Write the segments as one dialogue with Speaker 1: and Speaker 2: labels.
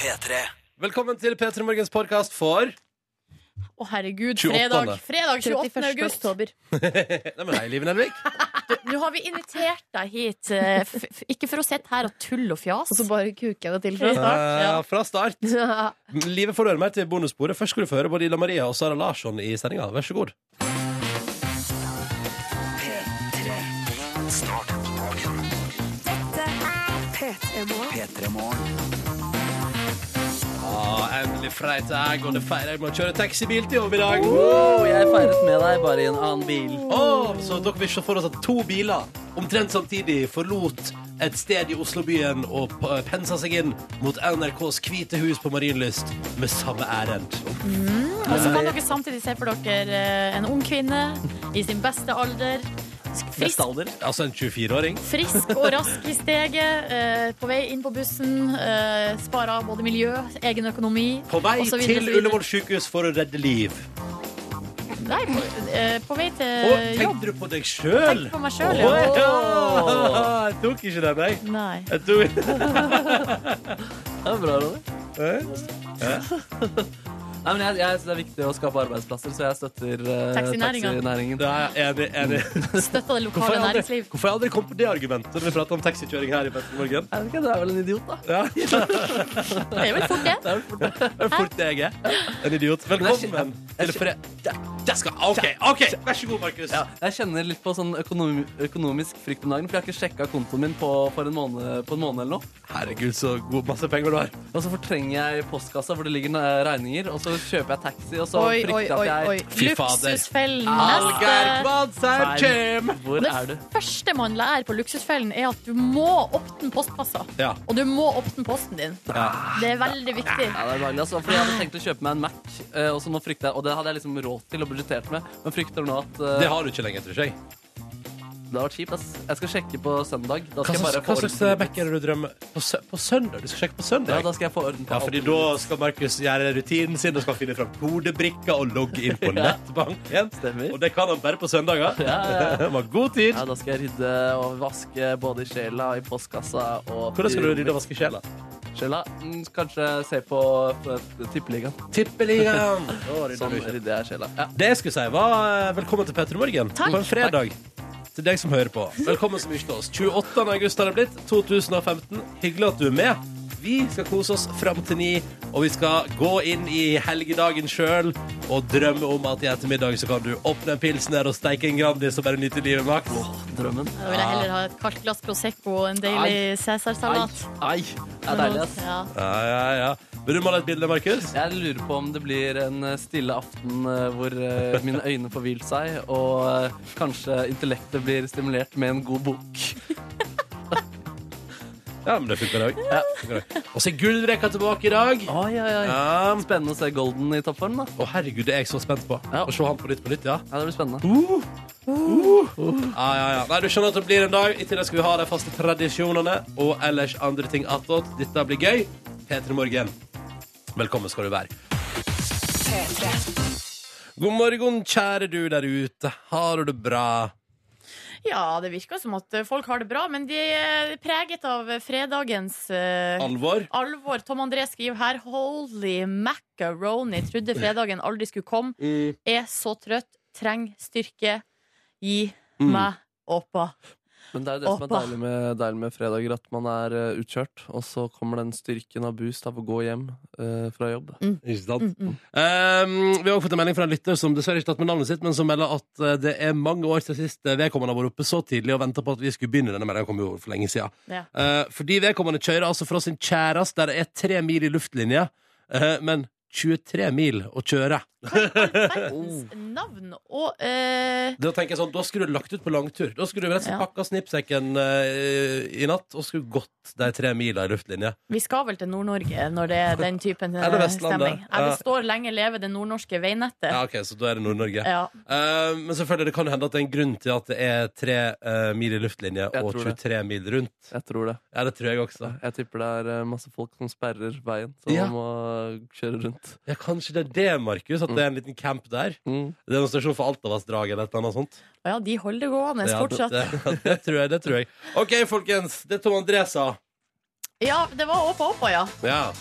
Speaker 1: P3.
Speaker 2: Velkommen til P3 Morgens podkast for Eh,
Speaker 3: Å, herregud.
Speaker 2: 28..
Speaker 3: Fredag, fredag 28.
Speaker 4: 31.
Speaker 3: august.
Speaker 4: oktober.
Speaker 2: Nei, men hei, Liv Nelvik.
Speaker 3: Nå har vi invitert deg hit. eh, f- f- Ikke for å sitte her og tulle og fjase.
Speaker 4: Og så bare kuker jeg det til fra
Speaker 2: Eh,
Speaker 4: start.
Speaker 2: fra start.
Speaker 4: Ja.
Speaker 2: Livet får du høre mer til bonussporet. Først skal du få høre både Ida Maria og Sara Larsson i sendinga. Vær så god.
Speaker 1: P3 Morgen.
Speaker 2: Ah, endelig fredag, og det feirer jeg med å kjøre taxibil til jobb i dag.
Speaker 5: jeg feiret med deg bare i en annen bil.
Speaker 2: Åh, så dere vil se for oss at to biler omtrent samtidig forlot et sted i Oslobyen og p- pensa seg inn mot NRKs Hvite hus på Marienlyst med samme ærend.
Speaker 3: Og så kan dere samtidig se for dere eh, en ung kvinne i sin beste alder. Sk-
Speaker 5: Beste
Speaker 3: Frisk,
Speaker 5: alder.
Speaker 2: Altså en 24-åring.
Speaker 3: frisk og rask i steget. eh, På vei inn på bussen. eh, Sparer både miljø, egen økonomi
Speaker 2: På vei
Speaker 3: og så videre,
Speaker 2: til
Speaker 3: så videre.
Speaker 2: Ullevål sykehus for å redde liv.
Speaker 3: Nei, på, eh, på vei til
Speaker 2: Og
Speaker 3: jobb.
Speaker 2: tenkte du på deg sjøl?
Speaker 3: Tenk på meg sjøl,
Speaker 2: Åh,
Speaker 3: ja.
Speaker 2: ja. Jeg tok ikke den, jeg.
Speaker 3: Nei.
Speaker 2: Jeg tok...
Speaker 5: Det er bra, Ronny. Nei, men jeg, jeg synes Det er viktig å skape arbeidsplasser, så jeg støtter eh,
Speaker 3: Taxinæringen.
Speaker 5: taxinæringen.
Speaker 2: Da er jeg enig, enig.
Speaker 3: Støtta det
Speaker 2: Hvorfor
Speaker 3: lokale
Speaker 2: har jeg aldri,
Speaker 3: næringsliv.
Speaker 2: hvorfor har jeg aldri kommet på det argumentet når vi prater om taxikjøring her i Petter Morgen?
Speaker 5: Jeg vet ikke, Du er vel en idiot, da.
Speaker 2: Ja, det
Speaker 3: Det er vel fort, det.
Speaker 5: Det er vel fort-
Speaker 2: er fort det jeg er. En idiot. Velkommen til fre... Det skal, OK, ok, vær så god, Markus.
Speaker 5: Ja, jeg kjenner litt på sånn økonomi, økonomisk frykt om dagen, for jeg har ikke sjekka kontoen min på, for en måned, på en måned eller noe.
Speaker 2: Herregud, så god masse penger du har.
Speaker 5: Og så fortrenger jeg postkassa hvor det ligger eh, regninger, og så kjøper jeg taxi, og så
Speaker 3: Oi, oi,
Speaker 5: frykter
Speaker 3: oi.
Speaker 5: jeg at
Speaker 3: oi.
Speaker 5: jeg
Speaker 2: Fy fader.
Speaker 3: Luksusfellen.
Speaker 2: Algeir
Speaker 3: Neste.
Speaker 2: Kvadsheim kjem!
Speaker 5: Feil. Hvor
Speaker 3: Det
Speaker 5: er du?
Speaker 3: første man lærer på Luksusfellen, er at du må åpne postkassa.
Speaker 2: Ja.
Speaker 3: Og du må åpne posten din. Det er veldig viktig.
Speaker 5: Ja, det er daglig, altså. Fordi jeg hadde tenkt å kjøpe meg en Mac, eh, og, så nå frykter jeg, og det hadde jeg liksom råd til og budsjettert med, men frykter nå at eh,
Speaker 2: Det har du ikke lenger, tror jeg.
Speaker 5: Det var kjipt, ass. Jeg skal sjekke på søndag. Da
Speaker 2: Hva
Speaker 5: skal jeg
Speaker 2: slags,
Speaker 5: bare
Speaker 2: hva
Speaker 5: få
Speaker 2: slags
Speaker 5: orden på
Speaker 2: back er det du drømmer? På, sø på søndag? Du skal sjekke på
Speaker 5: eh, Ja,
Speaker 2: søndag?
Speaker 5: da skal jeg få orden på
Speaker 2: Ja, fordi da skal Markus gjøre rutinen sin og skal finne fram kodebrikker og logge inn på nettbanken.
Speaker 5: Stemmer.
Speaker 2: Og det kan han bare på søndager.
Speaker 5: Ja, ja, ja.
Speaker 2: Han har god tid.
Speaker 5: Ja, da skal jeg rydde og vaske både i sjela og i postkassa. Og
Speaker 2: Hvordan skal du rydde og vaske sjela?
Speaker 5: Sjela? Mm, kanskje se på eh, Tippeligaen.
Speaker 2: Tippeligaen!
Speaker 5: Sånn rydder jeg sjela. Ja.
Speaker 2: Det jeg skulle si, var eh, velkommen til Petter Morgen
Speaker 3: Takk.
Speaker 2: på en fredag. Til deg som hører på. Velkommen så mye til oss. 28. august har det blitt. 2015. Hyggelig at du er med. Vi skal kose oss fram til ni, og vi skal gå inn i helgedagen sjøl og drømme om at i ettermiddag så kan du åpne en pilsner og steike en Grandis og bare nyte livet maks.
Speaker 5: Drømmen.
Speaker 3: Da vil jeg heller ha et kaldt glass Prosecco og en deilig
Speaker 5: Ai,
Speaker 3: Cæsarsalat.
Speaker 5: ai. Det er deilig, ass.
Speaker 3: Ja.
Speaker 2: Ja, ja, ja. Vil du male et bilde, Markus?
Speaker 5: Jeg lurer på om det blir en eh, stille aften eh, hvor eh, mine øyne får hvilt seg, og eh, kanskje intellektet blir stimulert med en god bok.
Speaker 2: Ja, men det funker òg. Og så er gullrekka tilbake i dag.
Speaker 5: Oi, oi, oi.
Speaker 2: Ja.
Speaker 5: Spennende å se Golden i toppform, da.
Speaker 2: Å, herregud, det er jeg så spent på.
Speaker 5: Ja.
Speaker 2: Å se han på nytt på nytt, ja.
Speaker 5: Ja, det blir spennende.
Speaker 2: Ja, ja, ja. Nei, du skjønner at det blir en dag. I tillegg skal vi ha de faste tradisjonene og ellers andre ting attåt. Dette blir gøy. P3 Morgen, velkommen skal du være. God morgen, kjære du der ute. Har du det bra?
Speaker 3: ja, det virker som at eh, folk har det bra, men de er preget av fredagens eh,
Speaker 2: Alvor?
Speaker 3: alvor. Tom André skriver her Holy macaroni. Trodde fredagen aldri skulle komme. Er så trøtt. Treng styrke. Gi
Speaker 5: Mm.
Speaker 3: meg oppa.
Speaker 5: Men det er jo det som er
Speaker 3: Åpa.
Speaker 5: deilig med, deilig med fredager, at man er eh, utkjørt, og så kommer den styrken av boost av å gå hjem eh, fra jobb.
Speaker 2: Ikke sant? Um, vi har også fått en melding fra en lytter som dessverre ikke tatt med navnet sitt, men som melder at eh, det er mange år til sist eh, vedkommende har vært oppe så tidlig og venta på at vi skulle begynne. Denne meldingen kom jo for lenge siden.
Speaker 3: Ja.
Speaker 2: Eh, fordi vedkommende kjører altså fra sin kjæreste, der det er tre mil i luftlinje, eh, men 23 mil å kjøre.
Speaker 3: Verdens navn og eh,
Speaker 2: Da tenker jeg sånn, da skulle du lagt ut på langtur. Da skulle du rett og slett
Speaker 3: Ja.
Speaker 2: pakka snippsekken eh, i natt og skulle gått de tre mila i luftlinje.
Speaker 3: Vi skal vel til Nord-Norge når det er den typen eh,
Speaker 2: Eller Vestlandet.
Speaker 3: stemning. Jeg
Speaker 2: Ja.
Speaker 3: består lenge leve det nordnorske veinettet.
Speaker 2: Ja, ok, Så da er det Nord-Norge.
Speaker 3: Ja.
Speaker 2: Eh, men selvfølgelig, det kan jo hende at det er en grunn til at det er tre eh, mil i luftlinje
Speaker 5: Jeg
Speaker 2: og
Speaker 5: tror
Speaker 2: 23
Speaker 5: det.
Speaker 2: mil rundt.
Speaker 5: Jeg tror det.
Speaker 2: Ja, det tror jeg også.
Speaker 5: Jeg tipper det er eh, masse folk som sperrer veien, så
Speaker 2: Ja.
Speaker 5: man må eh, kjøre rundt.
Speaker 2: Ja, Kanskje det er det, Markus, at det er en liten camp der?
Speaker 5: Mm.
Speaker 2: Det er en stasjon for Altavassdraget eller et eller annet sånt?
Speaker 3: Og ja, de holder det gående
Speaker 2: Ja, det,
Speaker 3: fortsatt.
Speaker 2: det, det tror jeg, det tror jeg. OK, folkens. Det Tom André sa.
Speaker 3: Ja, det var Åpa Åpa, ja.
Speaker 2: Ja.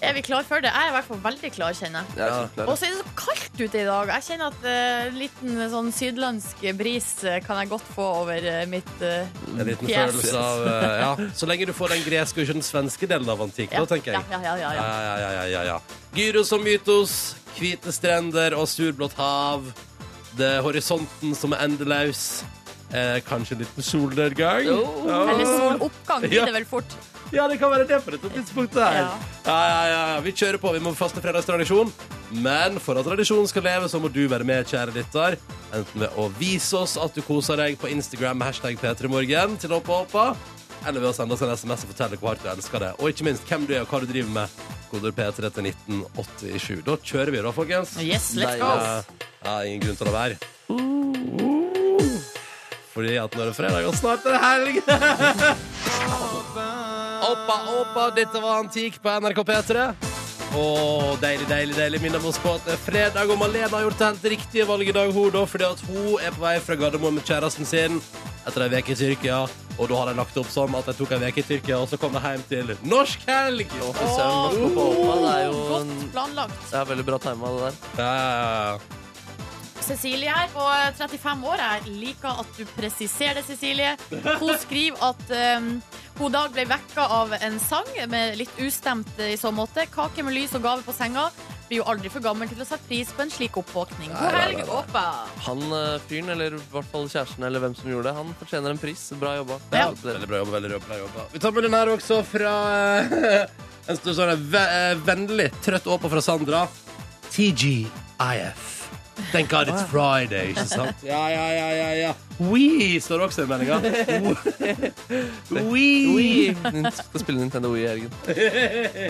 Speaker 3: Er vi klar for det? Jeg er i hvert fall veldig klar, kjenner jeg.
Speaker 5: Jeg er så klar.
Speaker 3: Og så er det så kaldt ute i dag. Jeg kjenner at en liten eh, sånn sydlandsk bris eh, kan jeg godt få over eh, mitt eh,
Speaker 2: En liten
Speaker 3: Yes.
Speaker 2: følelse av eh, Ja, så lenge du får den greske og ikke den svenske delen av antikk,
Speaker 3: ja,
Speaker 2: da tenker jeg.
Speaker 3: Ja, ja, ja, ja, ja.
Speaker 2: Ja, ja, ja, ja, ja, ja. Gyros og mytos, hvite strender og surblått hav. Det er horisonten som er endeløs. Eh, kanskje en liten solnedgang. Ja.
Speaker 3: Oh. Eller soloppgang blir
Speaker 2: Ja.
Speaker 3: det vel fort.
Speaker 2: Ja, det kan være det på dette tidspunktet her. Ja.
Speaker 3: Ja.
Speaker 2: Ja, ja, ja. Vi kjører på. Vi må faste fredagstradisjon. Men for at tradisjonen skal leve, så må du være med, kjære lytter. Enten ved å vise oss at du koser deg på Instagram med hashtag P3morgen til Håpa Håpa, eller ved å sende oss en SMS og fortelle hvor hardt du elsker det. Og ikke minst hvem du er, og hva du driver med. Koder P3 til 1987. Da kjører vi, da, folkens.
Speaker 3: Yes, let's
Speaker 5: Deilig.
Speaker 3: go.
Speaker 2: Ja, ja, ingen grunn til å la være. Fordi at nå er det fredag, og snart er det helg. Oppa, oppa, dette var Antik på NRK P3. Og deilig, deilig, deilig minner vi oss på at det er fredag, og Malene har gjort det helt riktige valget i dag, hun, da, fordi at hun er på vei fra Gardermoen med kjæresten sin etter ei uke i Tyrkia. Og da har de lagt det opp sånn at de tok ei uke i Tyrkia, og så kom de hjem til norsk helg.
Speaker 5: Å, fy søren, norsk og håpa, det er jo en,
Speaker 3: Godt planlagt.
Speaker 5: det er veldig bra tima, det der.
Speaker 2: Ja,
Speaker 3: Cecilie her på eh, 35 år. Jeg liker at du presiserer det, Cecilie. Hun skriver at um, hun dag ble vekka av en sang, med litt ustemt eh, i så måte. Kake med lys og gave på senga. Blir jo aldri for gammel til å sette pris på en slik oppvåkning. God helg, Åpa!
Speaker 5: Han eh, fyren, eller i hvert fall kjæresten, eller hvem som gjorde det, han fortjener en pris. Bra jobba.
Speaker 3: Ja.
Speaker 2: Veldig bra jobba. veldig bra jobba Vi tar med den her også fra eh, en stor sånn ve- eh, vennlig trøtt åpa fra Sandra. TGIF. Thank God it's Friday, ikke sant? Ja, ja, ja, ja, ja. We står det også i meldinga. We.
Speaker 5: Oi! Nin- Skal spille Nintendo Wii i helgen.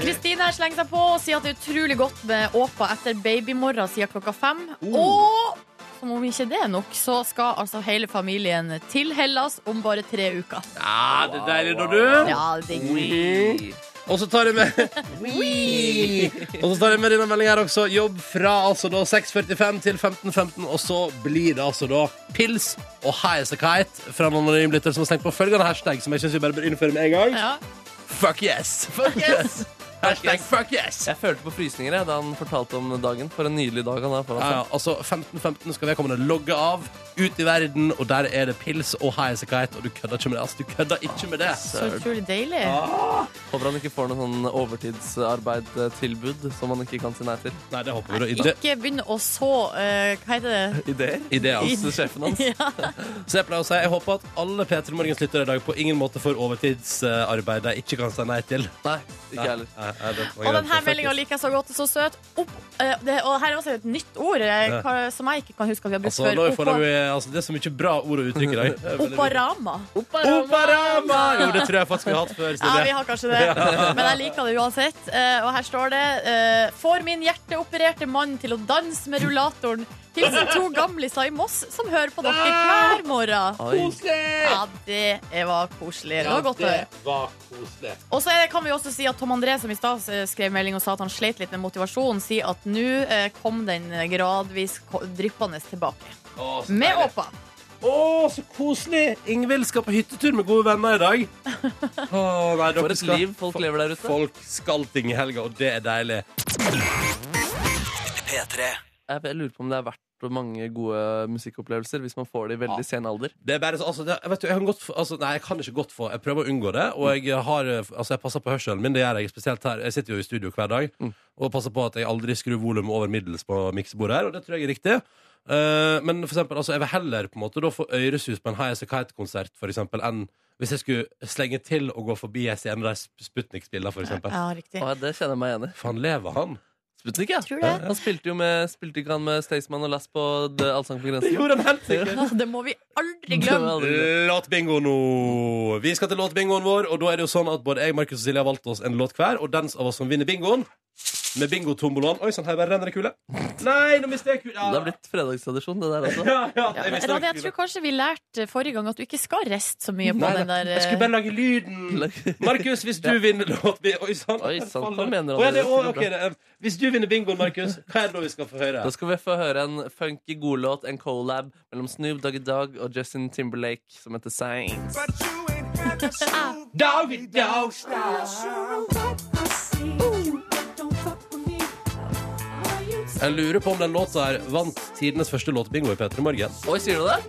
Speaker 3: Kristine her slenger seg på og sier at det er utrolig godt med Åpa etter babymorgen siden klokka fem. Og som om ikke det er nok, så skal altså hele familien til Hellas om bare tre uker.
Speaker 2: Ja, det er deilig, da, du.
Speaker 3: Ja, det er
Speaker 2: Mhm. Og så tar jeg med Wee! Og så tar jeg med denne meldingen her også. Jobb fra altså da 6.45 til 15.15, og så blir det altså da pils og heisekite fra noen anonym lytter som har slengt på følgende hashtag, som jeg syns vi bare bør innføre med en gang.
Speaker 3: ja.
Speaker 2: Fuck yes! Fuck yes! hashtag fuck yes!
Speaker 5: Jeg følte på frysninger jeg, da han fortalte om dagen. For en nydelig dag han har foran
Speaker 2: Ja,
Speaker 5: seg.
Speaker 2: ja, altså 15.15 skal vedkommende logge av ut i verden, og der er det pils og heisekite, og du kødder ikke med det. Altså, du kødder ikke med det.
Speaker 3: Så utrolig deilig.
Speaker 5: Håper han ikke får noe sånn overtidsarbeidtilbud som han ikke kan si nei til.
Speaker 2: Nei, det håper vi da.
Speaker 3: Ikke begynn å så eh, Hva heter det?
Speaker 5: Ideer?
Speaker 2: Ideer.
Speaker 5: Hos sjefen hans.
Speaker 3: Ja.
Speaker 2: Så jeg pleier å si jeg håper at alle P3 Morgens lyttere i dag på ingen måte får overtidsarbeid de ikke kan si nei til.
Speaker 5: Nei, ikke jeg heller.
Speaker 2: Nei, nei, det-
Speaker 3: Og denne meldinga liker jeg så godt. Så søt. Opp, eh, det, og her er også et nytt ord eh, hva- som jeg ikke kan huske at vi har brukt
Speaker 2: altså, nå får
Speaker 3: før.
Speaker 2: de, altså, Det er så mye bra ord og uttrykk i dag. Det er
Speaker 3: Oppa-
Speaker 2: veldig-
Speaker 3: Opparama.
Speaker 2: Oparama! Jo, det tror jeg faktisk vi har hatt før.
Speaker 3: Ja, vi
Speaker 2: Silje.
Speaker 3: har kanskje det, men jeg liker det uansett. Eh, og her står det eh, Får min hjerteopererte mann til å danse med rullatoren. Hilsen to gamliser i Moss som hører på dere hver morgen.
Speaker 5: Oi.
Speaker 3: Ja, det var koselig. Det var godt å høre.
Speaker 2: det var koselig.
Speaker 3: Og så er det- kan vi også si at Tom André som i stad eh, skrev melding og sa at han sleit litt med motivasjonen, sier at nå eh, kom den gradvis ko- dryppende tilbake.
Speaker 2: Å, så
Speaker 3: Med
Speaker 2: deilig.
Speaker 3: Åpa.
Speaker 2: Å, så koselig! Ingvild skal på hyttetur med gode venner i dag. Å, nei, dere
Speaker 5: For et
Speaker 2: skal-
Speaker 5: liv folk lever der ute.
Speaker 2: Folk skal ting i helga, og det er deilig.
Speaker 1: P3.
Speaker 5: Jeg lurer på om det er verdt mange gode musikkopplevelser hvis man får det i veldig sen alder.
Speaker 2: Det er bare så, altså, det, jeg vet du, jeg kan godt få, altså, Nei, jeg kan ikke godt få Jeg prøver å unngå det Og jeg har, eh, altså jeg passer på hørselen min Det gjør jeg spesielt her Jeg sitter jo i studio hver dag
Speaker 5: Mm.
Speaker 2: Og passer på at jeg aldri skrur volum over middels på miksebordet her Og det tror jeg er riktig Eh, Men for eksempel, altså jeg vil heller på en måte Da få øyresus på en High As A Kite-konsert For eksempel, enn hvis jeg skulle slenge til Og gå forbi en scene der Sp- Sputnik spiller for eksempel
Speaker 3: Ja, riktig.
Speaker 5: Å, ja, det kjenner jeg meg igjen i.
Speaker 2: Faen, lever han?
Speaker 5: Sputnik, ja.
Speaker 3: Tror det.
Speaker 5: Han spilte jo med, spilte ikke han med Staysman og Lass på The Allsang på grensen?
Speaker 2: Gjorde han helt sikkert Eh.
Speaker 3: Ja, Altså, Det må vi aldri
Speaker 5: Det var
Speaker 3: glemme.
Speaker 5: aldri det.
Speaker 2: Låtbingo nå! Vi skal til låtbingoen vår, og da er det jo sånn at både jeg, Markus og Silje har valgt oss en låt hver, og den av oss som vinner bingoen med bingotombolaen Oi sann, her bare renner det kule. Nei, nå mistet jeg kula!
Speaker 5: Det har blitt fredagstradisjon, det der også.
Speaker 2: ja, ja,
Speaker 3: Ja,
Speaker 2: jeg
Speaker 3: men
Speaker 2: mistet
Speaker 3: Radia, altså, jeg
Speaker 2: kula.
Speaker 3: tror kanskje vi lærte forrige gang at du ikke skal riste så mye på
Speaker 2: Nei,
Speaker 3: den der
Speaker 2: Jeg skulle
Speaker 3: eh,
Speaker 2: bare lage lyden. Markus, hvis du vinner låtbingo Oi sann.
Speaker 5: Oi, sant,
Speaker 2: faller.
Speaker 5: hva mener han?
Speaker 2: Å, ja, det,
Speaker 5: Det
Speaker 2: å,
Speaker 5: går bra.
Speaker 2: ok, det, er- hvis du vinner bingoen, Markus, hva er det da vi skal få høre?
Speaker 5: Da skal vi få høre en funky godlåt, en colab mellom Snoop Doggy Dogg og Justin Timberlake, som heter Signs.
Speaker 3: eh, Ah,
Speaker 2: Doggy dog style. Jeg lurer på om den låta her vant tidenes første låtbingo i P3 Morgen.
Speaker 5: Oi, sier du det?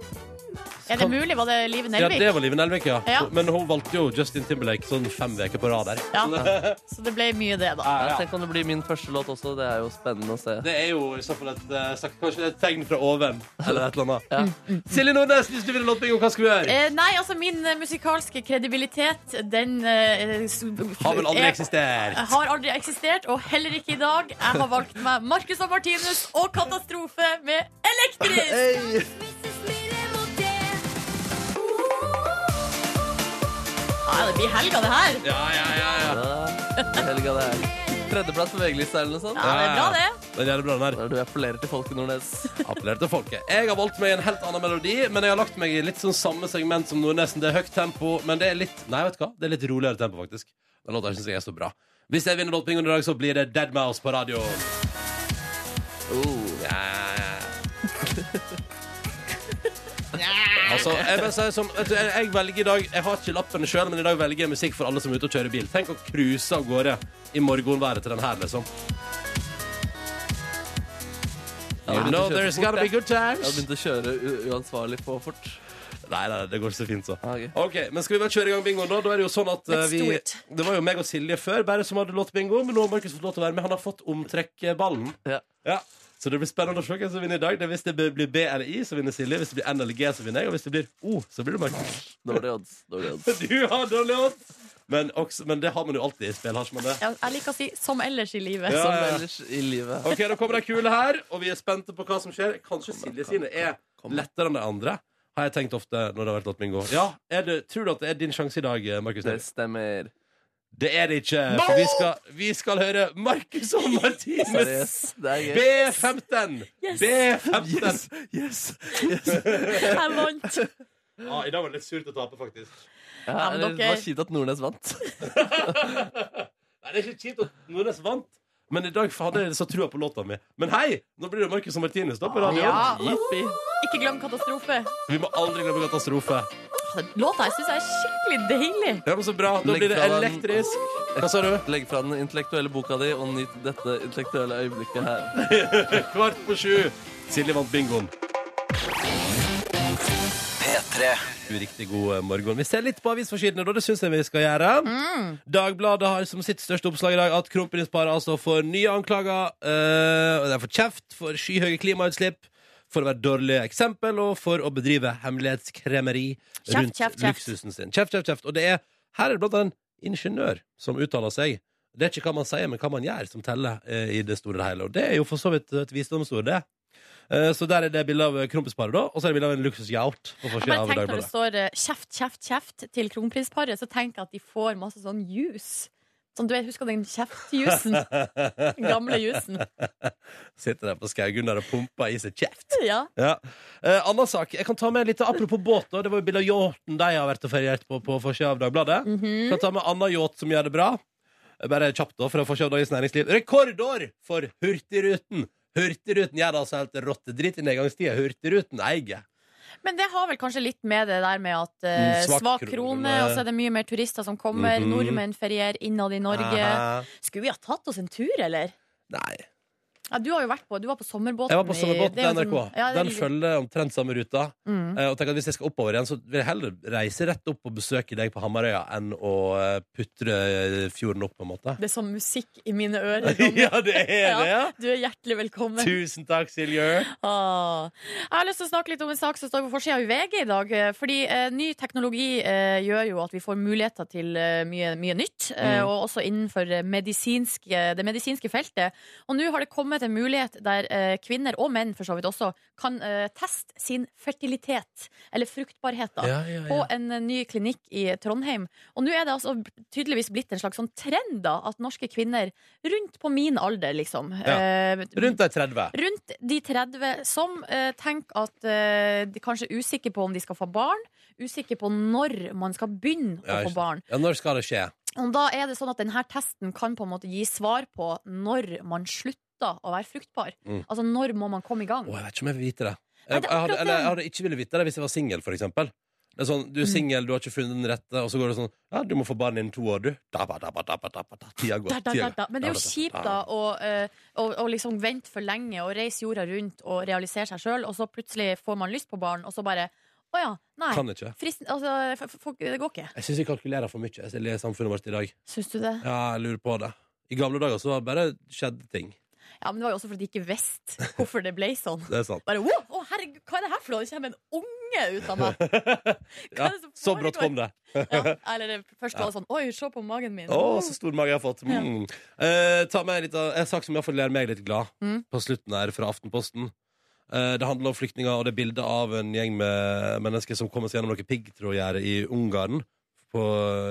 Speaker 3: Er det mulig? Var det Live
Speaker 2: Ja,
Speaker 3: Nelvik?
Speaker 2: det var Live Nelvik, ja.
Speaker 3: Ja.
Speaker 2: Men hun valgte jo Justin Timberlake sånn fem uker på rad der.
Speaker 3: Ja. Så det ble mye det,
Speaker 2: Ah.
Speaker 3: da.
Speaker 5: Ja, tenk om det blir min første låt også. Det er jo spennende å se.
Speaker 2: Det er jo i så fall et, eh, sagt- kanskje et tegn fra oven, eller et eller annet.
Speaker 5: Ja.
Speaker 2: Silje Nordnes, hvis du vil ha låtbingo, hva skal vi gjøre?
Speaker 3: Eh, nei, altså min eh, musikalske kredibilitet, den eh, s-
Speaker 2: Har vel aldri
Speaker 3: er-
Speaker 2: eksistert.
Speaker 3: Har aldri eksistert, og heller ikke i dag. Jeg har valgt meg Marcus og Martinus og Katastrofe med Elektrisk!
Speaker 2: Hey.
Speaker 3: Ja, det blir helga, det her.
Speaker 2: Ja, ja, ja, ja.
Speaker 5: Ja, Helga, det er Tredjeplass på VG-lista eller noe sånt.
Speaker 3: Ja, det er bra, det.
Speaker 2: Den er det bra, den her.
Speaker 5: Der du appellerer til folket, Nordnes.
Speaker 2: Appellerer til folket. Jeg har valgt meg en helt annen melodi, men jeg har lagt meg i litt sånn samme segment som Nordnesen. Det er høyt tempo, men det er litt Nei, vet du hva? Det er litt roligere tempo, faktisk. Den låta syns jeg er så bra. Hvis jeg vinner Låtbingoen i dag, så blir det Dead Mouse på radio.
Speaker 5: Oh.
Speaker 2: Altså, jeg, bare sier sånn, vet du, jeg, jeg velger i dag Jeg har ikke lappene sjøl, men i dag velger jeg musikk for alle som er ute og kjører bil. Tenk å cruise av gårde i morgenværet til den her, liksom.
Speaker 5: Jeg
Speaker 2: You
Speaker 5: hadde
Speaker 2: know there's
Speaker 5: begynt å kjøre for fort,
Speaker 2: gotta be
Speaker 5: jeg.
Speaker 2: good
Speaker 5: Jeg hadde
Speaker 2: times.
Speaker 5: begynt å kjøre u uansvarlig på fort.
Speaker 2: Nei, nei, det går så fint, så.
Speaker 5: Ah, ok.
Speaker 2: Ok, Men skal vi bare kjøre i gang bingoen, da? Da er det jo sånn at eh,
Speaker 3: Let's
Speaker 2: vi
Speaker 3: do it.
Speaker 2: Det var jo meg og Silje før bare som hadde låt bingo, men nå har Markus fått lov til å være med. Han har fått omtrekkballen.
Speaker 5: Ja.
Speaker 2: Ja. Så det blir spennende å se hvem som vinner i dag. Det er hvis det blir B eller I, så vinner Silje. Hvis det blir N eller G, så vinner jeg. Og hvis det blir O, så blir det Markus.
Speaker 5: Dårlige odds. Dårlige odds.
Speaker 2: Du har dårlig odds! Men, også- men det har man jo alltid i spill, har ikke man det?
Speaker 3: Ja, Jeg liker å si 'som ellers i livet'.
Speaker 2: Ja.
Speaker 5: Som ellers i livet.
Speaker 2: Ok, Da kommer det ei kule her, og vi er spente på hva som skjer. Kanskje Silje sine er lettere enn de andre, har jeg tenkt ofte når det har vært låt bingo. Ja, er det, Tror du at det er din sjanse i dag, eh, Markus?
Speaker 5: Det
Speaker 2: Neby?
Speaker 5: stemmer.
Speaker 2: Det er det ikke, for vi skal, vi skal høre Markus og Martinus.
Speaker 5: Seriøst. Det er gøy.
Speaker 2: B15! B15!
Speaker 3: Jeg vant.
Speaker 2: Ja, I dag var det litt surt å tape, faktisk.
Speaker 5: Ja,
Speaker 3: Ja, men
Speaker 5: eller, det
Speaker 3: dere-
Speaker 5: var kjipt at Nordnes vant.
Speaker 2: Nei, Det er ikke kjipt at Nordnes vant, men i dag hadde jeg så trua på låta mi. Men hei, nå blir det Markus og Martinus da på radioen.
Speaker 3: Ja.
Speaker 5: Jippi.
Speaker 3: Ikke glem Katastrofe.
Speaker 2: Vi må aldri glemme katastrofe.
Speaker 3: Låta her syns jeg er skikkelig deilig.
Speaker 2: Ja, men så bra. Da blir det elektrisk. Hva sa du?
Speaker 5: Legg fra den intellektuelle boka di og nyt dette intellektuelle øyeblikket her.
Speaker 2: Kvart på sju. Silje vant bingoen.
Speaker 1: P3
Speaker 2: Riktig god eh, morgen. Vi ser litt på avisforsidene, da. Det syns jeg vi skal gjøre.
Speaker 3: Mm.
Speaker 2: Dagbladet har som sitt største oppslag i dag at kronprinsparet altså får nye anklager. eh, og det er for kjeft, for skyhøye klimautslipp, for å være dårlige eksempel og for å bedrive hemmelighetskremeri
Speaker 3: Kjeft,
Speaker 2: rundt
Speaker 3: kjeft, kjeft.
Speaker 2: luksusen sin. Kjeft, kjeft, kjeft. Og det er, her er det blant annet en ingeniør som uttaler seg. Det er ikke hva man sier, men hva man gjør, som teller eh, i det store og hele. Og det er jo for så vidt et visdomsord, det. Eh, Så der er det bilde av kronprinsparet, da. Og så er det bilde av en luksusyacht. på forsiden
Speaker 3: Bare
Speaker 2: av
Speaker 3: tenk når
Speaker 2: Dagbladet.
Speaker 3: det står eh, 'kjeft, kjeft, kjeft' til kronprinsparet, så tenker jeg at de får masse sånn juice. Sånn, du vet, Husker den kjeftjusen? Den gamle jusen.
Speaker 2: Sitter der på Skaugun der og pumper i seg kjeft.
Speaker 3: Ja.
Speaker 2: Ja. Eh, Anna sak, jeg kan ta med litt apropos båt. Da. Det var jo bilde av yachten de har vært og feriert på på forsida av Dagbladet. Kan ta med Anna Yacht som gjør det bra. Eh, Bare kjapt da, fra forsida av Dagens Næringsliv. Rekordår for Hurtigruten! Hurtigruten gjør det altså helt rottedritt i nedgangstida. Hurtigruten eier.
Speaker 3: Men det har vel kanskje litt med det der med at eh,
Speaker 2: Mm, svak
Speaker 3: svak
Speaker 2: krone.
Speaker 3: krone, og så er det mye mer turister som kommer.
Speaker 2: Mhm.
Speaker 3: Nordmenn ferierer innad i Norge.
Speaker 2: Aha.
Speaker 3: Skulle vi ha tatt oss en tur, eller?
Speaker 2: Nei.
Speaker 3: Ja, du har jo vært på, du var på sommerbåten.
Speaker 2: Jeg var på
Speaker 3: i-
Speaker 2: sommerbåten
Speaker 3: det er
Speaker 2: til
Speaker 3: jo
Speaker 2: NRK.
Speaker 3: sånn- ja, det er
Speaker 2: Den
Speaker 3: litt-
Speaker 2: følger omtrent samme ruta.
Speaker 3: Mm.
Speaker 2: Eh, Og tenk at Hvis jeg skal oppover igjen, så vil jeg heller reise rett opp og besøke deg på Hamarøya enn å eh, putre eh, fjorden opp, på en måte.
Speaker 3: Det er sånn musikk i mine ører. Ronny.
Speaker 2: ja, det er det!
Speaker 3: Ja, Du er hjertelig velkommen.
Speaker 2: Tusen takk, Silje.
Speaker 3: Ah. Jeg har lyst til å snakke litt om en sak som står på forsida i VG i dag. eh, Fordi eh, ny teknologi eh, gjør jo at vi får muligheter til eh, mye, mye nytt. Eh,
Speaker 2: Mm.
Speaker 3: og også innenfor eh, medisinske, det medisinske feltet. Og nå har det kommet en mulighet der eh, kvinner, og menn for så vidt også, kan eh, teste sin fertilitet. Eller fruktbarhet, da.
Speaker 2: Ja, ja,
Speaker 3: På en eh, ny klinikk i Trondheim. Og nå er det altså tydeligvis blitt en slags sånn trend da, at norske kvinner rundt på min alder, liksom eh,
Speaker 2: Rundt de 30.
Speaker 3: Rundt de 30 som eh, tenker at eh, de kanskje er usikre på om de skal få barn, usikre på når man skal begynne
Speaker 2: Ja,
Speaker 3: å
Speaker 2: ikke
Speaker 3: få barn.
Speaker 2: Ja, når skal det skje?
Speaker 3: Og da er det sånn at denne testen kan på en måte gi svar på når man slutter å være fruktbar.
Speaker 2: Mm.
Speaker 3: Altså når må man komme i gang.
Speaker 2: Å, jeg vet ikke om jeg vil vite det. Jeg,
Speaker 3: Nei, det
Speaker 2: jeg,
Speaker 3: er
Speaker 2: hadde,
Speaker 3: akkurat
Speaker 2: eller, jeg
Speaker 3: det.
Speaker 2: hadde ikke villet vite det hvis jeg var singel, for eksempel. Det er sånn, Du
Speaker 3: Mm.
Speaker 2: er singel, du har ikke funnet den rette, og så går det sånn Ja, du må få barn innen to år, du. Dabba, dabba, dabba, dabba, da. Tida går.
Speaker 3: Da, da,
Speaker 2: tida
Speaker 3: da,
Speaker 2: går.
Speaker 3: da. Men det er jo
Speaker 2: da,
Speaker 3: kjipt da å, eh, å, å liksom vente for lenge og reise jorda rundt og realisere seg sjøl, og så plutselig får man lyst på barn, og så bare Å ja, nei.
Speaker 2: Kan ikke.
Speaker 3: Fristen, altså, f f folk- det går ikke.
Speaker 2: Jeg syns vi kalkulerer for mye jeg ser- i samfunnet vårt i dag.
Speaker 3: Syns du det?
Speaker 2: Ja, jeg lurer på det. I gamle dager så var det bare skjedde ting.
Speaker 3: Ja, men det var jo også fordi de ikke visste hvorfor det ble sånn.
Speaker 2: Det er sant.
Speaker 3: Bare, wow, å, herregud, Hva er det her for noe? Det kommer en unge ut av meg!
Speaker 2: Ja,
Speaker 3: Hva er det som
Speaker 2: så brått
Speaker 3: foregår?
Speaker 2: kom det.
Speaker 3: Ja, eller det første var det sånn Oi, se på magen min.
Speaker 2: Å, så stor mage jeg har fått. Mm. Eh, ta med litt av, En sak som iallfall gjør meg litt glad,
Speaker 3: Mm.
Speaker 2: på slutten her fra Aftenposten. Eh, det handler om flyktninger, og det er bilde av en gjeng med mennesker som kommer seg gjennom noe piggtrådgjerde i Ungarn på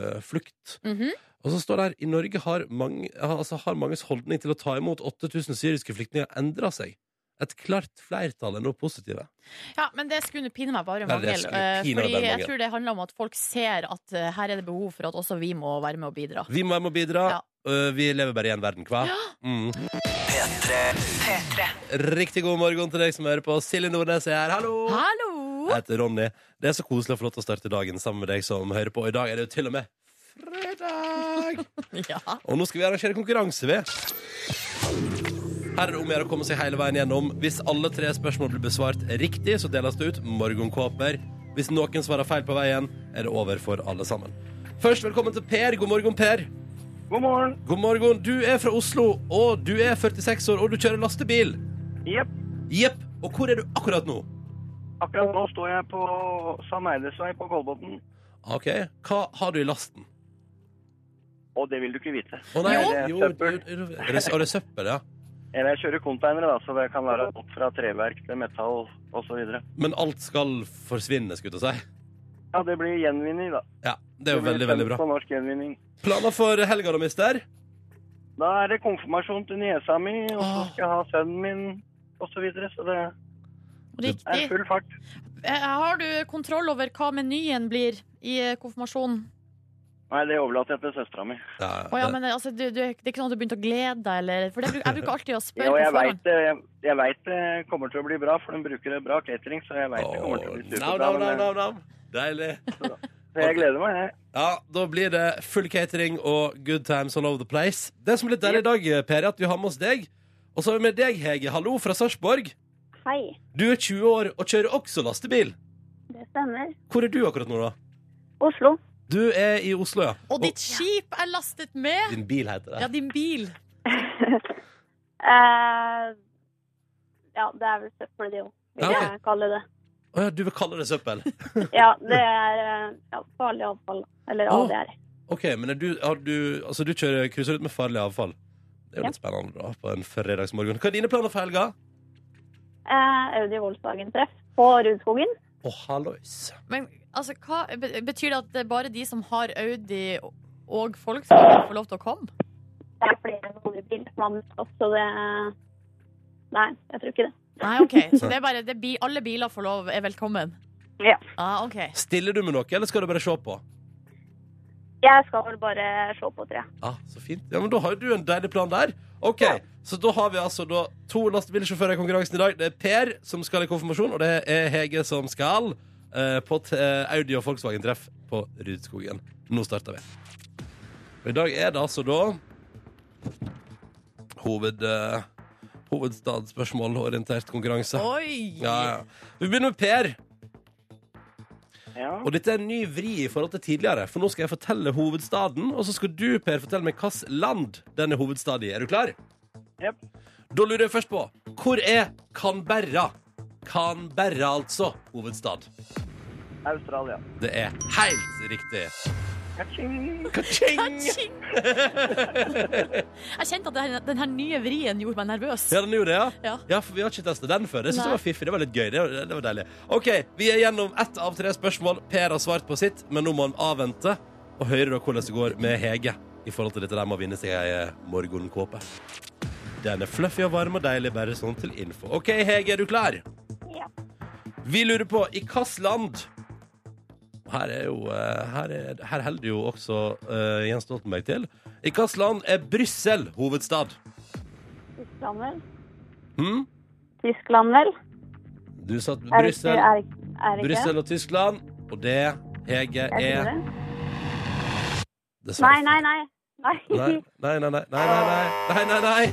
Speaker 2: eh, flukt.
Speaker 3: Mhm.
Speaker 2: Og så står det her i Norge har, mange, altså har manges holdning til å ta imot 8000 syriske flyktninger endra seg. Et klart flertall er nå positive.
Speaker 3: Ja, men det skulle pinne meg bare
Speaker 2: Nei, det
Speaker 3: mangel.
Speaker 2: skulle
Speaker 3: eh,
Speaker 2: pinne meg
Speaker 3: Fordi
Speaker 2: bare
Speaker 3: jeg
Speaker 2: mangel.
Speaker 3: tror det handler om at folk ser at eh, her er det behov for at også vi må være med og bidra.
Speaker 2: Vi må være med og bidra.
Speaker 3: Ja.
Speaker 2: Eh, vi lever bare i én verden, hva? Mm. Riktig god morgen til deg som hører på. Silje Nordnes er her, hallo!
Speaker 3: Hallo!
Speaker 2: Jeg heter Ronny. Det er så koselig å få lov til å starte dagen sammen med deg som hører på. Og i dag er det jo til og med fredag!
Speaker 3: Ja.
Speaker 2: Og nå skal vi arrangere konkurranse, vi. Her er det om å gjøre å komme seg hele veien gjennom. Hvis alle tre spørsmål blir besvart riktig, så deles det ut morgenkåper. Hvis noen svarer feil på veien, er det over for alle sammen. Først velkommen til Per. God morgen, Per.
Speaker 4: God morgen.
Speaker 2: God morgen. Du er fra Oslo, og du er 46 år, og du kjører lastebil.
Speaker 4: Jepp.
Speaker 2: Jepp. Og hvor er du akkurat nå?
Speaker 4: Akkurat nå står jeg på St. Eides vei på Kolbotn,
Speaker 2: OK. Hva har du i lasten?
Speaker 4: og det vil du ikke vite.
Speaker 2: Å nei,
Speaker 4: Jo. Det er søppel.
Speaker 2: jo, jo, jo. Er det, er det søppel, ja?
Speaker 4: Eller jeg kjører containere, da, så det kan være alt fra treverk til metall osv.
Speaker 2: Men alt skal forsvinne, skulle jeg til å si.
Speaker 4: Ja, det blir gjenvinning, da.
Speaker 2: Ja, det er jo
Speaker 4: blir
Speaker 2: veldig, veldig
Speaker 4: stemt
Speaker 2: bra.
Speaker 4: På norsk gjenvinning.
Speaker 2: Planer for helga da, mister?
Speaker 4: Da er det konfirmasjon til niesa mi, og så
Speaker 2: Åh.
Speaker 4: skal jeg ha sønnen min osv. Så, videre, så det er
Speaker 3: Riktig.
Speaker 4: full fart.
Speaker 3: Eh, Har du kontroll over hva menyen blir i eh, konfirmasjonen?
Speaker 4: Nei, det overlater jeg til søstera mi.
Speaker 2: Ja,
Speaker 3: Å ja,
Speaker 2: det-
Speaker 3: men eh, altså, du, du, det er ikke sånn at du begynte å glede deg, eller For det, bruk- jeg bruker alltid å
Speaker 4: Ja,
Speaker 3: spørre
Speaker 4: og
Speaker 3: på
Speaker 4: jeg
Speaker 3: forhånd.
Speaker 4: veit det, jeg, jeg vet det kommer til å bli bra, for de bruker det bra catering, så jeg veit det kommer til å bli
Speaker 2: Åh, nam,
Speaker 4: superbra.
Speaker 2: nam, nam,
Speaker 4: men
Speaker 2: nam,
Speaker 4: jeg-
Speaker 2: nam. Deilig.
Speaker 4: Så jeg gleder meg, jeg.
Speaker 2: Ja, da blir det full catering og good times all over the place. Det som er litt deilig i dag, Per, er at vi har med oss deg. Og så har vi med deg, Hege. Hallo fra Sarpsborg.
Speaker 6: Hei,
Speaker 2: Du er 20 år og kjører også lastebil.
Speaker 6: det stemmer.
Speaker 2: Hvor er du akkurat nå, da?
Speaker 6: Oslo.
Speaker 2: Du er i Oslo, ja.
Speaker 3: Og ditt skip er lastet med
Speaker 2: din bil heter det.
Speaker 3: Ja, din bil.
Speaker 6: Eh, ja, det er vel søppel, det òg, vil
Speaker 2: Ja, ok.
Speaker 6: jeg kalle det.
Speaker 2: Å ja, du vil kalle det søppel?
Speaker 6: Ja, det er eh, ja, farlig avfall. Eller
Speaker 2: Å.
Speaker 6: ADR.
Speaker 2: OK, men er du, har du, altså, du kjører, krysser ut med farlig avfall. Det er jo litt spennende da, på en fredagsmorgen. Hva er dine planer for helga?
Speaker 6: Eh, Audi Volkswagen-treff på Rudskogen.
Speaker 2: Å, hallois.
Speaker 3: Men altså, hva, be- betyr det at det er bare de som har Audi og Volkswagen får lov til å komme?
Speaker 6: Det er flere enn andre biler som har møtt opp, så det Nei, jeg tror ikke det.
Speaker 3: Nei, OK. Så det er bare det er bi, alle biler får lov, er velkommen?
Speaker 6: Ja.
Speaker 3: Ah, OK.
Speaker 2: Stiller du med noe, eller skal du bare se på?
Speaker 6: Jeg skal vel bare se på, tror jeg.
Speaker 2: Ja, så fint. Ja, men Da har jo du en deilig plan der. OK, så da har vi altså da to lastebilsjåfører i konkurransen i dag. Det er Per som skal i konfirmasjon, og det er Hege som skal eh, på t eh, Audi og Volkswagen-treff på Rudskogen. Nå starter vi. Og I dag er det altså da hoved, eh, hovedstadsspørsmålorientert konkurranse.
Speaker 3: Oi!
Speaker 2: Ja, ja. Vi begynner med Per.
Speaker 4: Ja.
Speaker 2: Og dette er en ny vri i forhold til tidligere, for nå skal jeg fortelle hovedstaden, og så skal du, Per, fortelle meg hvilket land denne hovedstaden er. Er du klar?
Speaker 4: Jepp.
Speaker 2: Da lurer jeg først på, hvor er Canberra? Canberra, altså, hovedstad.
Speaker 4: Australia.
Speaker 2: Det er helt riktig.
Speaker 4: Kaching!
Speaker 3: Ka-ching! Jeg kjente at den her, den her nye vrien gjorde meg nervøs.
Speaker 2: Ja, den gjorde det, ja?
Speaker 3: Ja.
Speaker 2: for vi har ikke testet den før. Det synes
Speaker 3: Nei.
Speaker 2: jeg var fiffig. Det var litt gøy. Det var, det var deilig. OK, vi er gjennom ett av tre spørsmål. Per har svart på sitt, men nå må han avvente og høre da hvordan det går med Hege i forhold til dette der med å vinne seg ei eh, morgenkåpe. Den er fluffy og varm og deilig, bare sånn til info. OK, Hege, er du klar?
Speaker 6: Ja.
Speaker 2: Vi lurer på i hvilket land Her er jo eh, Her, er, her holder jo også eh, Jens Stoltenberg til. I hvilket land er Brussel hovedstad?
Speaker 6: Tyskland, vel.
Speaker 2: Hm?
Speaker 6: Tyskland, vel.
Speaker 2: Du sa
Speaker 6: Er det ikke-
Speaker 2: Brussel.
Speaker 6: er- Er det ikke?
Speaker 2: Brussel og Tyskland, og det Jeg
Speaker 6: Jeg
Speaker 2: er
Speaker 6: tror det. Nei,
Speaker 2: Dessverre.
Speaker 6: nei, nei. Nei.
Speaker 2: Nei, nei, nei, nei, nei, nei, nei, nei, nei.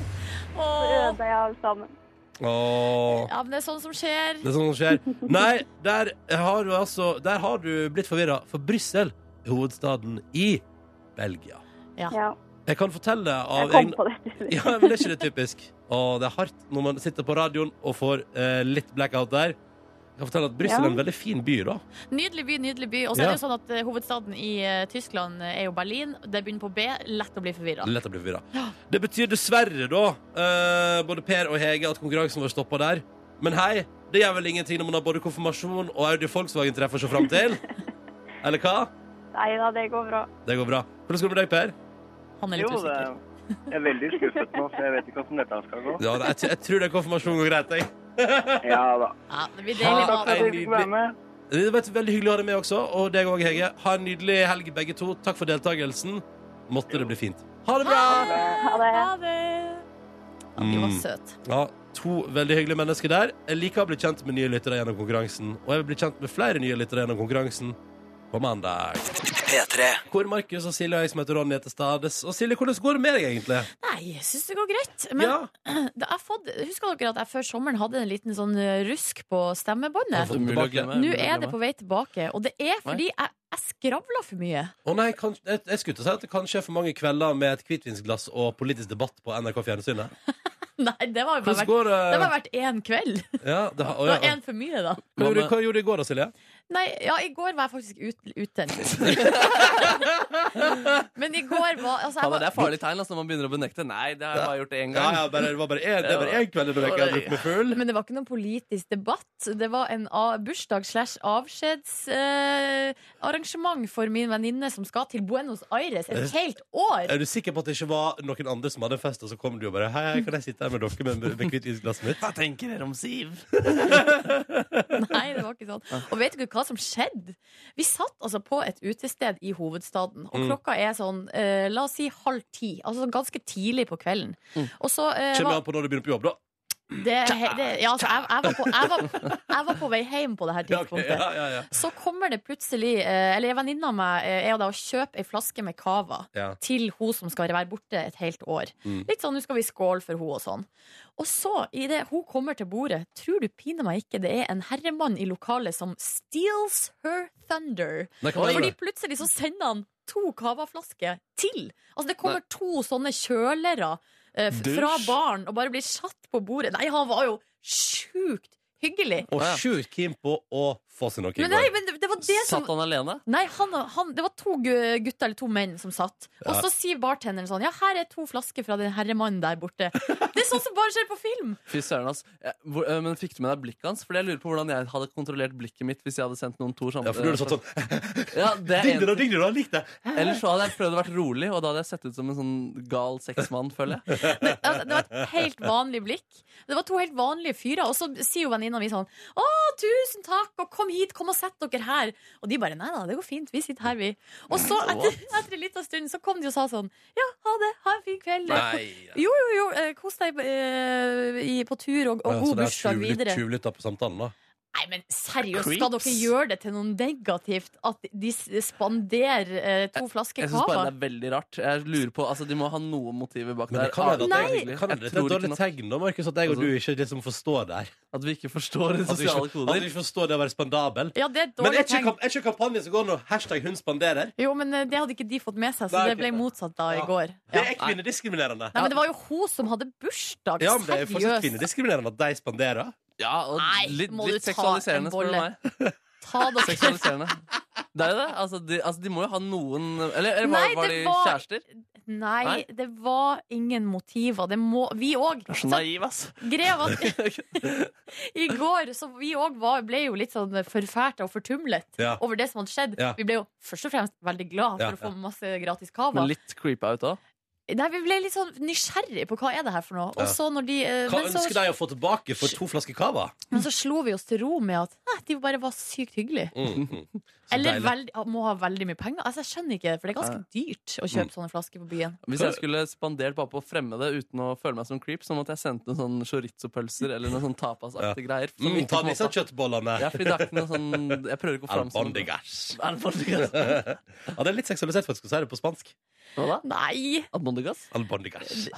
Speaker 3: Åh,
Speaker 6: Øda jeg alle sammen.
Speaker 2: Åh.
Speaker 3: ja, men det er sånn som skjer.
Speaker 2: Det er sånt som skjer. Nei, der har du altså Der har du blitt forvirra, for Brussel er hovedstaden i Belgia.
Speaker 6: Ja,
Speaker 2: Jeg kan fortelle
Speaker 6: jeg
Speaker 2: av
Speaker 6: kom
Speaker 2: egen
Speaker 6: på det.
Speaker 2: Ja, men det er ikke det typisk. Å, det er hardt når man sitter på radioen og får eh, litt blackout der. Jeg kan fortelle at Brussel
Speaker 6: Ja.
Speaker 2: er en veldig fin by, da.
Speaker 3: Nydelig by, nydelig by. Og så er det jo sånn at eh, hovedstaden i eh, Tyskland er jo Berlin. Det begynner på B. Lett å bli forvirra.
Speaker 2: Lett å bli forvirra. Det betyr dessverre, da, eh, både Per og Hege, at konkurransen vår stoppa der. Men hei, det gjør vel ingenting når man har både konfirmasjon og Audi Volkswagen-treff å se fram til? Eller hva?
Speaker 6: Nei da, det går bra.
Speaker 2: Det går bra. Hvordan går det med deg, Per?
Speaker 3: Han er
Speaker 4: Jo,
Speaker 3: litt
Speaker 4: det
Speaker 3: usikker.
Speaker 4: jeg er veldig skuffet nå, så jeg vet ikke hvordan dette her skal gå.
Speaker 2: Ja, nei, jeg, t- jeg tror det er konfirmasjon går greit, jeg.
Speaker 4: Ja da.
Speaker 3: Ja, det blir
Speaker 2: Ha
Speaker 4: Takk
Speaker 3: deilig
Speaker 4: for
Speaker 3: mat.
Speaker 4: at dere fikk være med.
Speaker 2: Det var veldig hyggelig å ha deg med også, og deg òg, Hege. Ha en nydelig helg, begge to. Takk for deltakelsen. Måtte det bli fint. Ha det bra!
Speaker 6: Ha det.
Speaker 3: Ha det. Ja, du var
Speaker 2: Mm.
Speaker 3: søt.
Speaker 2: Ja, to veldig hyggelige mennesker der. Jeg liker å bli kjent med nye lyttere gjennom konkurransen, og jeg vil bli kjent med flere nye lyttere gjennom konkurransen på mandag.
Speaker 1: P3.
Speaker 2: Hvor Markus og Silje og jeg som heter Ronny heter Stades. Og Silje, hvordan går det med deg, egentlig?
Speaker 3: Nei, jeg syns det går greit. Men
Speaker 2: ja,
Speaker 3: det har fått, husker dere at jeg før sommeren hadde en liten sånn eh, rusk på
Speaker 2: Jeg har
Speaker 3: stemmebåndet?
Speaker 2: fått-
Speaker 5: Umulig å glemme.
Speaker 3: Nå
Speaker 5: umulig å
Speaker 3: er det
Speaker 5: glemme.
Speaker 3: på vei tilbake, og det er fordi jeg, jeg skravla for mye.
Speaker 2: Å nei, kan, jeg, jeg skulle til å si at det kanskje er for mange kvelder med et hvitvinsglass og politisk debatt på NRK Fjernsynet.
Speaker 3: Nei, det var jo bare
Speaker 2: Hvordan
Speaker 3: vært,
Speaker 2: går det?
Speaker 3: det var vært én kveld.
Speaker 2: Ja, det, har- å,
Speaker 3: Det var
Speaker 2: ja.
Speaker 3: én for mye, da.
Speaker 2: Hva, gjorde, hva gjorde du i går da, Silje?
Speaker 3: Nei, ja, i går var jeg faktisk ut, ute. Men i går var altså, jeg
Speaker 5: Ja, da,
Speaker 3: var,
Speaker 5: det er farlig tegn altså, når man begynner å benekte. Nei, det har jeg bare gjort én
Speaker 2: Ja,
Speaker 5: gang.
Speaker 2: ja, bare, det var bare én, det var én kveld i veka jeg hadde drukket meg full.
Speaker 3: Men det var ikke noen politisk debatt. Det var en a- bursdag slash avskjedsarrangement eh, arrangement for min venninne som skal til Buenos Aires et helt år.
Speaker 2: Eh. Er du sikker på at det ikke var noen andre som hadde en fest, og så kom du og bare Hei, hei, kan jeg sitte her med dere med, med hvitvinsglasset mitt?
Speaker 5: Hva tenker dere om Siv?
Speaker 3: Nei, det var ikke sånn. Og vet du hva som skjedde? Vi satt altså på et utested i hovedstaden, og
Speaker 2: Mm.
Speaker 3: klokka er sånn, eh, la oss si halv ti. Altså sånn ganske tidlig på kvelden.
Speaker 2: Mm.
Speaker 3: Og så eh,
Speaker 2: Kjenner
Speaker 3: var
Speaker 2: an på når du begynner på jobb, da.
Speaker 3: det, det Ja, altså, jeg, jeg, var på, jeg, var, jeg var på vei hjem på det her
Speaker 2: Ja, ok,
Speaker 3: tidspunktet.
Speaker 2: ja, ja, ja.
Speaker 3: Så kommer det plutselig eh, Eller en venninne av meg eh, er jo da å kjøpe ei flaske med cava
Speaker 2: Ja.
Speaker 3: til hun som skal være borte et helt år.
Speaker 2: Mm.
Speaker 3: Litt sånn 'nå skal vi skåle for hun og sånn. Og så, idet hun kommer til bordet, tror du pinadø meg ikke det er en herremann i lokalet som steals her thunder.
Speaker 2: Nei, hva mener
Speaker 3: Fordi
Speaker 2: du?
Speaker 3: plutselig så sender han to cavaflasker til. Altså det kommer to sånne kjølere eh, f-
Speaker 5: Dusj.
Speaker 3: fra baren og bare blir satt på bordet. Nei, han var jo sjukt hyggelig.
Speaker 2: Og sjukt keen på å få seg noe i
Speaker 3: Men,
Speaker 2: går.
Speaker 3: nei, men det, det var det sånn- som
Speaker 5: Satt han alene?
Speaker 3: Nei, han, han, det var to gu- gutter eller to menn som satt. Og
Speaker 2: Ja.
Speaker 3: så sier bartenderen sånn Ja, her er to flasker fra den herremannen der borte. Det er sånn som bare skjer på film!
Speaker 5: Fy søren, ass. Jeg- hvor- eh, Men fikk du med deg blikket hans? Fordi jeg lurer på hvordan jeg hadde kontrollert blikket mitt hvis jeg hadde sendt noen to sammen.
Speaker 2: Ja, for du hadde satt sånn
Speaker 5: Ja, det er
Speaker 2: Digg det, da,
Speaker 5: en...
Speaker 2: digg det, da, lik det.
Speaker 5: Ellers så hadde jeg prøvd å være rolig, og da hadde jeg sett ut som en sånn gal sexmann, føler jeg.
Speaker 3: Det, altså, det var et helt vanlig blikk. Det var to helt vanlige fyrer. Og så sier jo venninna mi sånn Å, tusen takk, og kom hit, kom og sett dere her. Og de bare Nei da, det går fint, vi sitter her, vi. Og så, etter, etter en liten stund, så kom de og sa sånn Ja, ha det, ha en fin kveld. Jo, jo, jo, eh, kos deg eh, i- på tur, og, og god bursdag videre.
Speaker 2: Tjuvlytta på samtalen, da.
Speaker 3: Nei, men seriøst, skal
Speaker 5: Creeps.
Speaker 3: dere gjøre det til noe negativt at de s- spanderer eh, to flasker
Speaker 5: Jeg synes bare
Speaker 3: cava?
Speaker 5: det er veldig rart. Jeg lurer på, altså De må ha noe motiver bak
Speaker 2: Men det
Speaker 5: der.
Speaker 2: kan være
Speaker 5: Artig,
Speaker 2: at-
Speaker 3: Nei.
Speaker 5: hyggelig.
Speaker 2: Kan det det er et
Speaker 5: Jeg tror
Speaker 2: dårlig
Speaker 5: ikke nok
Speaker 2: tegn, da, Markus, at jeg og
Speaker 5: Altså-
Speaker 2: du ikke liksom forstår det her?
Speaker 5: at vi ikke forstår de
Speaker 2: At vi
Speaker 5: sosiale
Speaker 2: ikke, at vi
Speaker 5: koder.
Speaker 2: ikke forstår det å være spandabel?
Speaker 3: Ja, det er et
Speaker 2: Men er
Speaker 3: dårlig
Speaker 2: ikke,
Speaker 3: tegn.
Speaker 2: kamp- er ikke kampanjen som går nå, hashtag 'hun spanderer'?
Speaker 3: Jo, men eh, det hadde ikke de fått med seg, så
Speaker 2: Nei, ok.
Speaker 3: det ble motsatt da i
Speaker 2: Ja.
Speaker 3: går.
Speaker 2: Det
Speaker 3: Ja.
Speaker 2: er kvinnediskriminerende.
Speaker 3: Nei, men det var jo hun som hadde bursdag,
Speaker 2: Ja, men det er fortsatt
Speaker 3: seriøst.
Speaker 2: kvinnediskriminerende at de spanderer.
Speaker 5: Ja, og
Speaker 3: Nei,
Speaker 5: litt,
Speaker 3: må du
Speaker 5: litt
Speaker 3: ta en
Speaker 5: seksualiserende, spør du
Speaker 3: bolle?
Speaker 5: meg.
Speaker 3: Ta dere
Speaker 5: Seksualiserende. Det er jo det. Altså, de, altså, de må jo ha noen Eller, eller var,
Speaker 3: Nei,
Speaker 5: var de
Speaker 3: det var-
Speaker 5: kjærester?
Speaker 3: Nei,
Speaker 5: Nei.
Speaker 3: det var ingen motiver. Det må Vi òg.
Speaker 5: Så naiv, ass.
Speaker 3: Greia var at i går så vi òg var- ble jo litt sånn forfært og fortumlet
Speaker 2: Ja.
Speaker 3: over det som hadde skjedd.
Speaker 2: Ja.
Speaker 3: Vi ble jo først og fremst veldig glad
Speaker 2: Ja,
Speaker 3: for å få masse gratis cava.
Speaker 5: Men litt creepa ut òg.
Speaker 3: Nei, Vi ble litt sånn nysgjerrig på hva er det her for noe.
Speaker 2: Ja.
Speaker 3: Og så når de, eh,
Speaker 2: Hva
Speaker 3: men,
Speaker 2: ønsker
Speaker 3: så,
Speaker 2: de å få tilbake for to flasker cava?
Speaker 3: men så slo vi oss til ro med at eh, de bare var sykt hyggelige.
Speaker 2: Mm. mm. Så
Speaker 3: Eller
Speaker 2: deilig.
Speaker 3: veldig, må ha veldig mye penger. Altså, jeg skjønner ikke, for det er ganske dyrt å
Speaker 2: Mm.
Speaker 3: kjøpe sånne flasker på byen.
Speaker 5: Hvis jeg skulle spandert bare på å fremme det uten å føle meg som creep, så måtte jeg sendt noen sånn chorizo-pølser eller noen sånn tapasaktige greier. som
Speaker 2: Mm,
Speaker 5: ikke
Speaker 2: ta
Speaker 5: på en
Speaker 2: disse
Speaker 5: måte-
Speaker 2: kjøttbollene.
Speaker 5: Ja, fordi det er ikke noe sånn Jeg prøver ikke å gå fram som
Speaker 2: Albondigas.
Speaker 5: Albondigas.
Speaker 2: ja, det er litt seksualisert, faktisk, å si det på spansk.
Speaker 5: Hva da?
Speaker 3: Nei!
Speaker 5: Albondigas?
Speaker 2: Albondigas.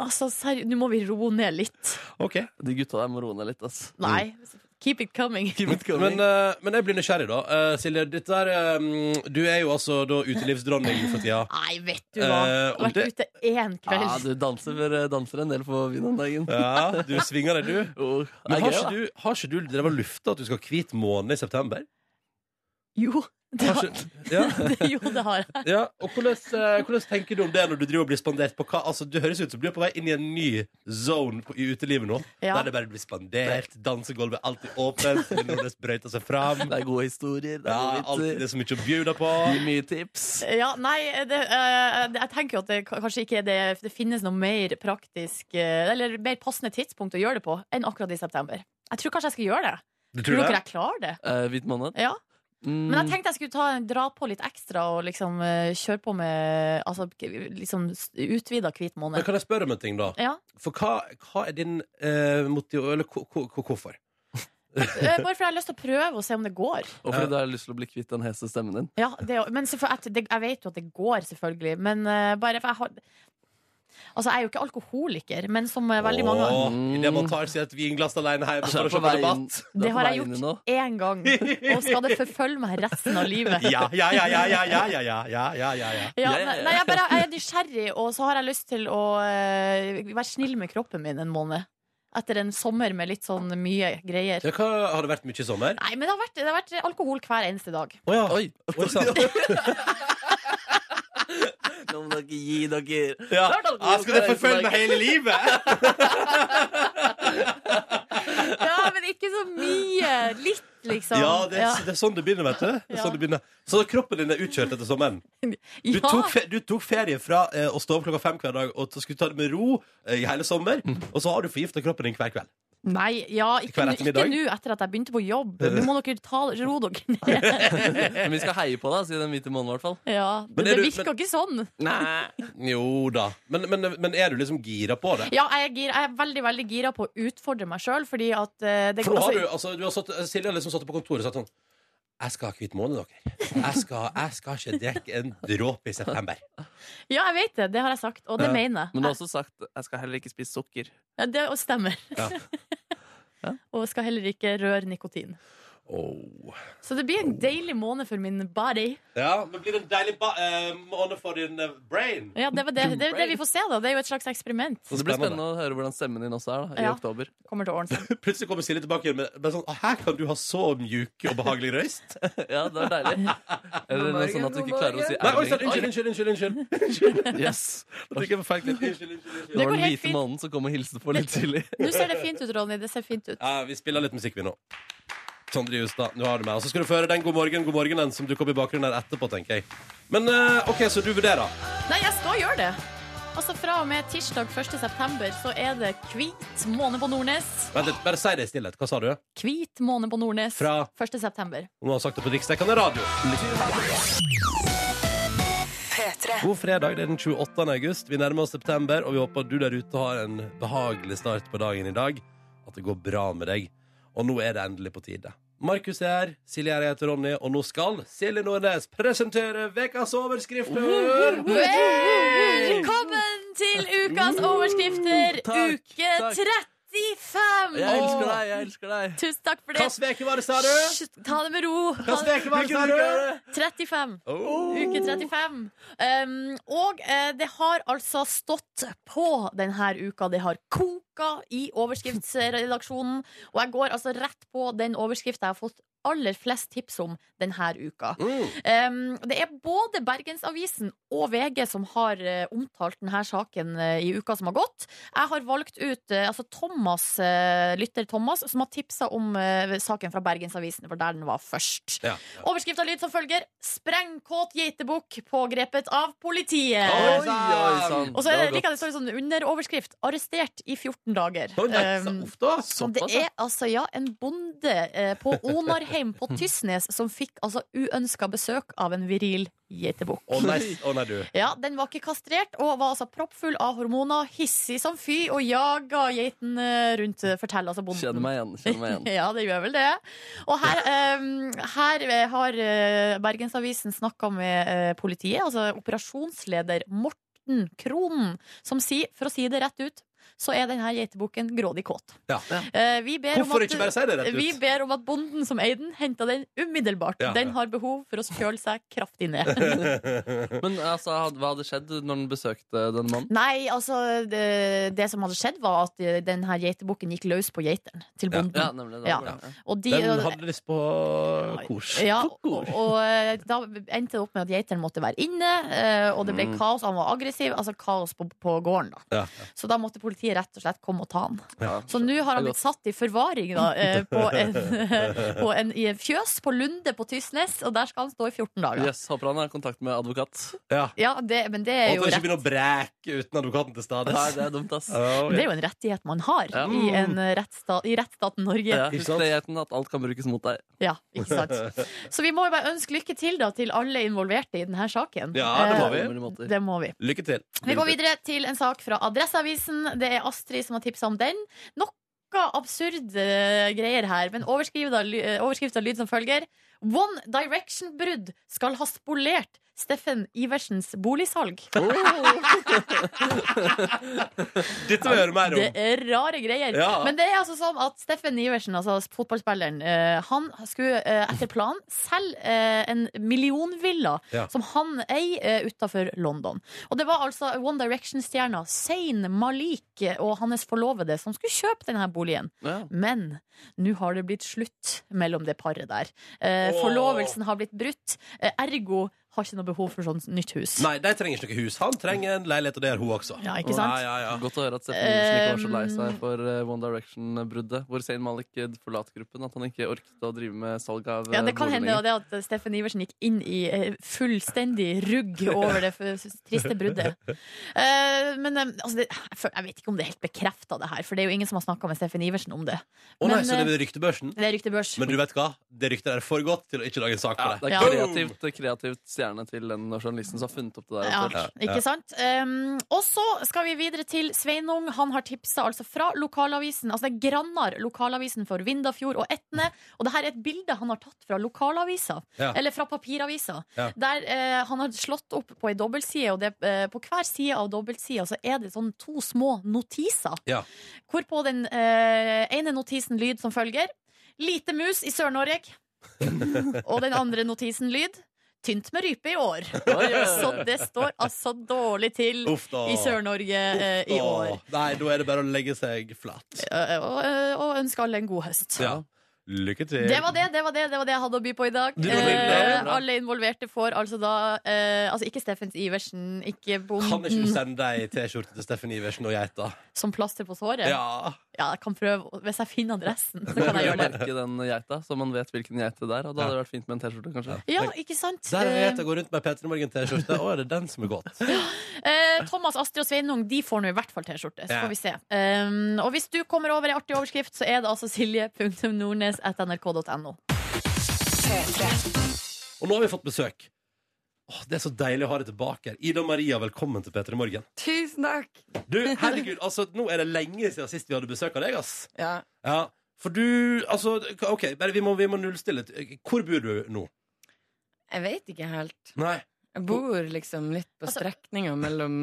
Speaker 3: Altså, seriøst, nå må vi roe ned litt.
Speaker 2: Ok.
Speaker 5: De gutta der må roe ned litt, ass.
Speaker 3: Nei.
Speaker 2: Mm.
Speaker 3: Keep it coming.
Speaker 5: Keep it
Speaker 2: Men,
Speaker 5: coming.
Speaker 2: eh, men jeg blir nysgjerrig, da. Eh, Silje, dette er, eh, du er jo altså da utelivsdronning for tida.
Speaker 3: Nei, vet du hva.
Speaker 2: Eh, og
Speaker 3: Vært
Speaker 2: det-
Speaker 3: ute én kveld.
Speaker 5: ja, du danser, eh, danser en del på byen om dagen.
Speaker 2: Ja, du svinger deg, du.
Speaker 5: Oh, det
Speaker 2: Men
Speaker 5: er
Speaker 2: har
Speaker 5: gøy,
Speaker 2: ikke
Speaker 5: da.
Speaker 2: du, har ikke du drevet og lufta at du skal ha hvit måne i september?
Speaker 3: Jo, det
Speaker 2: Har
Speaker 3: har,
Speaker 2: ikke, ja,
Speaker 3: jo, det har jeg.
Speaker 2: ja. Og hvordan, eh, hvordan tenker du om det når du driver og blir spandert på hva? Altså, Du høres ut som du er på vei inn i en ny zone på, i utelivet nå.
Speaker 3: Ja.
Speaker 2: Der det bare blir spandert, dansegulvet er alltid åpent, det er når det sprøyter seg fram.
Speaker 5: Det er gode historier. Det er eh,
Speaker 2: Ja, alt,
Speaker 5: gode
Speaker 2: det er
Speaker 5: vitser.
Speaker 2: så mye å bjuda på.
Speaker 5: Gir mye tips.
Speaker 3: Ja, nei, det, eh, det- jeg tenker jo at det ka- kanskje ikke er det, det finnes noe mer praktisk eh, Eller mer passende tidspunkt å gjøre det på enn akkurat i september. Jeg tror kanskje jeg skal gjøre det.
Speaker 2: Du
Speaker 3: Tror
Speaker 2: tror
Speaker 3: dere
Speaker 2: det?
Speaker 3: jeg klarer det?
Speaker 5: Eh, hvit måned.
Speaker 3: Ja.
Speaker 5: Mm,
Speaker 3: Men jeg tenkte jeg skulle ta, dra på litt ekstra og liksom eh, kjøre på med Altså k- liksom s- utvida hvit
Speaker 2: Men
Speaker 3: måned.
Speaker 2: kan jeg spørre om en ting, da?
Speaker 3: Ja.
Speaker 2: For hva, hva er din eh, motiv... Eller ko- ko- ko- hvorfor?
Speaker 3: Eh, Bare fordi jeg har lyst til å prøve og se om det går.
Speaker 5: og fordi du har lyst til å bli kvitt den hese stemmen din.
Speaker 3: Ja, det, er jo- men selvfø- jeg, det, jeg vet jo at det går, selvfølgelig. Men eh, bare for jeg har Altså, jeg er jo ikke alkoholiker, men som eh, veldig mange
Speaker 2: Åh, Idet man tar seg et vinglass alene hjemme
Speaker 5: Så er
Speaker 2: for å se Altså, på
Speaker 5: det på vei inn-
Speaker 2: debatt.
Speaker 5: det
Speaker 3: Det
Speaker 5: er på
Speaker 3: har
Speaker 5: vei
Speaker 3: jeg
Speaker 5: inn i nå.
Speaker 3: gjort én gang, og skal det forfølge meg resten av livet.
Speaker 2: Ja, ja, ja, ja, ja, ja, ja, ja, ja, ja, ja.
Speaker 3: Ja,
Speaker 5: Ja, ja, ja.
Speaker 3: nei, jeg, bare, jeg er nysgjerrig, og så har jeg lyst til å eh, være snill med kroppen min en måned. Etter en sommer med litt sånn mye greier.
Speaker 2: Ja, hva, har det vært mye i sommer?
Speaker 3: Nei, men det har vært, det har vært alkohol hver eneste dag.
Speaker 2: Å ja.
Speaker 5: Oi!
Speaker 2: Oi, sant.
Speaker 5: Nå må dere gi dere.
Speaker 2: Ja.
Speaker 5: Det har vært alkohol
Speaker 2: Ah, skal det
Speaker 5: hver
Speaker 2: forfølge
Speaker 5: eneste dag.
Speaker 2: meg hele livet?
Speaker 3: Ja, men ikke så mye. Litt, liksom.
Speaker 2: Ja, det er, det er sånn det begynner, vet du. Det er
Speaker 3: Ja.
Speaker 2: sånn det begynner. Så kroppen din er utkjørt etter sommeren? Du,
Speaker 3: Ja.
Speaker 2: tok, fe- du tok ferie fra eh, å stå opp klokka fem hver dag og t- skulle ta det med ro eh, i hele sommer, og så har du forgifta kroppen din hver kveld.
Speaker 3: Nei, ja, ikke,
Speaker 2: Hver
Speaker 3: nå- ikke
Speaker 2: ettermiddag.
Speaker 3: nå etter at jeg begynte på jobb. Nå må dere ta, ro dere ned.
Speaker 5: Men vi skal heie på deg, sier den hvite måneden i hvert fall.
Speaker 3: Ja,
Speaker 2: Men
Speaker 3: det,
Speaker 2: er
Speaker 3: det
Speaker 2: du-
Speaker 3: virker ikke sånn.
Speaker 2: Jo da. Men, men, men er du liksom gira på det?
Speaker 3: Ja, jeg er, gira, jeg er veldig veldig gira på å utfordre meg sjøl, fordi at eh, det
Speaker 2: For nå har
Speaker 3: altså-
Speaker 2: du, altså, du har satt, Silje har liksom satt på kontoret og sagt sånn Jeg skal ha hvit måned, dere. Jeg skal, jeg skal ikke drikke en dråpe i september.
Speaker 3: Ja, jeg vet det. Det har jeg sagt, og det
Speaker 2: Ja.
Speaker 3: mener jeg.
Speaker 5: Men du har også sagt jeg skal heller ikke spise sukker.
Speaker 3: Ja, det stemmer.
Speaker 2: Ja.
Speaker 5: Ja.
Speaker 3: og skal heller ikke røre nikotin.
Speaker 2: Oh.
Speaker 3: Så det blir en deilig måned for min body.
Speaker 2: Ja, men blir det en deilig ba eh, måned for din eh, brain?
Speaker 3: Ja, det, var det, det er det vi får se, da. Det er jo et slags eksperiment.
Speaker 5: Så det blir spennende å høre hvordan stemmen din også er da, i
Speaker 3: Ja.
Speaker 5: oktober.
Speaker 3: Kommer til å ordne seg.
Speaker 2: Plutselig kommer Silje tilbake igjen med, med sånn «Ah, Her kan du ha så mjuk og behagelig røyst.
Speaker 5: Ja, det er deilig. Eller noe sånn at du ikke klarer å si
Speaker 2: Nei, oi sann, unnskyld, unnskyld, unnskyld. unnskyld.
Speaker 5: Yes.
Speaker 2: Da trykker jeg på feil knapp. Unnskyld, unnskyld,
Speaker 5: Det
Speaker 2: unnskyld.
Speaker 3: går
Speaker 5: var den
Speaker 3: helt
Speaker 5: hvite
Speaker 3: fint.
Speaker 5: måneden som kom og hilste på litt tidlig.
Speaker 3: Nå ser det fint ut, Ronny. Det ser fint ut.
Speaker 2: Ja, vi spiller litt musikk, vi nå. Sondre Justad, nå har du meg. Og så skal du føre den God morgen, god morgen den som dukker opp i bakgrunnen her etterpå, tenker jeg. Men eh, OK, så du vurderer.
Speaker 3: Nei, jeg skal gjøre det. Altså Fra og med tirsdag 1. september så er det hvit måned på Nordnes.
Speaker 2: Vent litt, bare si det i stillhet. Hva sa du?
Speaker 3: Hvit måned på Nordnes
Speaker 2: Fra?
Speaker 3: 1. september.
Speaker 2: Hun har sagt det på riksdekkende radio. God fredag, det er den 28. august. Vi nærmer oss september, og vi håper at du der ute har en behagelig start på dagen i dag. At det går bra med deg. Og nå er det endelig på tide. Markus er her, Silje er her, jeg heter Ronny, og nå skal Silje Nordnes presentere ukas overskrifter!
Speaker 3: Velkommen til ukas overskrifter,
Speaker 5: Takk,
Speaker 3: uke
Speaker 5: takk.
Speaker 3: 35!
Speaker 5: Jeg elsker deg, jeg elsker deg.
Speaker 3: Tusen takk for det.
Speaker 2: Hvilken uke var det, sa du?
Speaker 3: Hysj, Ta det med ro. Ta
Speaker 2: Hvilken
Speaker 3: det-
Speaker 2: uke var det, sa du?
Speaker 3: 35.
Speaker 2: Oh.
Speaker 3: Uke 35. Um, og eh, det har altså stått på denne uka. Det har koka i overskriftsredaksjonen. Og jeg går altså rett på den overskrifta jeg har fått aller flest tips om denne uka.
Speaker 2: Mm.
Speaker 3: Um, det er både Bergensavisen og VG som har eh, omtalt denne saken eh, i uka som har gått. Jeg har valgt ut eh, altså Thomas, eh, lytter Thomas, som har tipsa om eh, saken fra Bergensavisen, for der den var først.
Speaker 2: Ja.
Speaker 3: Overskrifta lyd som følger 'Sprengkåt geitebukk pågrepet av politiet'.
Speaker 2: Oi, oi, sann.
Speaker 3: Og så er det,
Speaker 5: Det
Speaker 3: like, det står en sånn underoverskrift 'Arrestert i 14 dager'.
Speaker 2: Å, nei, så-
Speaker 3: Um,
Speaker 2: uff da.
Speaker 3: og det
Speaker 5: Såpass, ja.
Speaker 3: er altså ja, en bonde eh, på Onarheim på Tysnes som fikk altså uønska besøk av en viril geitebukk.
Speaker 2: Å nei, å nei, du.
Speaker 3: Ja, Den var ikke kastrert og var altså proppfull av hormoner, hissig som fy og jaga geiten eh, rundt, eh, forteller altså bonden.
Speaker 5: Kjenner meg igjen. kjenner meg igjen
Speaker 3: Ja, det gjør vel det. Og her, eh, her eh, har eh, Bergensavisen snakka med eh, politiet, altså operasjonsleder Morten Kronen, som sier, for å si det rett ut, så er denne geitebukken grådig kåt.
Speaker 2: Ja.
Speaker 3: Eh, vi ber om
Speaker 2: Hvorfor
Speaker 3: at-
Speaker 2: ikke bare si det rett
Speaker 3: vi
Speaker 2: ut?
Speaker 3: ber om at bonden som eide den, henta den umiddelbart.
Speaker 2: Ja, ja.
Speaker 3: Den har behov for å kjøle seg kraftig ned.
Speaker 5: Men altså, had- hva hadde skjedd når den besøkte denne mannen?
Speaker 3: Nei, altså det, det som hadde skjedd, var at eh, den her geitebukken gikk løs på geiteren til
Speaker 2: Ja.
Speaker 3: bonden.
Speaker 5: Ja, nemlig. Det
Speaker 3: Ja.
Speaker 5: var det.
Speaker 3: Og de,
Speaker 2: Den hadde lyst på kos.
Speaker 3: ja,
Speaker 2: Kos.
Speaker 3: og, og eh, da endte det opp med at geiteren måtte være inne, eh, og det ble
Speaker 5: Mm.
Speaker 3: kaos. Han var aggressiv. Altså kaos på, på gården, da.
Speaker 2: Ja.
Speaker 3: Så da måtte politiet rett og slett komme og ta han.
Speaker 5: Ja.
Speaker 3: Så nå har han
Speaker 5: Det er
Speaker 3: blitt satt i forvaring da, eh, på en, på en, i en fjøs på Lunde på Tysnes, og der skal han stå i 14 dager.
Speaker 5: Yes, håper han har kontakt med advokat.
Speaker 2: Ja.
Speaker 3: Ja, det, men det
Speaker 2: Og
Speaker 3: er
Speaker 2: at han
Speaker 3: jo
Speaker 2: ikke
Speaker 3: rett,
Speaker 2: begynner å breke uten advokaten til stades.
Speaker 5: Nei, det er dumt, ass.
Speaker 2: Oh,
Speaker 3: det er
Speaker 2: ja.
Speaker 3: jo en rettighet man har
Speaker 5: Ja.
Speaker 3: i, en rettsstat, i rettsstaten Norge.
Speaker 5: Ja,
Speaker 3: Ja.
Speaker 5: husk det, Geiten, at alt kan brukes mot deg.
Speaker 3: ikke sant? Så vi må jo bare ønske lykke til da, til alle involverte i denne saken.
Speaker 2: Ja, det må
Speaker 3: Eh,
Speaker 2: vi.
Speaker 5: På mange måter.
Speaker 3: Det må vi.
Speaker 2: Lykke til.
Speaker 3: Vi går videre til en sak fra Adresseavisen. Det er Astrid som har tipsa om den. Noe absurde greier her, men overskrifta ly- eh, overskrifta lyd som følger. One Direction-brudd skal ha spolert Steffen Iversens boligsalg.
Speaker 2: Oh. Dette vil jeg høre mer om.
Speaker 3: Det er rare greier.
Speaker 2: Ja.
Speaker 3: Men det er altså sånn at Steffen Iversen, altså fotballspilleren, eh, han skulle eh, etter planen selge eh, en millionvilla
Speaker 2: Ja.
Speaker 3: som han eier utafor London. Og det var altså One Direction-stjerna Zain Malik og hans forlovede som skulle kjøpe denne boligen.
Speaker 5: Ja.
Speaker 3: Men nå har det blitt slutt mellom det paret der. Eh,
Speaker 2: Åh.
Speaker 3: Forlovelsen har blitt brutt. Eh, ergo har ikke noe behov for sånt nytt hus.
Speaker 2: Nei, de trenger ikke noe hus. Han trenger en leilighet, og det gjør hun også.
Speaker 3: Ja, ikke sant?
Speaker 2: Ja, ja, ja.
Speaker 5: Godt å høre at Steffen Iversen ikke var så lei
Speaker 3: Um,
Speaker 5: seg for eh, One Direction-bruddet. Hvor Zayn Malik eh, forlater gruppen. At han ikke orket å drive med salg av
Speaker 3: Ja,
Speaker 5: eh,
Speaker 3: det kan
Speaker 5: boligen
Speaker 3: hende
Speaker 5: lenger.
Speaker 3: og det at Steffen Iversen gikk inn i eh, fullstendig rugg over det f- triste bruddet. Eh, men eh, altså, det, jeg føl- jeg vet ikke om det er helt bekrefta, det her. For det er jo ingen som har snakka med Steffen Iversen om det.
Speaker 2: Å nei,
Speaker 3: Men, eh,
Speaker 2: så det er ved ryktebørsen.
Speaker 3: Det er ryktebørs.
Speaker 2: Men du vet hva? Det ryktet er for godt til å ikke lage en sak
Speaker 5: Ja,
Speaker 2: på det.
Speaker 5: det
Speaker 3: Ja.
Speaker 5: er kreativt, det er kreativt stjerne til den journalisten som har funnet opp det der.
Speaker 3: Ja,
Speaker 5: eventuelt.
Speaker 3: ikke sant? Um, og så skal vi videre til Sveinung. Han har tipsa altså fra lokalavisen, altså det er Grannar, lokalavisen for Vindafjord og Etne. Og det her er et bilde han har tatt fra lokalavisa,
Speaker 2: Ja.
Speaker 3: eller fra papiravisa.
Speaker 2: Ja.
Speaker 3: Der eh, han har slått opp på ei dobbeltside, og det, eh, på hver side av dobbeltsida så er det sånn to små notiser.
Speaker 2: Ja.
Speaker 3: Hvorpå den eh, ene notisen lyd som følger Lite mus i Sør-Norge. og den andre notisen lyd Tynt med rype i år. Så det står altså dårlig til
Speaker 2: Uff da.
Speaker 3: i Sør-Norge eh, i
Speaker 2: Åh,
Speaker 3: år.
Speaker 2: Nei, da er det bare å legge seg flat.
Speaker 3: Eh, Og, eh, og ønsker alle en god høst.
Speaker 2: Ja. Lykke til.
Speaker 3: Det var det det var det, det var det jeg hadde å by på i dag.
Speaker 5: Du var veldig bra,
Speaker 3: Eh,
Speaker 5: bra.
Speaker 3: alle involverte får altså da eh, Altså ikke Steffens Iversen, ikke
Speaker 2: Kan ikke
Speaker 3: bonden
Speaker 2: du sende deg T-skjorte til Steffen Iversen og geita?
Speaker 3: som plaster på såret.
Speaker 2: Ja.
Speaker 3: Ja, jeg kan prøve Hvis jeg finner adressen, så
Speaker 5: Man
Speaker 3: kan jeg
Speaker 5: prøver å
Speaker 3: gjøre det.
Speaker 5: merke den geita, så man vet hvilken geit det er. Og da hadde det vært fint med en T-skjorte, kanskje.
Speaker 3: Ja, ikke sant?
Speaker 2: Der
Speaker 7: Eh.
Speaker 2: er geita går rundt med P3 Morgen-T-skjorte. Å, er det den som er godt?
Speaker 3: Eh, Thomas, Astrid og Sveinung De får nå i hvert fall T-skjorte. Så
Speaker 2: Ja.
Speaker 3: får vi se. Um, og hvis du kommer over ei artig overskrift, så er det altså silje.nordnes.nrk.no.
Speaker 2: Og nå har vi fått besøk. Åh, det er så deilig å ha deg tilbake her. Ida Maria, velkommen til P3 Morgen.
Speaker 7: Tusen takk!
Speaker 2: Du, herregud, altså, nå er det lenge siden sist vi hadde besøk av deg, ass.
Speaker 7: Ja.
Speaker 2: Ja, for du, altså, ok, bare vi må, vi må nullstille. Hvor bor du nå?
Speaker 7: Jeg vet ikke helt.
Speaker 2: Nei.
Speaker 7: Jeg bor liksom litt på
Speaker 3: Altså-
Speaker 7: strekninga mellom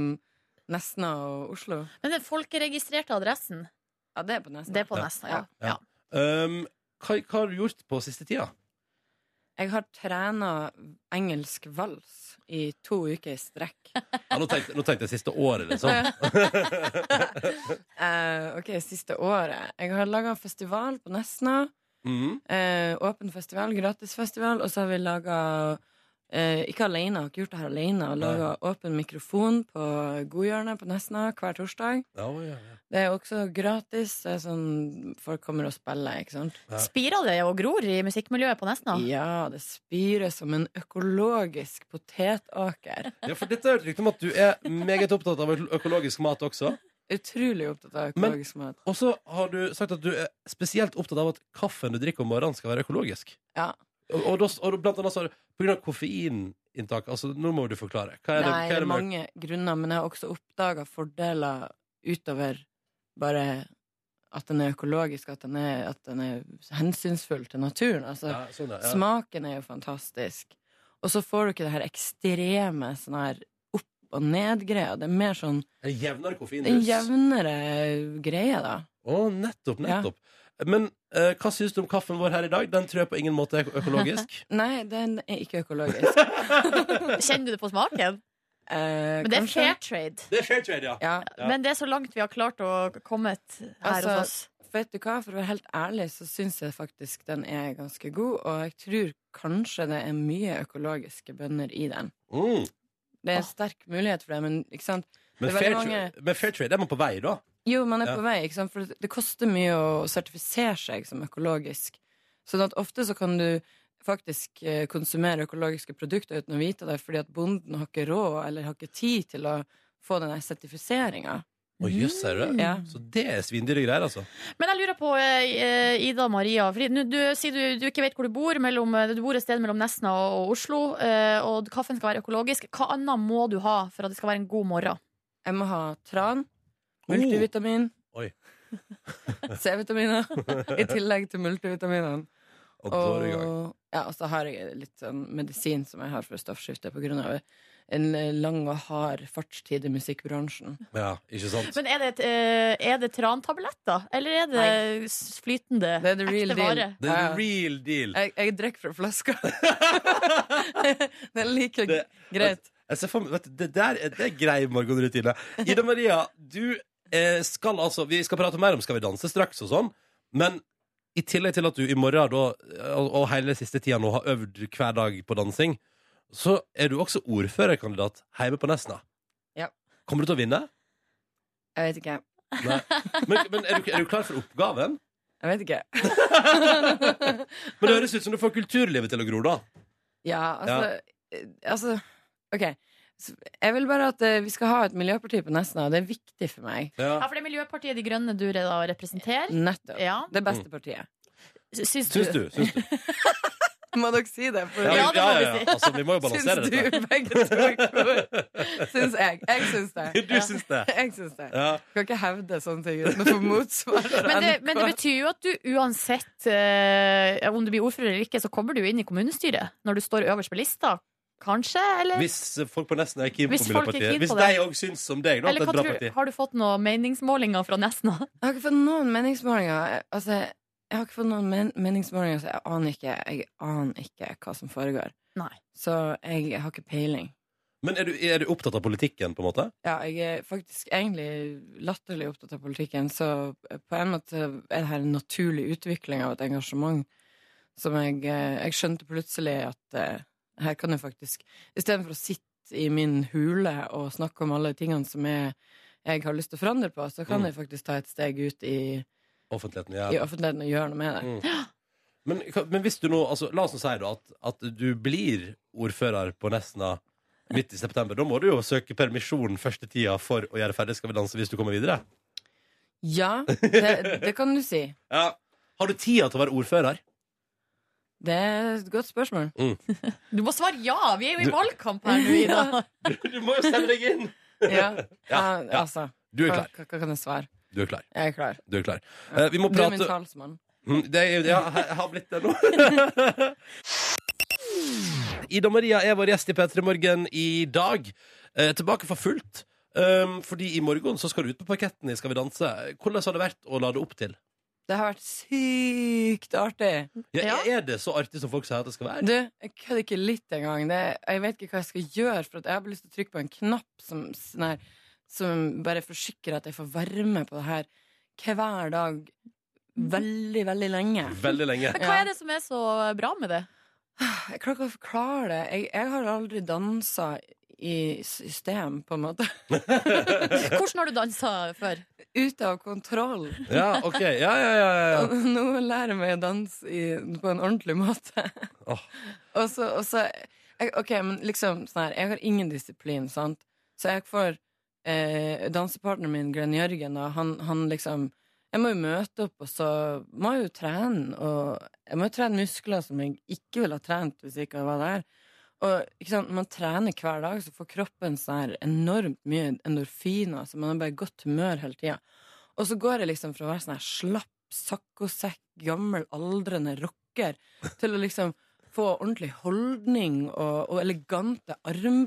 Speaker 7: Nesna og Oslo.
Speaker 3: Men den folkeregistrerte adressen,
Speaker 7: Ja, det er på Nesna.
Speaker 3: det er på
Speaker 2: Ja.
Speaker 3: Nesna, ja.
Speaker 2: Ja. Um, hva, hva har du gjort på siste tida?
Speaker 7: Jeg har trena engelsk vals i to uker i strekk.
Speaker 2: Ja, nå, tenkte, nå tenkte jeg siste året, liksom.
Speaker 7: Eh, ok, siste året. Jeg har laga festival på Nesna.
Speaker 2: Mhm.
Speaker 7: Eh, åpen festival, gratis festival, og så har vi laga eh, Ikke alene, har ikke gjort det her alene. Laga åpen mikrofon på Godhjørnet på Nesna hver torsdag.
Speaker 2: Ja, ja, ja.
Speaker 7: Det er også gratis. Det er sånn folk kommer og spiller, ikke sant?
Speaker 2: Ja.
Speaker 3: Spirer det og gror i musikkmiljøet på Nesna?
Speaker 7: Ja, det spirer som en økologisk potetåker.
Speaker 2: ja, for dette er et rykte om at du er meget opptatt av ø- økologisk mat også.
Speaker 7: Utrolig opptatt av
Speaker 2: Men-
Speaker 7: økologisk mat.
Speaker 2: Og så har du sagt at du er spesielt opptatt av at kaffen du drikker om morgenen, skal være økologisk.
Speaker 7: Ja.
Speaker 2: Og, og, da- og blant annet så har du på grunn av koffeininntak altså, Nå må du forklare. Hva er det,
Speaker 7: Nei,
Speaker 2: hva er
Speaker 7: det er
Speaker 2: det med
Speaker 7: mange grunner, men jeg har også oppdaga fordeler utover bare at den er økologisk, at den er, at den er hensynsfull til naturen. Altså,
Speaker 2: ja, sånn, ja.
Speaker 7: Smaken er jo fantastisk. Og så får du ikke det her ekstreme sånn her opp- og ned-greia. Det er mer sånn
Speaker 2: En jevnere koffeinrus.
Speaker 7: en jevnere greie, da.
Speaker 2: Å, nettopp, nettopp. Men eh, hva syns du om kaffen vår her i dag? Den tror jeg på ingen måte er ø- økologisk.
Speaker 7: Nei, den er ikke økologisk.
Speaker 3: Kjenner du det på smaken?
Speaker 7: Eh,
Speaker 3: Men det er
Speaker 7: kanskje.
Speaker 3: fair trade.
Speaker 2: det er fair trade, ja.
Speaker 7: Ja.
Speaker 2: Ja.
Speaker 3: Men det er så langt vi har klart å komme her
Speaker 7: Altså,
Speaker 3: hos oss.
Speaker 7: Vet du hva, for å være helt ærlig så syns jeg faktisk den er ganske god, og jeg tror kanskje det er mye økologiske bønner i den.
Speaker 2: Mm.
Speaker 7: Det er
Speaker 3: Åh.
Speaker 7: sterk mulighet for det, men ikke sant?
Speaker 2: Men,
Speaker 7: Det er veldig
Speaker 2: fair
Speaker 7: mange-
Speaker 2: trade, men fair trade er man på vei, da.
Speaker 7: Jo, man er
Speaker 2: Ja.
Speaker 7: på vei, ikke sant? for det koster mye å sertifisere seg som økologisk. Sånn at ofte så kan du faktisk eh, konsumere økologiske produkter uten å vite det, fordi at bonden har ikke råd eller har ikke tid til å få den sertifiseringa.
Speaker 2: Å, jøss, er det det?
Speaker 7: Mm. Ja.
Speaker 2: Så det er svindyre greier, altså.
Speaker 3: Men jeg lurer på, eh, Ida Maria fordi nå- Du sier du, du ikke vet hvor du bor. Mellom, eh, du bor et sted mellom Nesna og Oslo. eh, Og kaffen skal være økologisk. Hva annet må du ha for at det skal være en god morgen?
Speaker 7: Jeg må ha tran, multivitamin,
Speaker 2: Oi.
Speaker 7: C-vitaminer, i tillegg til multivitaminene.
Speaker 2: Oh, Og da er du i gang.
Speaker 7: ja, og så har jeg litt sånn medisin som jeg har for stoffskifte på grunn av en eh, lang og hard fartstid i musikkbransjen.
Speaker 2: Ja, ikke sant?
Speaker 3: Men er det, et, eh, er det trantabletter, eller er det s- flytende,
Speaker 7: Det er the real
Speaker 3: ekte
Speaker 7: deal.
Speaker 3: vare?
Speaker 2: Det er
Speaker 7: Ja.
Speaker 2: the real deal.
Speaker 7: Jeg, jeg drikker fra flaska. det er like
Speaker 2: Det-
Speaker 7: greit.
Speaker 2: Jeg ser for meg, vet du, det der er, det er grei morgenrutine. Ida Maria, du eh, skal altså Vi skal prate mer om Skal vi danse straks og sånn, men i tillegg til at du i morgen da, eh, og, og hele siste tida nå har øvd hver dag på dansing, så er du også ordførerkandidat hjemme på Nesna.
Speaker 7: Ja.
Speaker 2: Kommer du til å vinne?
Speaker 7: Jeg vet ikke.
Speaker 2: Nei. Men, men er, du, er du klar for oppgaven?
Speaker 7: Jeg vet ikke.
Speaker 2: Men det høres ut som du får kulturlivet til å gro, da.
Speaker 7: Ja, altså, eh, altså OK. Så Jeg vil bare at eh, vi skal ha et miljøparti på Nesna, og det er viktig for meg.
Speaker 2: Ja.
Speaker 3: Ja, for det er Miljøpartiet De Grønne du da representerer.
Speaker 7: Nettopp.
Speaker 3: Ja,
Speaker 7: Det beste partiet.
Speaker 3: S- syns
Speaker 2: Syns
Speaker 3: du?
Speaker 2: du? Syns du?
Speaker 7: Må dere si det? For
Speaker 3: Ja, det må vi si.
Speaker 2: Altså, vi må jo balansere
Speaker 7: syns
Speaker 2: dette.
Speaker 7: du begge to er gode? Syns jeg. Jeg syns det.
Speaker 2: Du syns det?
Speaker 7: Jeg syns det.
Speaker 2: Ja.
Speaker 7: Kan ikke hevde sånne ting uten å få motsvar. fra
Speaker 3: Men det,
Speaker 7: NRK.
Speaker 3: men det betyr jo at du uansett eh, om du blir ordfører eller ikke, så kommer du jo inn i kommunestyret når du står øverst på lista. Kanskje, eller?
Speaker 2: Hvis eh, folk på Nesten er keen på
Speaker 3: Hvis folk er
Speaker 2: Miljøpartiet.
Speaker 3: keen
Speaker 2: Hvis
Speaker 3: på
Speaker 2: de
Speaker 3: det.
Speaker 2: òg syns som deg, da, at det er
Speaker 3: Eller hva
Speaker 2: et bra
Speaker 3: tror,
Speaker 2: parti.
Speaker 3: du- har du fått noen meningsmålinger fra Nesna?
Speaker 7: Jeg har ikke fått noen meningsmålinger. Altså, jeg har ikke fått noen men meningsmålinger, så jeg aner ikke, jeg aner ikke hva som foregår.
Speaker 3: Nei.
Speaker 7: Så jeg har ikke peiling.
Speaker 2: Men er du, er du opptatt av politikken, på en måte?
Speaker 7: Ja, jeg er faktisk egentlig latterlig opptatt av politikken, så på en måte er det her en naturlig utvikling av et engasjement som jeg, eh, jeg skjønte plutselig at eh, her kan jeg faktisk Istedenfor å sitte i min hule og snakke om alle tingene som jeg, jeg har lyst til å forandre på, så kan
Speaker 2: Mm.
Speaker 7: jeg faktisk ta et steg ut i
Speaker 2: Offentligheten, ja.
Speaker 7: i offentligheten og gjøre noe med det.
Speaker 2: Mm. Men, hva- men hvis du nå altså, La oss nå si da, at, at du blir ordfører på Nesna midt i september. Da må du jo søke permisjon første tida for å gjøre ferdig Skal vi danse hvis du kommer videre.
Speaker 7: Ja, det, det kan du si.
Speaker 2: Ja. Har du tida til å være ordfører?
Speaker 7: Det er et godt spørsmål.
Speaker 3: Du må svare ja! Vi er jo i
Speaker 2: Du-
Speaker 3: valgkamp her nå, Ida.
Speaker 2: Du må jo sende deg inn!
Speaker 7: Ja, ja,
Speaker 2: Ja, ja.
Speaker 7: altså.
Speaker 2: Du er
Speaker 7: Hva,
Speaker 2: klar.
Speaker 7: hva hva kan jeg svare?
Speaker 2: Du er klar.
Speaker 7: Jeg er klar.
Speaker 2: Du er klar. Eh, vi må
Speaker 7: Du er min
Speaker 2: prate
Speaker 7: talsmann.
Speaker 2: Mm, Det er, ja, jeg har blitt det nå. Ida Maria er vår gjest i P3 Morgen i dag. Eh, tilbake for fullt. Um, fordi i morgen så skal du ut på parketten i Skal vi danse. Hvordan har det vært å lade opp til?
Speaker 7: Det har vært sykt artig.
Speaker 2: Ja,
Speaker 3: Ja.
Speaker 2: Er det så artig som folk sier at det skal være?
Speaker 7: Du, jeg kødder ikke litt engang. Det- Jeg vet ikke hva jeg skal gjøre, for at jeg har bare lyst til å trykke på en knapp som, sånn her, som bare forsikrer at jeg får være med på det her hver dag veldig, veldig lenge.
Speaker 2: Veldig lenge.
Speaker 3: Men hva er det som er så bra med det?
Speaker 7: Jeg klarer ikke å forklare det. Jeg, jeg har aldri dansa i system, på en måte.
Speaker 3: Hvordan har du dansa før?
Speaker 7: Ute av kontroll.
Speaker 2: Ja, OK. Ja, ja, ja. ja.
Speaker 7: Og Nå lærer jeg meg å danse i, på en ordentlig måte.
Speaker 2: Åh.
Speaker 7: Og så, og så jeg, Ok, men liksom sånn her Jeg har ingen disiplin, sant? Så jeg får eh, dansepartneren min, Glenn Jørgen, og han, han liksom Jeg må jo møte opp, og så må jeg jo trene. Og jeg må jo trene muskler som jeg ikke ville ha trent hvis jeg ikke var der. Og ikke sant, når man trener hver dag, så får kroppen sånn her enormt mye endorfiner. Så man er bare i godt humør hele tida. Og så går jeg liksom fra å være sånn her slapp, saccosekk, gammel, aldrende rocker til å liksom få ordentlig holdning og, og elegante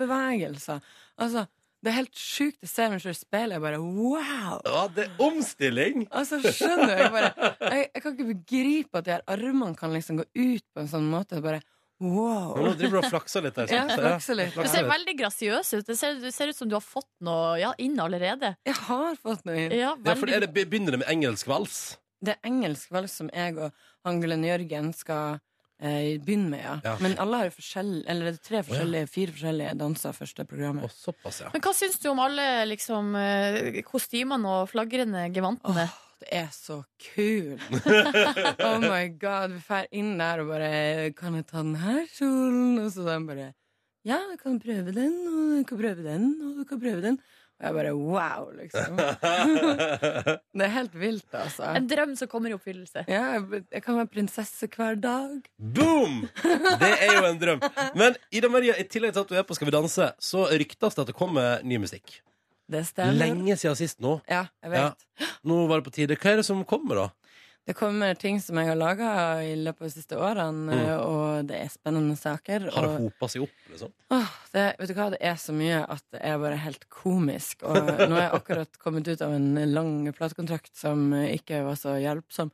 Speaker 7: armbevegelser. Altså, det er helt sjukt. Jeg ser meg selv i speilet, jeg bare wow!
Speaker 2: ja det er omstilling!
Speaker 7: Altså, skjønner du? Jeg bare jeg, jeg kan ikke begripe at de her armene kan liksom gå ut på en sånn måte. Bare
Speaker 2: Nå
Speaker 7: wow!
Speaker 2: driver du og flakser litt der.
Speaker 7: Ja,
Speaker 2: sant?
Speaker 7: flakser litt.
Speaker 3: Du
Speaker 7: Ja,
Speaker 3: ser veldig grasiøs ut. Det ser, det ser ut som du har fått noe ja, inn allerede.
Speaker 7: Jeg har fått noe inn.
Speaker 3: Ja,
Speaker 2: Ja, for
Speaker 3: veldig-
Speaker 2: er det, Begynner det med engelsk vals?
Speaker 7: Det er engelsk vel som jeg og Angelen Jørgen skal eh, begynne med, ja.
Speaker 2: Ja.
Speaker 7: Men alle har jo forskjell- eller det er tre forskjellige, fire forskjellige danser første
Speaker 2: Å,
Speaker 7: programmet.
Speaker 2: såpass, ja.
Speaker 3: Men hva syns du om alle liksom, eh, kostymene og flagrende
Speaker 7: Åh,
Speaker 3: gevantene?
Speaker 7: det er så kult! oh my god, vi drar inn der og bare 'Kan jeg ta den her kjolen?' Og så den bare 'Ja, du kan prøve den, og du kan prøve den, og du kan prøve den.' Og jeg bare wow, liksom. det er helt vilt, altså.
Speaker 3: En drøm som kommer i oppfyllelse.
Speaker 7: Ja, jeg, jeg kan være prinsesse hver dag.
Speaker 2: Boom! Det er jo en drøm. Men Ida Maria, i tillegg til at du er på Skal vi danse, så ryktes det at det kommer ny musikk.
Speaker 7: Det stemmer.
Speaker 2: Lenge siden sist nå.
Speaker 7: Ja, jeg vet.
Speaker 2: Ja. Nå var det på tide. Hva er det som kommer, da?
Speaker 7: Det kommer ting som jeg har laga i løpet av de siste årene,
Speaker 2: Mm.
Speaker 7: og det er spennende saker.
Speaker 2: Har det
Speaker 7: Og,
Speaker 2: hopa seg opp, liksom?
Speaker 7: åh, det, vet du hva, det er så mye at det er bare helt komisk. Og nå har jeg akkurat kommet ut av en lang platekontrakt som ikke var så hjelpsom.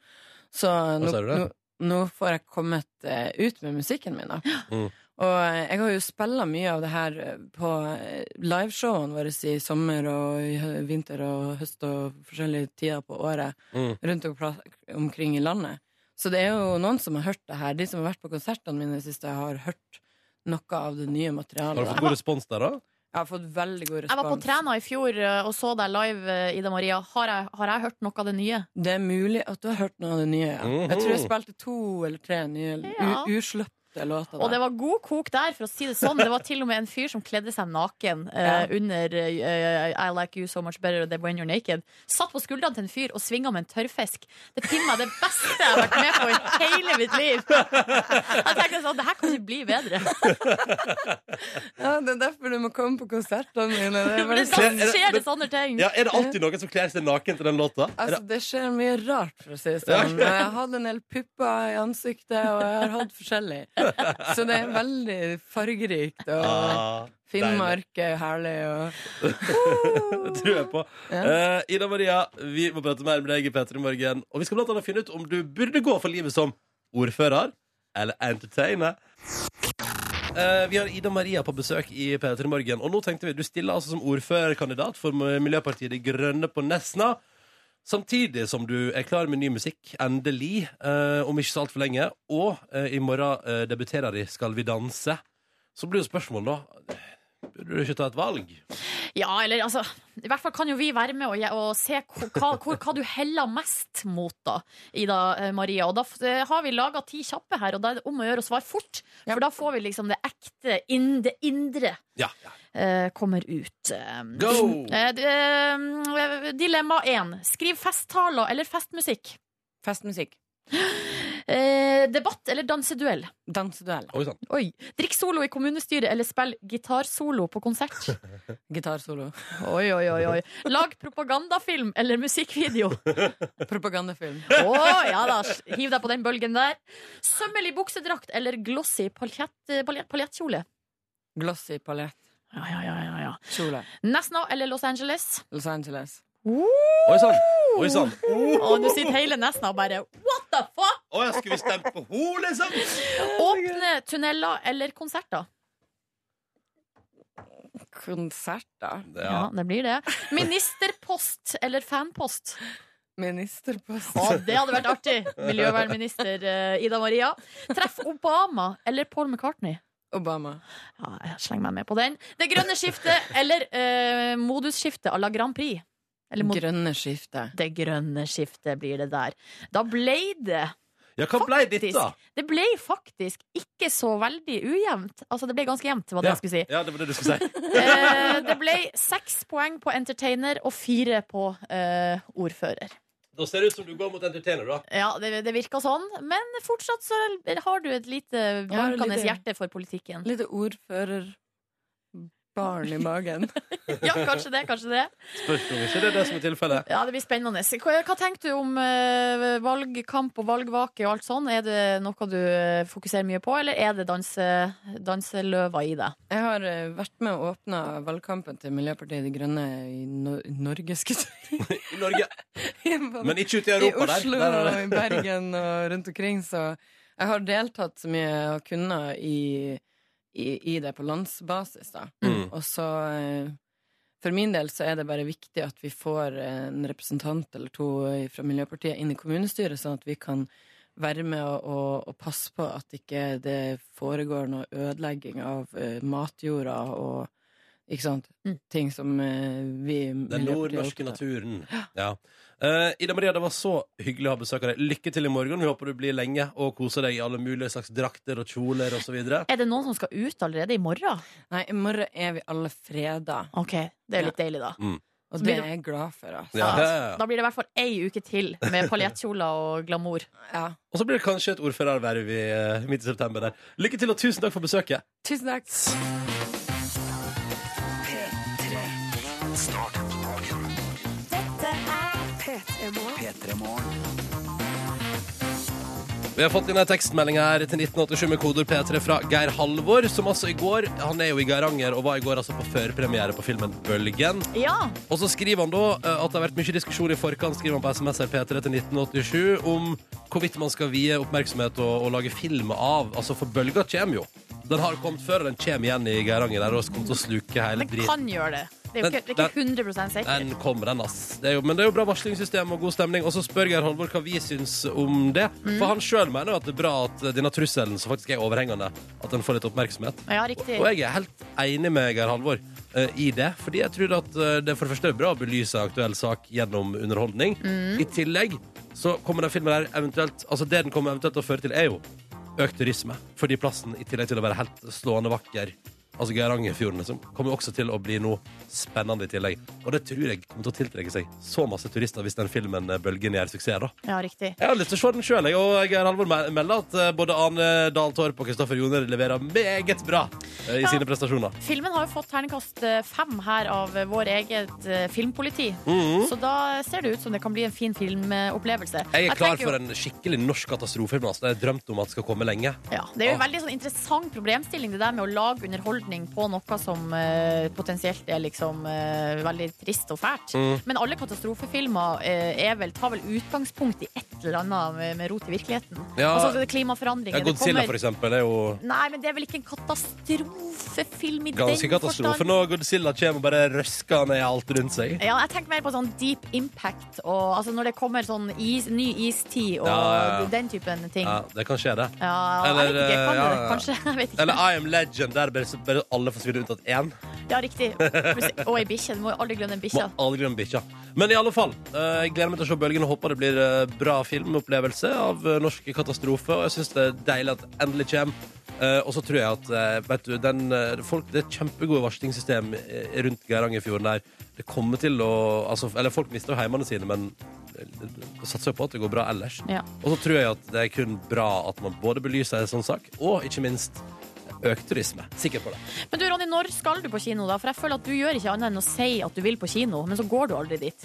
Speaker 7: Så nå,
Speaker 2: sa du
Speaker 7: nå,
Speaker 2: det?
Speaker 7: nå får jeg kommet eh, ut med musikken min, da.
Speaker 2: Mm.
Speaker 7: Og jeg har jo spilla mye av det her på eh, liveshowene våre i sommer og i hø- vinter og høst og forskjellige tider på året
Speaker 2: Mm.
Speaker 7: rundt om- pla- omkring i landet. Så det er jo noen som har hørt det her. De som har vært på konsertene mine i det siste, har hørt noe av det nye
Speaker 2: Har du
Speaker 7: materialet.
Speaker 2: fått god respons der, da?
Speaker 7: Jeg har fått veldig god
Speaker 3: Jeg var på
Speaker 7: respons.
Speaker 3: Træna i fjor eh, og så deg live, eh, Ida Maria. Har jeg, har jeg hørt noe av det nye?
Speaker 7: Det er mulig at du har hørt noe av det nye. Ja.
Speaker 2: Mhm.
Speaker 7: Jeg tror jeg spilte to eller tre nye
Speaker 3: Ja.
Speaker 7: u- usløpte låter.
Speaker 3: Og det
Speaker 7: der.
Speaker 3: var god kok der, for å si det sånn. Det var til og med en fyr som kledde seg naken eh, under eh, I like you so much better than when you're naked. Satt på skuldrene til en fyr og svinga med en tørrfisk. Det er pinne meg det beste jeg har vært med på i hele mitt liv. Jeg tenkte sånn, det her kan ikke bli bedre.
Speaker 7: Ja, det er derfor du må komme på konsertene mine. Det,
Speaker 3: Men
Speaker 7: er bare...
Speaker 3: da skjer det sånne ting.
Speaker 2: Ja, Er det alltid noen som kler seg naken til den låta? Er
Speaker 7: Altså,
Speaker 2: det-
Speaker 7: det skjer mye rart, for å si det sånn. Og Jeg har hatt en del pupper i ansiktet, og jeg har hatt forskjellig. Så det er veldig fargerikt. Og
Speaker 2: Ah,
Speaker 7: Finnmark er herlig. Og...
Speaker 2: deilig. Det tror jeg på. Eh, Ida Maria, vi må prate mer med deg i P3 Morgen. Og vi skal blant annet finne ut om du burde gå for livet som ordfører eller entertainer. Eh, vi har Ida Maria på besøk i P3 Morgen. Og nå tenkte vi, du stiller altså som ordførerkandidat for Miljøpartiet De Grønne på Nesna. Samtidig som du er klar med ny musikk, endelig, eh, om ikke så altfor lenge. Og eh, i morgen eh, debuterer de Skal vi danse. Så blir jo spørsmålet, da Burde du ikke ta et valg?
Speaker 3: Ja, eller altså I hvert fall kan jo vi være med og, og se hvor, hva, hvor, hva du heller mest mot, da, Ida eh, Maria. Og da f- eh, har vi laga ti kjappe her, og da er det om å gjøre å svare fort. For da får vi liksom det ekte, inn, det indre,
Speaker 2: Ja.
Speaker 3: eh, kommer ut. Eh,
Speaker 2: Go!
Speaker 3: eh, d- eh, dilemma én. Skriv festtaler eller festmusikk.
Speaker 7: Festmusikk.
Speaker 3: Eh, debatt eller danseduell.
Speaker 7: Danseduell.
Speaker 2: Oi sann.
Speaker 3: Oi. Drikk solo i kommunestyret eller spill gitarsolo på konsert.
Speaker 7: Gitarsolo.
Speaker 3: Oi, oi, oi, oi. Lag propagandafilm eller musikkvideo.
Speaker 7: Propagandafilm.
Speaker 3: Å, ja da. Hiv deg på den bølgen der. Sømmelig buksedrakt eller glossy paljett- paljett- paljettkjole?
Speaker 7: Glossy palett.
Speaker 3: Ja, ja, ja, ja, ja.
Speaker 7: Kjole.
Speaker 3: Nesna eller Los Angeles?
Speaker 7: Los Angeles.
Speaker 2: Oi sann. Oi sånn. sann.
Speaker 3: Og nå sitter hele Nesna og bare what the fuck?
Speaker 2: Å, jeg skulle stemt på henne, liksom!
Speaker 3: Åpne tunneler eller konserter?
Speaker 7: Konsert, da.
Speaker 2: Ja.
Speaker 3: Ja, det blir det. Ministerpost eller fanpost?
Speaker 7: Ministerpost.
Speaker 3: Å, det hadde vært artig! Miljøvernminister eh, Ida Maria. Treff Obama eller Paul McCartney.
Speaker 7: Obama.
Speaker 3: Ja, jeg slenger meg med på den. Det grønne skiftet eller eh, modusskiftet à la Grand Prix. Eller mod
Speaker 7: Grønne skiftet.
Speaker 3: det grønne skiftet blir det der. Da ble det
Speaker 2: Ja, hva ble ditt, da?
Speaker 3: Det ble faktisk ikke så veldig ujevnt. Altså, det ble ganske jevnt, var det jeg skulle si.
Speaker 2: Ja, det var det du skulle si.
Speaker 3: Eh, det ble seks poeng på entertainer og fire på eh, ordfører.
Speaker 2: Da ser det ut som du går mot entertainer, da.
Speaker 3: Ja, det, det virka sånn, men fortsatt så har du et lite
Speaker 7: Ja, et
Speaker 3: bankende
Speaker 7: lite-
Speaker 3: hjerte for politikken.
Speaker 7: Lite ordførerbarn i magen.
Speaker 3: Ja, kanskje det, kanskje det.
Speaker 2: Spørs om ikke det er det som er tilfellet.
Speaker 3: Ja, det blir spennende. Hva, hva tenker du om eh, valgkamp og valgvake og alt sånn? Er det noe du eh, fokuserer mye på, eller er det danse, danseløva i deg?
Speaker 7: Jeg har eh, vært med og åpna valgkampen til Miljøpartiet De Grønne i no Norge, skulle
Speaker 2: I Norge,
Speaker 7: jeg si.
Speaker 2: men ikke ute i
Speaker 7: I
Speaker 2: Europa der.
Speaker 7: Oslo
Speaker 2: der er det.
Speaker 7: og i Bergen og rundt omkring, så jeg har deltatt så mye jeg kunne i, i, i det på landsbasis, da.
Speaker 2: Mm.
Speaker 7: Og så eh, For min del så er det bare viktig at vi får en representant eller to fra Miljøpartiet inn i kommunestyret, sånn at vi kan være med og, og, og passe på at ikke det foregår noe ødelegging av eh, matjorda og ikke sant?
Speaker 3: Mm.
Speaker 7: Ting som eh, vi
Speaker 2: Den
Speaker 7: Miljøpartiet er
Speaker 2: nordnorske
Speaker 7: opptatt av.
Speaker 2: naturen. Ja. Eh, Ida Maria, det var så hyggelig å ha besøk av deg. Lykke til i morgen. Vi håper du blir lenge og koser deg i alle mulige slags drakter og kjoler osv.
Speaker 3: Er det noen som skal ut allerede i morgen?
Speaker 7: Nei, i morgen er vi alle freda,
Speaker 3: Ok, det er jo litt deilig, da. Så
Speaker 7: og
Speaker 3: blir
Speaker 7: det
Speaker 3: det-
Speaker 7: er jeg glad for, altså.
Speaker 2: Ja.
Speaker 3: Da blir det i hvert fall ei uke til med paljettkjoler og glamour.
Speaker 7: Ja.
Speaker 2: Og så blir det kanskje et ordførerverv i eh, midt i september der. Lykke til, og tusen takk for besøket.
Speaker 7: Tusen takk.
Speaker 1: P3morgen.
Speaker 2: Vi har fått inn en tekstmelding her til 1987 med kodord P3 fra Geir Halvor, som altså i går Han er jo i Geiranger og var i går altså på førpremiere på filmen Bølgen.
Speaker 3: Ja,
Speaker 2: Og så skriver han da eh, at det har vært mye diskusjon i forkant, skriver han på SMS her P3 til 1987, om hvorvidt man skal vie oppmerksomhet og, og lage film av. Altså, for bølga kommer jo. Den har kommet før, og den kommer igjen i Geiranger der og kommer til å sluke hele
Speaker 3: den
Speaker 2: driten.
Speaker 3: kan gjøre det. Det er jo ikke, det er ikke 100 sikkert.
Speaker 2: Den kommer, den, ass. Det er jo, men det er jo bra varslingssystem og god stemning. Og så spør Geir Holmborg hva vi syns om det. For han sjøl mener jo at det er bra at eh, denne trusselen, som faktisk er overhengende, at den får litt oppmerksomhet.
Speaker 3: Ja,
Speaker 2: Og
Speaker 3: riktig.
Speaker 2: og jeg er helt enig med Geir Halvor eh, i det. Fordi jeg tror at eh, det for det første er bra å belyse aktuell sak gjennom underholdning. I tillegg så kommer den filmen her eventuelt Altså det den kommer eventuelt til å føre til, er jo økt turisme. Fordi plassen, i tillegg til å være helt slående vakker Altså Geirangerfjorden, liksom, kommer jo også til å bli noe spennende i tillegg. Og det tror jeg kommer til å tiltrekke seg så masse turister hvis den filmen eh, Bølgen gjør suksess, da.
Speaker 3: Ja, riktig.
Speaker 2: Jeg har lyst til å se den sjøl, og Geir Halvor me- melder at eh, både Ane Dahl Torp og Kristoffer Joner leverer meget bra eh, i
Speaker 3: Ja.
Speaker 2: sine prestasjoner.
Speaker 3: Filmen har jo fått terningkast eh, fem her av eh, vår eget eh, filmpoliti. Så da ser det ut som det kan bli en fin filmopplevelse.
Speaker 2: Mm. Mhm. Jeg er klar
Speaker 3: tenker jo-
Speaker 2: for en skikkelig norsk katastrofefilm. Altså. Det har jeg drømt om at skal komme lenge.
Speaker 3: Ja, det er jo en
Speaker 2: Ah.
Speaker 3: veldig sånn interessant problemstilling, det der med å lage underholdning på noe som eh, potensielt er liksom eh, veldig trist og fælt.
Speaker 2: Mm.
Speaker 3: Men alle katastrofefilmer eh, er vel, tar vel utgangspunkt i et eller annet med, med rot i virkeligheten.
Speaker 2: Ja.
Speaker 3: Altså det er
Speaker 2: Ja,
Speaker 3: klimaforandringer. det
Speaker 2: Godzilla,
Speaker 3: kommer-
Speaker 2: for eksempel, er jo
Speaker 3: Nei, men det er vel ikke en katastrofefilm i
Speaker 2: ganske
Speaker 3: den
Speaker 2: katastrofe
Speaker 3: forstand?
Speaker 2: når Godzilla kommer og bare røsker ned alt rundt seg.
Speaker 3: Ja, jeg tenker mer på sånn deep impact, og, altså når det kommer sånn is, ny istid og
Speaker 2: Ja, ja, ja.
Speaker 3: den typen ting.
Speaker 2: Ja,
Speaker 3: Ja.
Speaker 2: det kan skje, det.
Speaker 3: jeg vet
Speaker 2: Eller,
Speaker 3: ikke, kan
Speaker 2: ja,
Speaker 3: det
Speaker 2: ja.
Speaker 3: kanskje? Jeg vet ikke.
Speaker 2: Eller I Am Legend, der bare, bare alle forsvinner unntatt én.
Speaker 3: Ja, riktig. Og ei bikkje. Du må jo aldri glemme en
Speaker 2: Må
Speaker 3: bikkje.
Speaker 2: aldri glemme bikkja. Men i alle fall, eh, jeg gleder meg til å se Bølgen og håper det blir eh, bra filmopplevelse av eh, norsk katastrofe. Og jeg syns det er deilig at det endelig kommer. Eh, og så tror jeg at eh, vet du, den, eh, folk, det er kjempegode varslingssystem eh, rundt Geirangerfjorden der. Det kommer til å altså, Eller folk mister jo heimene sine, men eh, satser jo på at det går bra ellers.
Speaker 3: Ja.
Speaker 2: Og så tror jeg at det er kun bra at man både belyser en sånn sak, og ikke minst økt turisme. Sikker på det.
Speaker 3: Men du, Ronny, når skal du på kino, da? For jeg føler at du gjør ikke annet enn å si at du vil på kino, men så går du aldri dit.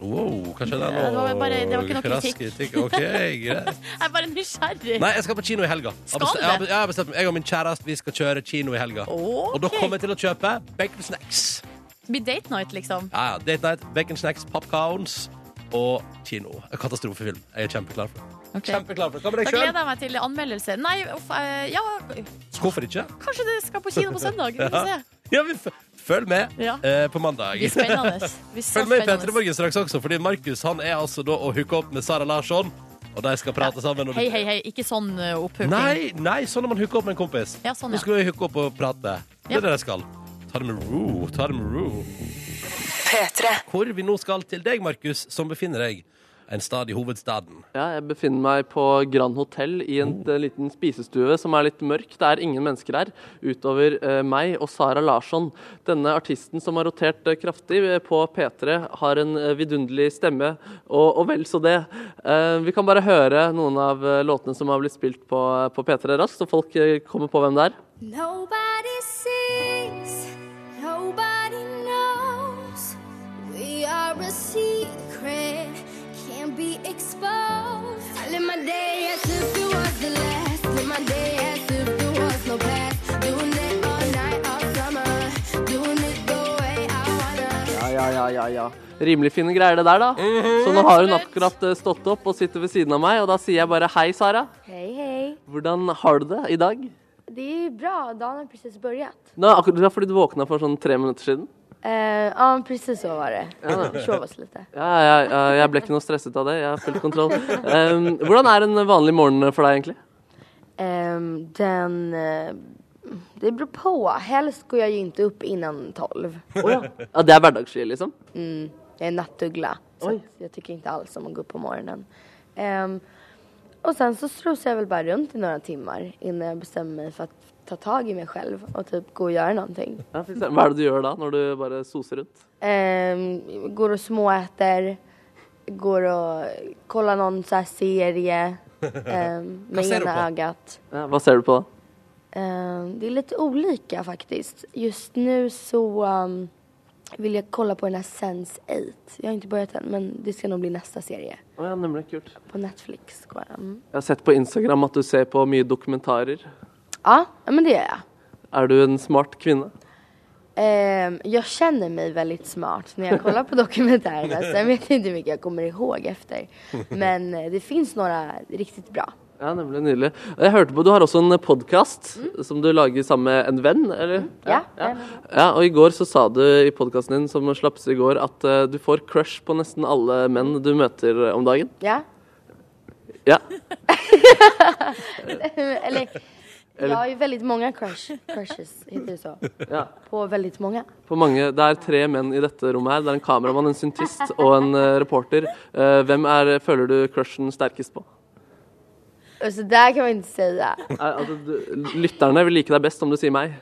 Speaker 2: Wow, kanskje det er
Speaker 3: Ja,
Speaker 2: noe
Speaker 3: det var bare- det var ikke noe
Speaker 2: krass
Speaker 3: kritikk.
Speaker 2: OK, greit.
Speaker 3: Jeg er bare nysgjerrig.
Speaker 2: Nei, jeg skal på kino i helga.
Speaker 3: Skal
Speaker 2: jeg, har
Speaker 3: du?
Speaker 2: bestemt, jeg, har bestemt, meg. jeg og min kjæreste vi skal kjøre kino i helga.
Speaker 3: Ok.
Speaker 2: Og da kommer jeg til å kjøpe bacon snacks.
Speaker 3: Det blir date night, liksom.
Speaker 2: Ja, ja, Date night, bacon snacks, popcorns og kino. Katastrofefilm. Jeg er kjempeklar for det.
Speaker 3: Ok.
Speaker 2: Kjempeklar for det. Hva med
Speaker 3: Da
Speaker 2: deg sjøl?
Speaker 3: gleder jeg meg til anmeldelse. Nei, uff, eh, ja
Speaker 2: Hvorfor ikke?
Speaker 3: Kanskje det skal på kino på søndag. Vi får se.
Speaker 2: Ja, vi f Følg med
Speaker 3: Ja.
Speaker 2: eh, på mandag.
Speaker 3: Det blir spennende. Det blir så
Speaker 2: Følg med i
Speaker 3: spennende.
Speaker 2: P3 Morgen straks også, fordi Markus han er altså da å hooke opp med Sara Larsson. Og de skal prate sammen. og-
Speaker 3: Hei, hei, hei. Ikke sånn eh, opphooking.
Speaker 2: Nei, nei, sånn når man hooker opp med en kompis.
Speaker 3: Ja, sånn,
Speaker 2: Nå
Speaker 3: ja.
Speaker 2: skal vi hooke opp og prate. Det er det jeg skal. Ta det med ro. Ta det med ro. Hvor vi nå skal til deg, Markus, som befinner deg en stad i hovedstaden.
Speaker 5: Ja, jeg befinner meg på Grand Hotel i en eh, liten spisestue som er litt mørk. Det er ingen mennesker her, utover eh, meg og Sara Larsson. Denne artisten som har rotert eh, kraftig eh, på P3, har en eh, vidunderlig stemme, og, og vel så det. Eh, vi kan bare høre noen av eh, låtene som har blitt spilt på, eh, på P3 raskt, så folk eh, kommer på hvem det er.
Speaker 8: Nobody sees, nobody knows. We are a secret, can't be exposed. I live my day as if it was the last. Live my day as if there was no past. Doing it all night, all summer. Doing it the way I
Speaker 5: Ja,
Speaker 8: wanna.
Speaker 5: ja, ja, ja, ja. Rimelig fine greier det der, da. Så nå har hun akkurat eh, stått opp og sitter ved siden av meg, og da sier jeg bare hei, Sara.
Speaker 8: Hej, hej.
Speaker 5: Hvordan har du det i dag?
Speaker 8: Det är bra, dagen har precis börjat.
Speaker 5: Nå, akkurat det var fordi du våkna for sånn tre minutter siden.
Speaker 8: Eh, ja, precis så var det. Vi sov oss lite.
Speaker 5: Ja, ja, ja, jeg ble ikke noe stresset av det. Jeg har full kontroll. Ehm, hvordan er en vanlig morgen for deg, egentlig?
Speaker 8: Ehm, den... eh, det beror på. Helst går jag ju inte upp innan tolv.
Speaker 5: Å ja. ja, det er hverdagsski, liksom?
Speaker 8: Jag är nattuggla. Så
Speaker 5: Oj.
Speaker 8: att jag tycker inte alls om att gå upp på morgonen. Ehm, och sen så strosar jag väl bara runt i några timmar innan jag bestämmer mig för att ta tag i mig själv og typ gå och göra någonting.
Speaker 5: Ja, fy søren. Hva er det du gjør da, når du bare soser rundt?
Speaker 8: Ehm, går och småäter. Går och kollar någon så här serie ehm, med
Speaker 2: ser du på?
Speaker 8: ena ögat.
Speaker 5: Ja, hva ser du på da?
Speaker 8: Eh, Det är lite olika faktiskt. Just nu så um, vill jag kolla på den här Sense 8. Jag har inte börjat än men det ska nog bli nästa serie.
Speaker 5: Å ja, nemlig. Kult.
Speaker 8: På Netflix. går jag. Mm.
Speaker 5: Jeg har sett på Instagram at du ser på mye dokumentarer.
Speaker 8: Ja, ja, men det gör jag.
Speaker 5: Er du en smart kvinne?
Speaker 8: Ehm, jag känner mig väldigt smart när jag kollar på dokumentärerna. Sen vet jag inte hur mycket jag kommer ihåg efter. Men eh, det finns några riktigt bra.
Speaker 5: Ja, nemlig. Nydelig. Og Jeg hørte på, Du har også en podkast som du lager sammen med en venn, eller?
Speaker 8: Ja,
Speaker 5: ja.
Speaker 8: en venn.
Speaker 5: ja og i går så sa du i podkasten din som slapp i går, at eh, du får crush på nesten alle menn du møter eh, om dagen.
Speaker 8: Ja?
Speaker 5: Ja.
Speaker 8: Eller, jag har ju väldigt många crush, crushes, heter det så?
Speaker 5: ja.
Speaker 8: På väldigt många.
Speaker 5: På mange, det er tre menn i dette rommet her. Det er en kameramann, en syntist og en eh, reporter. Eh, hvem er, føler du crushen sterkest på?
Speaker 8: Och Så där kan man inte säga.
Speaker 5: Eh, altså, du, lytterne vil like deg best om du sier meg.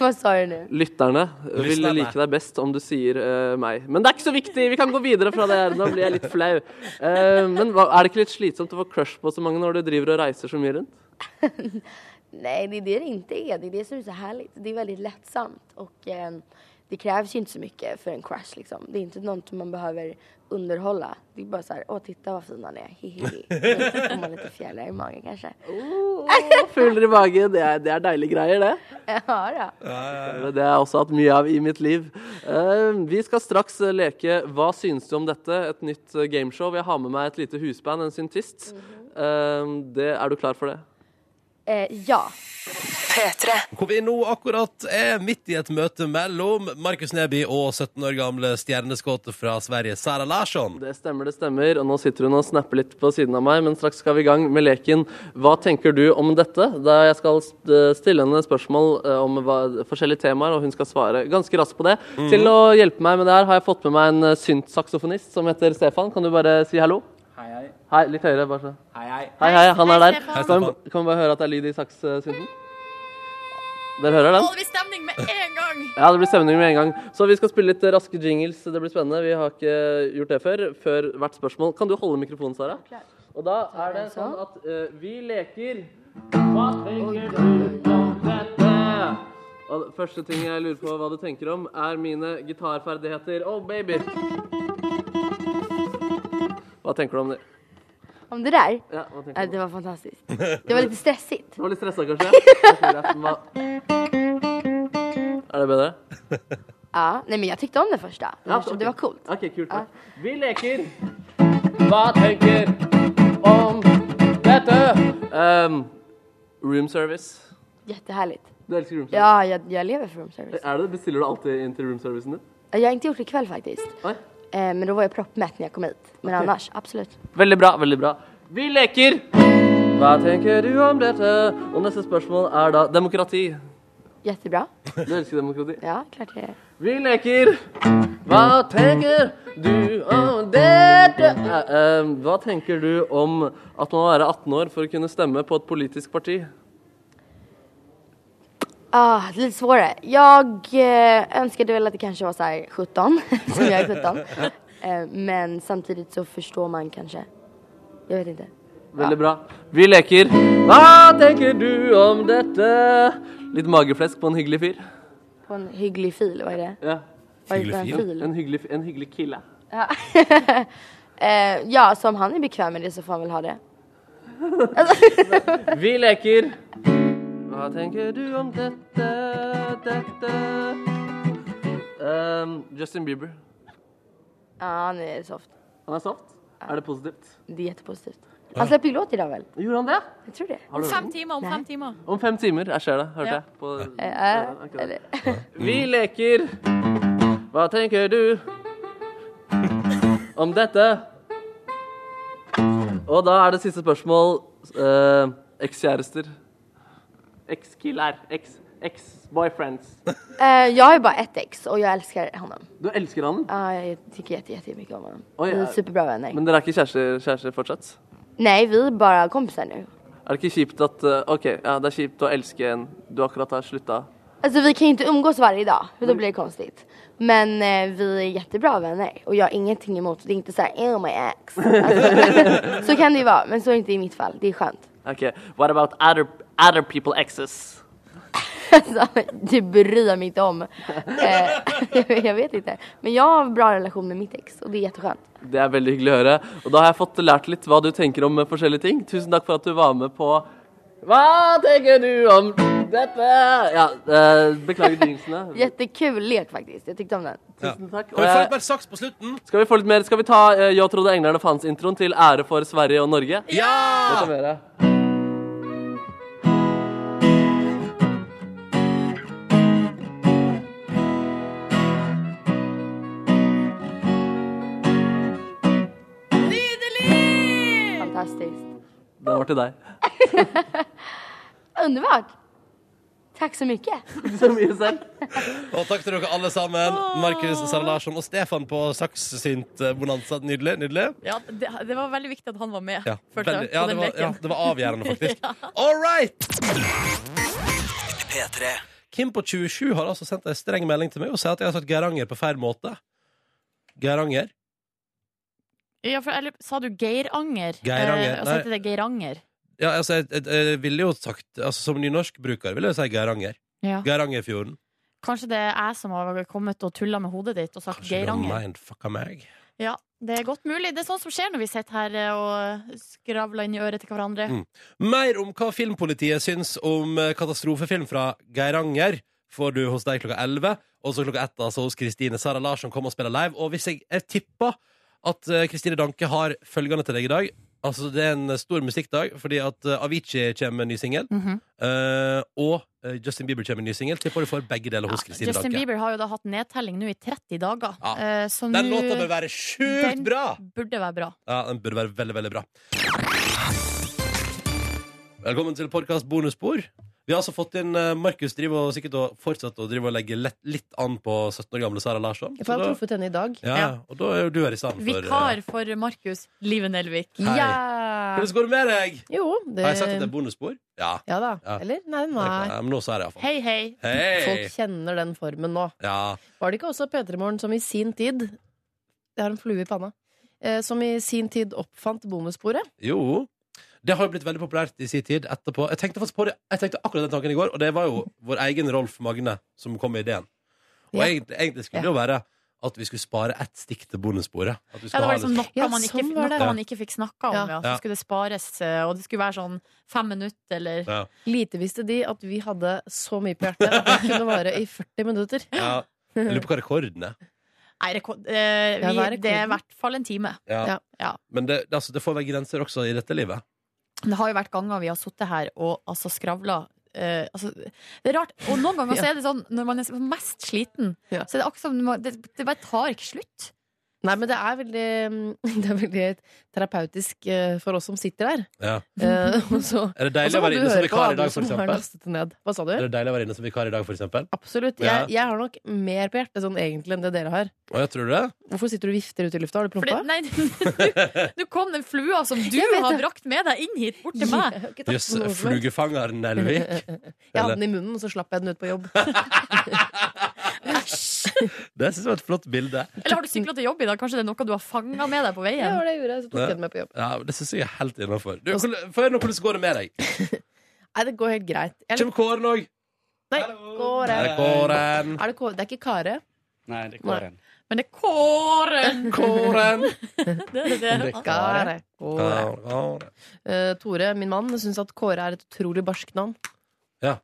Speaker 8: Vad sa du nu?
Speaker 5: Lytterne vil
Speaker 2: Lytterne.
Speaker 5: like deg best om du sier eh, meg. Men det er ikke så viktig! Vi kan gå videre fra det her. Nå blir jeg litt flau. Eh, men hva, er det ikke litt slitsomt å få crush på så mange når du driver og reiser så mye rundt?
Speaker 8: Nej, det är det det inte är. Det är det som är så härligt. Det är väldigt lättsamt och eh, det krävs ju inte så mycket för en crush liksom. Det är inte något man behöver underhålla. Det är bara så här, åh titta vad fin han är, hihi. Så får man lite fjärilar i magen kanske.
Speaker 5: Fugler i magen, det er, det er deilige greier, det.
Speaker 8: Eh, Ja då.
Speaker 5: Det det har jeg også hatt mye av i mitt liv. Eh, Vi skal straks eh, leke Hva syns du om dette? Et nytt eh, gameshow. Jeg har med meg et lite husband, en syntist. Eh, Det, er du klar for det?
Speaker 8: Eh, ja.
Speaker 2: Hvor vi nå akkurat er midt i et møte mellom Markus Neby og 17 år gamle stjerneskuddet fra Sverige, Sara Larsson.
Speaker 5: Det stemmer, det stemmer. Og nå sitter hun og snapper litt på siden av meg, men straks skal vi i gang med leken Hva tenker du om dette? Da jeg skal st- stille henne spørsmål eh, om hva, forskjellige temaer, og hun skal svare ganske raskt på det. Til å hjelpe meg med det her har jeg fått med meg en eh, syntsaksofonist som heter Stefan. Kan du bare si hallo?
Speaker 9: Hei, hei.
Speaker 5: Hei, litt høyere, bare så.
Speaker 9: Hei, hei.
Speaker 5: Hei, hei, han er
Speaker 3: Hei,
Speaker 5: der.
Speaker 3: Stefan.
Speaker 5: Kan vi, kan vi bare høre at det er lyd i sakssynden? Dere hører
Speaker 3: Å,
Speaker 5: den?
Speaker 3: det blir stemning med en gang!
Speaker 5: Ja, det blir stemning med en gang. Så vi skal spille litt raske jingles. Det blir spennende. Vi har ikke gjort det før. Før hvert spørsmål. Kan du holde mikrofonen, Sara? Og da er det sånn at eh, vi leker Hva tenker du om dette? Og det første ting jeg lurer på hva du tenker om, er mine gitarferdigheter. Oh, baby! Hva tenker du om det?
Speaker 8: Om det där?
Speaker 5: Ja, hva tenker du om
Speaker 8: Eh, det var fantastiskt. Det var lite stressigt.
Speaker 5: Du var litt stressa, kanskje? Jeg tror at den var- Er det bedre?
Speaker 8: Ja. Nej men jag tyckte om den första. Den första. Det var coolt.
Speaker 5: Ok, kult. Vi leker Hva tenker om dette? Um, room service.
Speaker 8: Jättehärligt.
Speaker 5: Du elsker room service.
Speaker 8: Ja, jeg, jeg lever for room service.
Speaker 5: Er det? Bestiller du alltid inn til room servicen din?
Speaker 8: Jag har inte gjort det ikväll faktiskt. Eh, men då var jag proppmätt när jag kom hit. Men annars, absolut.
Speaker 5: Veldig bra, veldig bra. Vi leker! Hva tenker du om dette? Og neste spørsmål er da demokrati.
Speaker 8: Jättebra.
Speaker 5: Du elsker demokrati.
Speaker 8: Ja, klart jag
Speaker 5: Vi leker. Hva tenker du om dette? Eh, eh, Hva tenker du om at man må være 18 år for å kunne stemme på et politisk parti?
Speaker 8: Ah, det är lite svårare. Jag eh, önskade väl att det kanske var så här 17, som jag är 17. Eh, men samtidigt så förstår man kanske. Jag vet inte.
Speaker 5: Veldig bra. Vi leker. Hva tenker du om dette? Litt mageflesk på en hyggelig fyr.
Speaker 8: På en hygglig fil, vad är det?
Speaker 5: Ja.
Speaker 8: Vad är det för en
Speaker 2: Hygglig fil?
Speaker 8: fil?
Speaker 5: En hyggelig, en hyggelig kille.
Speaker 8: Ja. eh, ja, så om han är bekväm med det så får han väl ha det.
Speaker 5: Vi leker. Hva tenker du om dette, dette? Ehm, Justin Bieber.
Speaker 8: Ja, han är soft.
Speaker 5: Han er soft. Er det positivt?
Speaker 8: Det är jättepositivt. Han släpper ju låt idag väl?
Speaker 5: Gjorde han det?
Speaker 8: Jag tror det.
Speaker 5: Har du hørt
Speaker 3: Fem
Speaker 5: den?
Speaker 3: timer om fem timer.
Speaker 5: Om fem timer. Jeg ser det. Hørte
Speaker 3: Ja.
Speaker 5: jeg. På,
Speaker 8: Eh, eh,
Speaker 5: akkurat.
Speaker 8: eller,
Speaker 5: Mm. Vi leker. Hva tenker du om dette? Og da er det siste spørsmål. eh, Ekskjærester. Ekskiller. Eks- Eks-boyfriends.
Speaker 8: eh, jag har ju bara ett ex och jag älskar honom.
Speaker 5: Du elsker han,
Speaker 8: Ja, jag tycker Ah, jätte, jättemycket om honom.
Speaker 5: Oj,
Speaker 8: vi är
Speaker 5: ja.
Speaker 8: superbra vänner.
Speaker 5: men dere er ikke kjærester, kjærester fortsatt?
Speaker 8: Nej, vi är bara kompisar nu.
Speaker 5: Er det ikke kjipt at eh, OK, ja, det er kjipt å elske en du akkurat har slutta
Speaker 8: Alltså vi kan ju inte umgås varje dag, för då blir det konstigt. Men eh, vi är jättebra vänner och jag har ingenting emot, det är inte såhär oh my ex. Alltså, så kan det ju vara, men så är det inte i mitt fall, det är skönt.
Speaker 5: OK, what about other, other people exes?
Speaker 8: Alltså, det bryr jag mig inte om. Eh, jag vet inte. Men jag har en bra relation med mitt ex och det är jätteskönt.
Speaker 5: Det er veldig hyggelig å høre. Og da har jeg fått lært litt hva du tenker om eh, forskjellige ting. Tusen takk for at du var med på Hva tenker du om dette? Ja, eh, beklager jinxene.
Speaker 8: Jättekul lek faktiskt, jag tyckte om den.
Speaker 5: Tusen takk.
Speaker 2: Kan
Speaker 5: Og
Speaker 2: vi få
Speaker 5: jeg,
Speaker 2: litt mer saks på slutten?
Speaker 5: skal vi få litt mer? Skal vi ta eh, Jeg trodde englene fantes-introen til ære for Sverige og Norge? Det
Speaker 2: Ja!
Speaker 5: kan vi gjøre.
Speaker 3: Nydelig!
Speaker 8: Fantastiskt.
Speaker 5: Det var til deg.
Speaker 8: Underbart! Tack så mycket.
Speaker 5: Så mye selv.
Speaker 2: Og takk til dere alle sammen. Markus, Sara Larsson og Stefan på saks synt eh, bonanza. Nydelig. nydelig
Speaker 3: Ja, det, det var veldig viktig at han var med.
Speaker 2: ja.
Speaker 3: Følte jeg,
Speaker 2: veldig-
Speaker 3: på
Speaker 2: ja, det
Speaker 3: den
Speaker 2: var,
Speaker 3: leken.
Speaker 2: ja, det var avgjørende, faktisk. All right!
Speaker 10: P3.
Speaker 2: Kim på 27 har altså sendt ei streng melding til meg og sier at jeg har sagt Geiranger på feil måte. Geiranger.
Speaker 3: Ja, for, eller, sa du Geiranger?
Speaker 2: Geiranger,
Speaker 3: Eh, og så heter det Geiranger.
Speaker 2: Ja, altså, jeg, jeg, jeg ville jo sagt altså, Som nynorskbruker ville jeg si Geiranger.
Speaker 3: Ja.
Speaker 2: Geirangerfjorden.
Speaker 3: Kanskje det er jeg som har kommet og tulla med hodet ditt og sagt
Speaker 2: Kanskje du
Speaker 3: Geiranger.
Speaker 2: mindfucka meg?
Speaker 3: Ja, det er godt mulig. Det er sånt som skjer når vi sitter her eh, og skravler inn i øret til hverandre.
Speaker 2: Mm. Mer om hva filmpolitiet syns om eh, katastrofefilm fra Geiranger får du hos deg klokka 11. Og så klokka 1 altså hos Kristine Sara Larsson kommer og spiller live. Og hvis jeg, jeg tipper at eh, Kristine Danke har følgende til deg i dag Altså Det er en eh, stor musikkdag, fordi at eh, Avicii kommer med en ny singel.
Speaker 3: Mhm.
Speaker 2: eh, og eh, Justin Bieber kommer med en ny singel. Tipper du får begge deler hos Kristine
Speaker 3: Justin
Speaker 2: Danke.
Speaker 3: Bieber har jo da hatt nedtelling nå i 30 dager,
Speaker 2: Ja.
Speaker 3: eh, så
Speaker 2: Den låta bør
Speaker 3: nå
Speaker 2: være sjukt
Speaker 3: Den-
Speaker 2: bra!
Speaker 3: burde være bra.
Speaker 2: Ja, den burde være veldig, veldig bra. Velkommen til podkast bonusspor. Vi har altså fått inn eh, Markus driver og sikkert og fortsetter å drive og legge lett, litt an på 17 år gamle Sara Larsson.
Speaker 11: Jeg
Speaker 2: Så
Speaker 11: får ha
Speaker 2: da-
Speaker 11: truffet henne i dag.
Speaker 2: ja, og da er jo du her i stedet for eh,
Speaker 3: Vikar for Markus Live Nelvik.
Speaker 2: Hei.
Speaker 11: Ja!
Speaker 2: Hvordan går det med deg?
Speaker 11: Jo, det
Speaker 2: Har jeg sagt at det er bonusspor? Ja.
Speaker 11: Ja da.
Speaker 2: Ja.
Speaker 11: Eller? Nei, nei.
Speaker 2: Ja, men nå så er det iallfall.
Speaker 3: Hei, hei.
Speaker 2: Hei!
Speaker 11: Folk kjenner den formen nå.
Speaker 2: Ja.
Speaker 11: Var det ikke også P3 Morgen som i sin tid Jeg har en flue i panna. Eh, som i sin tid oppfant bonussporet.
Speaker 2: Jo. Det har jo blitt veldig populært i sin tid etterpå. Jeg tenkte faktisk på det Jeg tenkte akkurat den tanken i går, og det var jo vår egen Rolf Magne som kom med ideen. Og
Speaker 11: Ja.
Speaker 2: egentlig, egentlig skulle det jo være at vi skulle spare ett stikk til bondesporet. At vi skulle
Speaker 3: Ja, det var
Speaker 2: ha
Speaker 3: liksom noe,
Speaker 11: Ja,
Speaker 3: man, ikke,
Speaker 11: sånn var det.
Speaker 3: noe man ikke fikk snakka om, ja.
Speaker 11: Ja.
Speaker 2: Ja.
Speaker 3: Så skulle det spares, eh, og det skulle være sånn fem minutter eller
Speaker 2: Ja.
Speaker 11: Lite visste de at vi hadde så mye på hjertet at det kunne vare i 40 minutter.
Speaker 2: Ja. Jeg lurer på hva rekorden er.
Speaker 3: Nei, rekord, eh,
Speaker 11: Ja,
Speaker 3: vi,
Speaker 11: hva er
Speaker 3: det er i
Speaker 11: rekorden?
Speaker 3: hvert fall en time.
Speaker 2: Ja.
Speaker 11: Ja.
Speaker 3: Ja.
Speaker 2: Men det, altså, det får være grenser også i dette livet.
Speaker 3: Det har jo vært ganger vi har sittet her og altså, skravla eh, altså, Det er rart. Og noen ganger så er det sånn når man er mest sliten, så er det akkurat som man- det, det bare tar ikke slutt.
Speaker 11: Nei, men det er veldig, mm, det er veldig terapeutisk eh, for oss som sitter der.
Speaker 2: Ja.
Speaker 11: Eh, og så-
Speaker 2: Er det deilig
Speaker 11: og så
Speaker 2: å
Speaker 11: må
Speaker 2: være
Speaker 11: du
Speaker 2: inne som
Speaker 11: høre på
Speaker 2: vikar i
Speaker 11: andre
Speaker 2: dag, for
Speaker 11: som har
Speaker 2: eksempel?
Speaker 11: lastet det ned. Hva sa du?
Speaker 2: Er det deilig å være inne som vikar i dag, for eksempel?
Speaker 11: Absolutt.
Speaker 2: Ja.
Speaker 11: Jeg, jeg har nok mer på hjertet sånn egentlig enn det dere har.
Speaker 2: Å, ja, tror du det?
Speaker 11: Hvorfor sitter du og vifter ut i lufta? Har du prompa?
Speaker 3: Nei, Nå kom den flua som du
Speaker 11: Jeg vet
Speaker 3: har
Speaker 11: det.
Speaker 3: brakt med deg inn hit, bort til meg.
Speaker 2: Jøss, flugefanger Nelvik.
Speaker 11: Jeg hadde den i munnen, og så slapp jeg den ut på jobb.
Speaker 2: Det synes jeg var et flott bilde.
Speaker 3: Eller har du sykla til jobb i dag? Kanskje det er noe du har fanga med deg på veien?
Speaker 11: Ja, det gjorde jeg, så tok jeg den med på jobb.
Speaker 2: Ja, men Det syns jeg er helt innafor. Få høre nå hvordan går det med deg.
Speaker 11: Nei, det går helt greit. Jeg-
Speaker 2: Kjem Kåren òg?
Speaker 11: Nei, Kåre.
Speaker 2: Er det Kåren?
Speaker 11: Er det Kåre? Det er ikke Kare.
Speaker 2: Nei, det
Speaker 11: er Kåren.
Speaker 3: Men det er Kåren!
Speaker 2: Kåren!
Speaker 3: det er det.
Speaker 11: Det er Kare. Kåre.
Speaker 2: Kåre.
Speaker 11: Eh, Tore, min mann, syns at Kåre er et utrolig barskt navn.
Speaker 2: Ja.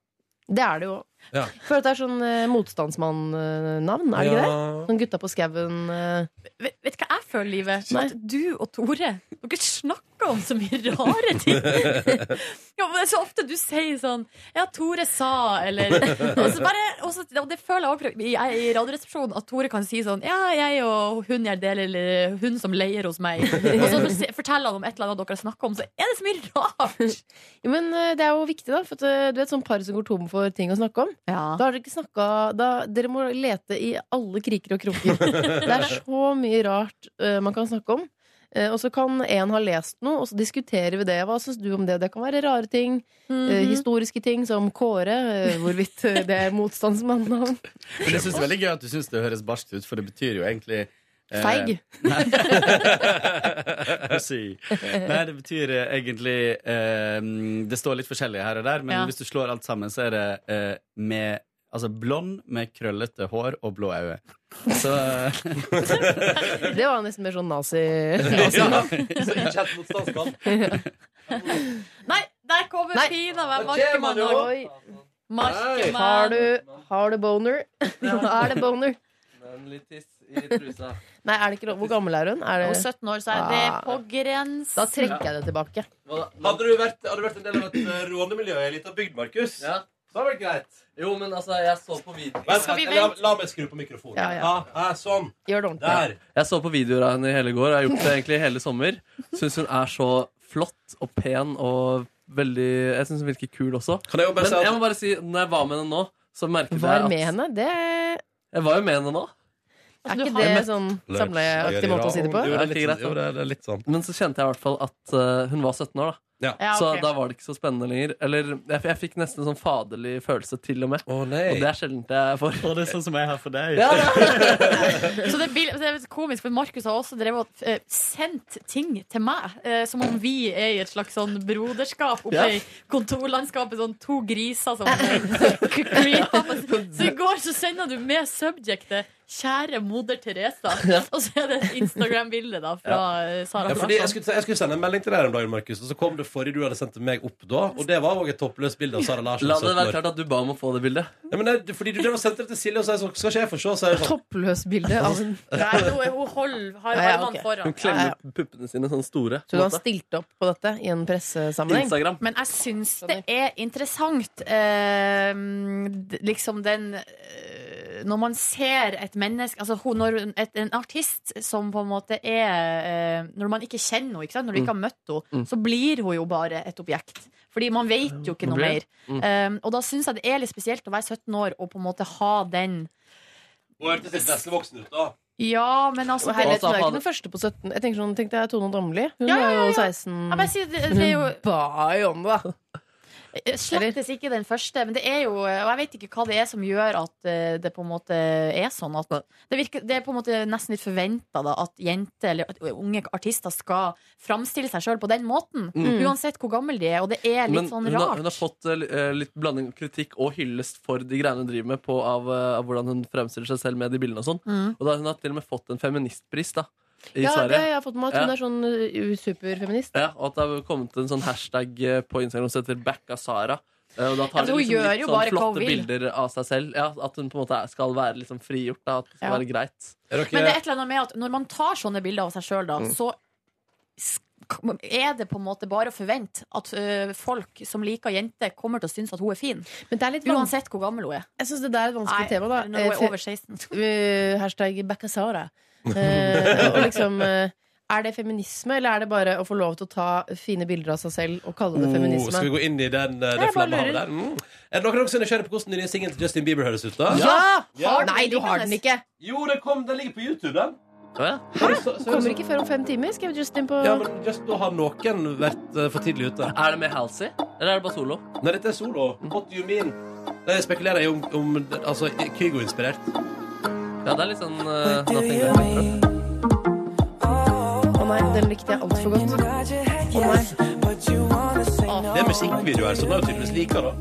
Speaker 11: Det er det jo.
Speaker 2: Ja.
Speaker 11: Føler at det er sånn eh, motstandsmann-navn, er det ikke
Speaker 2: det?
Speaker 11: Sånn gutta på skauen. eh,
Speaker 3: Vet, vet du hva jeg føler, livet? At du og Tore Dere snakker om så mye rare ting. Ja, men det er så ofte du sier sånn Ja, Tore sa, eller Og, så bare, og, så, og det føler jeg også i, i Radioresepsjonen, at Tore kan si sånn Ja, jeg og hun jeg deler, eller hun som leier hos meg. Og så forse- forteller han om et eller annet dere har snakket om, så er det så mye rart!
Speaker 11: Jo, men eh, det er jo viktig, da. For at, eh, du vet sånn par som går tom for ting å snakke om. Da har dere ikke snakka da, Dere må lete i alle kriker og kroker. det er så mye rart eh, man kan snakke om. Eh, og så kan en ha lest noe, og så diskuterer vi det. Hva syns du om det? Det kan være rare ting. eh,
Speaker 12: Mhm.
Speaker 11: historiske ting som Kåre. eh, hvorvidt eh, det er motstandsmannnavn.
Speaker 12: Men jeg synes det er veldig gøy at du syns det høres barskt ut, for det betyr jo egentlig eh,
Speaker 11: Feig.
Speaker 12: Nei. Hva si? Nei, det betyr eh, egentlig eh, Det står litt forskjellig her og der, men
Speaker 3: Ja.
Speaker 12: hvis du slår alt sammen, så er det eh, med Altså blond med krøllete hår og blå øyne. Så eh,
Speaker 11: Det var nesten mer sånn nazi...
Speaker 12: Ja,
Speaker 11: nazi-
Speaker 12: så ikke helt motstandsmann.
Speaker 3: Nei, der kommer
Speaker 11: Nei.
Speaker 3: Pina med
Speaker 11: Da kommer han jo.
Speaker 3: Markemann. Markemann.
Speaker 11: Har du, har du boner? er det boner?
Speaker 5: Litt tiss i trusa.
Speaker 11: Nei, er det ikke lov? Hvor gammel er hun? Er det...
Speaker 3: Hun er 17 år, så er det
Speaker 11: Ah.
Speaker 3: på grensen.
Speaker 11: Da trekker jeg det tilbake.
Speaker 5: Hadde du vært, hadde du vært en del av et eh, rånemiljø i ei lita bygd, Markus, så hadde det vært greit. Jo, men altså, jeg så på video
Speaker 2: Vent, vent, la, la meg skru på mikrofonen.
Speaker 5: Ja, ja.
Speaker 2: ja, sånn.
Speaker 11: Gjør det
Speaker 2: Der.
Speaker 5: Jeg så på videoer av henne i hele går. Jeg har gjort det egentlig hele sommer. Syns hun er så flott og pen og veldig Jeg syns hun virker kul også.
Speaker 2: jo bare
Speaker 5: Men
Speaker 2: si at-
Speaker 5: jeg må bare si, når jeg var med henne nå, så merket
Speaker 11: Var
Speaker 5: jeg
Speaker 11: med
Speaker 5: at
Speaker 11: henne? Det
Speaker 5: Jeg var jo med henne nå.
Speaker 11: er ikke det sånn samleaktig måte å si det på?
Speaker 5: Jo, det er litt- jo, det
Speaker 2: er litt sånn.
Speaker 5: Men så kjente jeg i hvert fall at eh, hun var 17 år, da.
Speaker 2: Ja.
Speaker 11: Ja,
Speaker 5: Så
Speaker 11: ok.
Speaker 5: da var det ikke så spennende lenger. Eller jeg, jeg fikk nesten en sånn faderlig følelse, til og med. Og det er sjelden jeg får.
Speaker 12: Og det er sånn som jeg har for deg.
Speaker 5: Ja,
Speaker 3: Så det, blir- det er litt komisk, for Markus har også drevet og eh, sendt ting til meg. eh, som om vi er i et slags sånn broderskap oppe
Speaker 11: Ja.
Speaker 3: i kontorlandskapet. Sånn to griser som creeper på- Så i går så sender du med subjectet 'Kjære moder Teresa'.
Speaker 2: Ja.
Speaker 3: Og så er det et Instagram-bilde da fra eh, Sara
Speaker 2: Ja, fordi jeg, skulle, jeg skulle sende en melding til deg om dagen, Markus, og så kom det forrige du hadde sendt til meg opp da. Og det var òg et toppløst bilde av Sara Larsen.
Speaker 5: La det være klart at du ba om å få det bildet.
Speaker 2: Ja, men det, fordi du drev og sendte det til Silje, og så er jeg sånn Skal ikke jeg få se? Så er jeg sånn,
Speaker 11: Toppløst bilde av en
Speaker 3: Nei, hun, hun holder har
Speaker 11: Ja, ja,
Speaker 3: armene
Speaker 11: ok.
Speaker 3: foran.
Speaker 5: Hun klemmer puppene sine sånn store.
Speaker 11: Så du har stilt opp på dette i en pressesammenheng?
Speaker 5: Instagram.
Speaker 3: Men jeg syns det er interessant, eh, d- liksom den eh, Når man ser et menneske Altså hun- når et, en artist som på en måte er eh, Når man ikke kjenner henne, ikke sant? når du ikke har møtt henne,
Speaker 11: Mm.
Speaker 3: så blir hun jo bare et objekt. Fordi man vet jo ikke noe mer.
Speaker 11: Mm.
Speaker 3: Eh, og da syns jeg det er litt spesielt å være 17 år og på en måte ha den
Speaker 2: Hun hørtes litt nesten voksen ut, da.
Speaker 3: Ja, men altså
Speaker 11: Og herlighet, hun er ikke den første på 17. Jeg tenker sånn, tenkte jeg Tone Damli. Hun
Speaker 3: Ja, ja, ja,
Speaker 11: var jo
Speaker 3: ja.
Speaker 11: 16.
Speaker 3: Jeg bare sier, det, det er jo
Speaker 11: Ba jo om det, da.
Speaker 3: Slettes Eh, ikke den første, men det er jo Og jeg vet ikke hva det er som gjør at eh, det på en måte er sånn at Det, virker, det er på en måte nesten litt forventa at jenter eller at unge artister skal framstille seg sjøl på den måten.
Speaker 5: Mm.
Speaker 3: Uansett hvor gammel de er, og det er litt
Speaker 5: Men
Speaker 3: sånn
Speaker 5: hun, har,
Speaker 3: rart.
Speaker 5: hun har fått eh, litt blanding av kritikk og hyllest for de greiene hun driver med, på, av, eh, av hvordan hun fremstiller seg selv med de bildene og sånn.
Speaker 3: Mm.
Speaker 5: Og da hun har til og med fått en feministpris, da. I
Speaker 11: Ja, det
Speaker 5: Sverige.
Speaker 11: har jeg fått med at hun
Speaker 5: Ja.
Speaker 11: er sånn uh, superfeminist.
Speaker 5: Ja, og at det har kommet en sånn hashtag eh, på Instagram som heter 'backa Sara'. Eh, Og
Speaker 3: Ja,
Speaker 5: da tar
Speaker 3: men
Speaker 5: de
Speaker 3: hun
Speaker 5: liksom
Speaker 3: gjør
Speaker 5: litt
Speaker 3: jo
Speaker 5: sånn
Speaker 3: bare hva hun
Speaker 5: flotte
Speaker 3: vil.
Speaker 5: bilder av seg selv. Ja, at hun på en måte er- skal være liksom frigjort. Da, at det skal
Speaker 3: Ja.
Speaker 5: være greit.
Speaker 3: Men det er et eller annet med at når man tar sånne bilder av seg sjøl, da,
Speaker 5: Mm.
Speaker 3: så s- er det på en måte bare å forvente at ø, folk som liker jenter, kommer til å synes at hun er fin? Uansett hvor gammel hun er.
Speaker 11: Jeg syns det der er et
Speaker 3: Nei,
Speaker 11: vanskelig tema, da.
Speaker 3: når hun er
Speaker 11: Eh, for-
Speaker 3: over 16.
Speaker 11: Eh, hashtag Bakkasara. Eh, og liksom eh, Er det feminisme, eller er det bare å få lov til å ta fine bilder av seg selv og kalle det feminisme?
Speaker 2: Oh, skal vi gå inn i den, eh, det
Speaker 11: Jeg bare
Speaker 2: flammehavet
Speaker 11: lurer.
Speaker 2: der? Mm. Er det noen av dere som er nysgjerrig på hvordan den nye singelen til Justin Bieber høres ut? da?
Speaker 11: Ja! Har den
Speaker 2: Nei, du har
Speaker 11: den ikke.
Speaker 2: Jo, den, kom, den ligger på YouTube, den.
Speaker 11: Kommer ikke før om fem timer. Skrev Justin på
Speaker 2: Ja, men just Da har noen vært eh, for tidlig ute.
Speaker 5: Er det med Halsey, eller er det bare solo?
Speaker 2: Nei, dette er solo. What do you mean? Det spekulerer jeg om, om altså, Kygo-inspirert.
Speaker 5: Ja, det er litt sånn eh, nothing but Minecraft.
Speaker 11: Å nei, den likte jeg altfor godt. Å nei.
Speaker 2: Det er musikkvideo her, så den er jo tydeligvis like, da.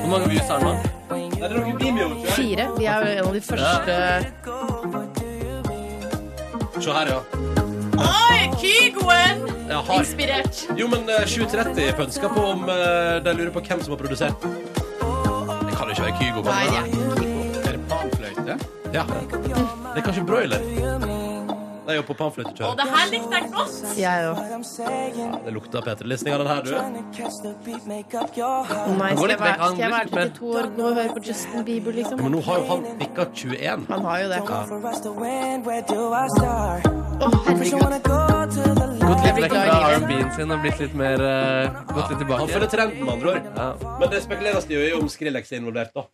Speaker 2: Hvor mange views har den, da? Nei, det er noen Vimeo, tror jeg.
Speaker 11: Fire. Vi er jo en av de første
Speaker 2: Se her, ja.
Speaker 3: Oi, Kygoen!
Speaker 2: Jeg har-
Speaker 3: Inspirert.
Speaker 2: Jo, men eh, 7.30 pønsker på om eh, de lurer på hvem som har produsert. Det kan jo ikke være Kygo.
Speaker 11: Nei, det er
Speaker 2: Er det panfløyte? Ja. Det er kanskje broiler. Det er jo på
Speaker 3: Og
Speaker 2: panfløytekjøret.
Speaker 3: det her likte jeg godt.
Speaker 11: Jeg
Speaker 2: Ja, det lukter P3-lesning av den her, du.
Speaker 11: Å nei,
Speaker 2: Gå
Speaker 11: skal
Speaker 2: litt
Speaker 11: jeg være,
Speaker 2: vekk, han
Speaker 11: skal jeg
Speaker 2: blir
Speaker 11: være
Speaker 2: litt mer.
Speaker 11: 32 år nå og høre på Justin Bieber, liksom?
Speaker 2: Men nå har jo han bikka 21.
Speaker 11: Han har jo det.
Speaker 2: Ja.
Speaker 5: Gått litt
Speaker 2: blir
Speaker 5: vekk
Speaker 2: glad i
Speaker 5: fra
Speaker 2: livet.
Speaker 5: R&B-en sin og blitt litt mer eh, Gått litt tilbake.
Speaker 2: Han følger trenden, med andre ord. Men det spekuleres det jo i om Skrillex er involvert, da.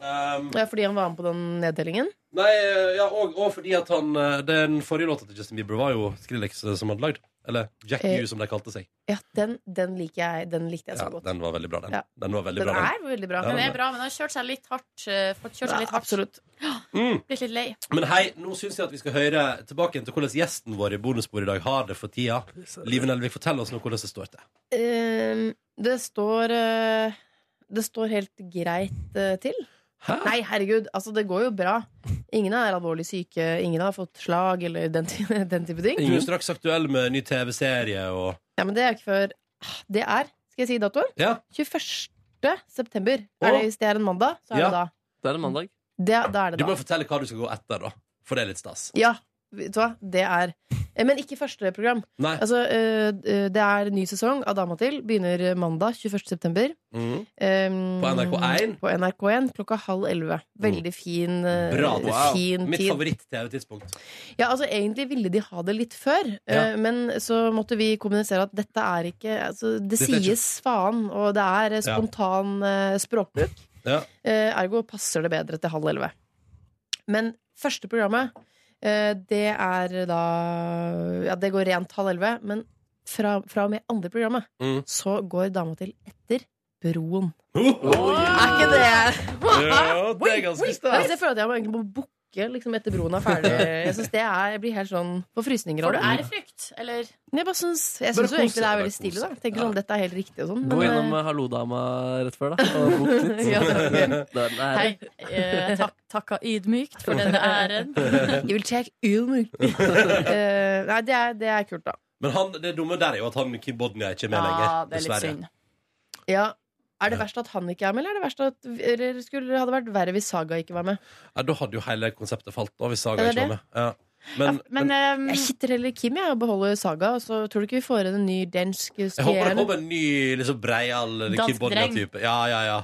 Speaker 2: Um,
Speaker 11: Ja, fordi han var med på den nedtellingen?
Speaker 2: nei, ja, og, og fordi at han eh, Den forrige låta til Justin Bieber var jo Skrillex eh, som hadde lagd. Eller Jack
Speaker 11: Eh,
Speaker 2: U, som de kalte seg.
Speaker 11: Ja, den, den, liker jeg, den likte jeg så
Speaker 2: Ja,
Speaker 11: godt.
Speaker 2: den var veldig bra, den.
Speaker 11: Ja.
Speaker 2: Den var veldig
Speaker 11: Den
Speaker 2: bra,
Speaker 11: er veldig bra.
Speaker 2: Ja,
Speaker 3: Den er bra, men den har kjørt seg litt hardt. ø, Fått kjørt seg litt hardt.
Speaker 11: Absolutt.
Speaker 2: Mm.
Speaker 3: Blitt litt lei.
Speaker 2: Men hei, nå syns jeg at vi skal høre tilbake igjen til hvordan gjesten vår i bonusbordet i dag har det for tida. Live Nelvik, fortell oss nå hvordan det står til.
Speaker 11: Ehm, det står eh, Det står helt greit eh, til. Nei, herregud. Altså, det går jo bra. Ingen er alvorlig syke. Ingen har fått slag eller den, ty- den type ting.
Speaker 2: Du er straks aktuell med ny TV-serie og
Speaker 11: Ja, men det er jo ikke før ah, Det er, skal jeg si datoen?
Speaker 2: Ja.
Speaker 11: 21. september. Er det, hvis det er en mandag, så er
Speaker 2: Ja.
Speaker 11: det da.
Speaker 5: Det er en mandag.
Speaker 11: Det, da er det
Speaker 2: Du
Speaker 11: da.
Speaker 2: må fortelle hva du skal gå etter, da. For det er litt stas.
Speaker 11: Ja, vet du hva? Det er eh, Men ikke første program.
Speaker 2: Nei.
Speaker 11: Altså, eh, det er ny sesong av Dama til. Begynner mandag 21. september.
Speaker 2: Mm.
Speaker 11: Um,
Speaker 2: På NRK1?
Speaker 11: På NRK1 klokka halv elleve. Veldig fin, eh,
Speaker 2: Bra. Wow.
Speaker 11: fin
Speaker 2: Mitt
Speaker 11: tid.
Speaker 2: favoritt-TV-tidspunkt.
Speaker 11: Ja, altså Egentlig ville de ha det litt før, eh, men så måtte vi kommunisere at dette er ikke altså, Det
Speaker 2: Dette er ikke-
Speaker 11: sies faen, og det er
Speaker 2: Ja.
Speaker 11: eh, spontan eh, språkbruk.
Speaker 2: Ja.
Speaker 11: Eh, ergo passer det bedre til halv elleve. Men første programmet, eh, det er da Ja, det går rent halv elleve, men fra, fra og med andre programmet
Speaker 2: Mm.
Speaker 11: så går dama til etter Broen.
Speaker 2: Er
Speaker 11: ikke det
Speaker 2: Ja, det er ganske
Speaker 11: Altså,
Speaker 2: stas.
Speaker 11: Jeg føler at jeg må egentlig må booke liksom, etter Broen er ferdig. Jeg synes det er, jeg blir helt sånn på frysninger. av
Speaker 3: Får du
Speaker 11: det.
Speaker 3: ærefrykt, eller?
Speaker 11: Jeg bare syns, jeg
Speaker 5: Bare
Speaker 11: syns jo egentlig det
Speaker 5: kose,
Speaker 11: er
Speaker 5: bare
Speaker 11: veldig stille.
Speaker 5: kose.
Speaker 11: da Tenker sånn, dette er helt riktig og sånn.
Speaker 5: Gå
Speaker 11: men,
Speaker 5: innom
Speaker 11: eh,
Speaker 5: eh, Hallo-dama rett før, da. Og bok litt.
Speaker 11: Ja,
Speaker 5: Den er-
Speaker 3: Hei, eh, takk, takka ydmykt for denne æren.
Speaker 11: Jeg vil sjekke ydmykt. Eh, nei, det er, det er kult, da.
Speaker 2: Men han, det dumme der er jo at han Kim Bodnia ikke er med
Speaker 3: Ja,
Speaker 2: lenger.
Speaker 3: det er litt
Speaker 2: dessverre.
Speaker 3: synd.
Speaker 11: Ja. Er det verst at han ikke er med, eller er det verst at eller skulle det hadde vært verre hvis Saga ikke var med?
Speaker 2: Ja, da hadde jo hele konseptet falt av hvis Saga
Speaker 11: Er det
Speaker 2: ikke var
Speaker 11: det?
Speaker 2: med. Ja. Men, men
Speaker 3: eh,
Speaker 11: jeg sitter heller Kim jeg, og beholder Saga. og Så tror du ikke vi får en ny dansk
Speaker 2: jeg håper det
Speaker 11: skjerne?
Speaker 2: kommer en ny liksom, breial eller Kim
Speaker 11: Dansk
Speaker 2: Bodnia-type. Ja, ja, ja.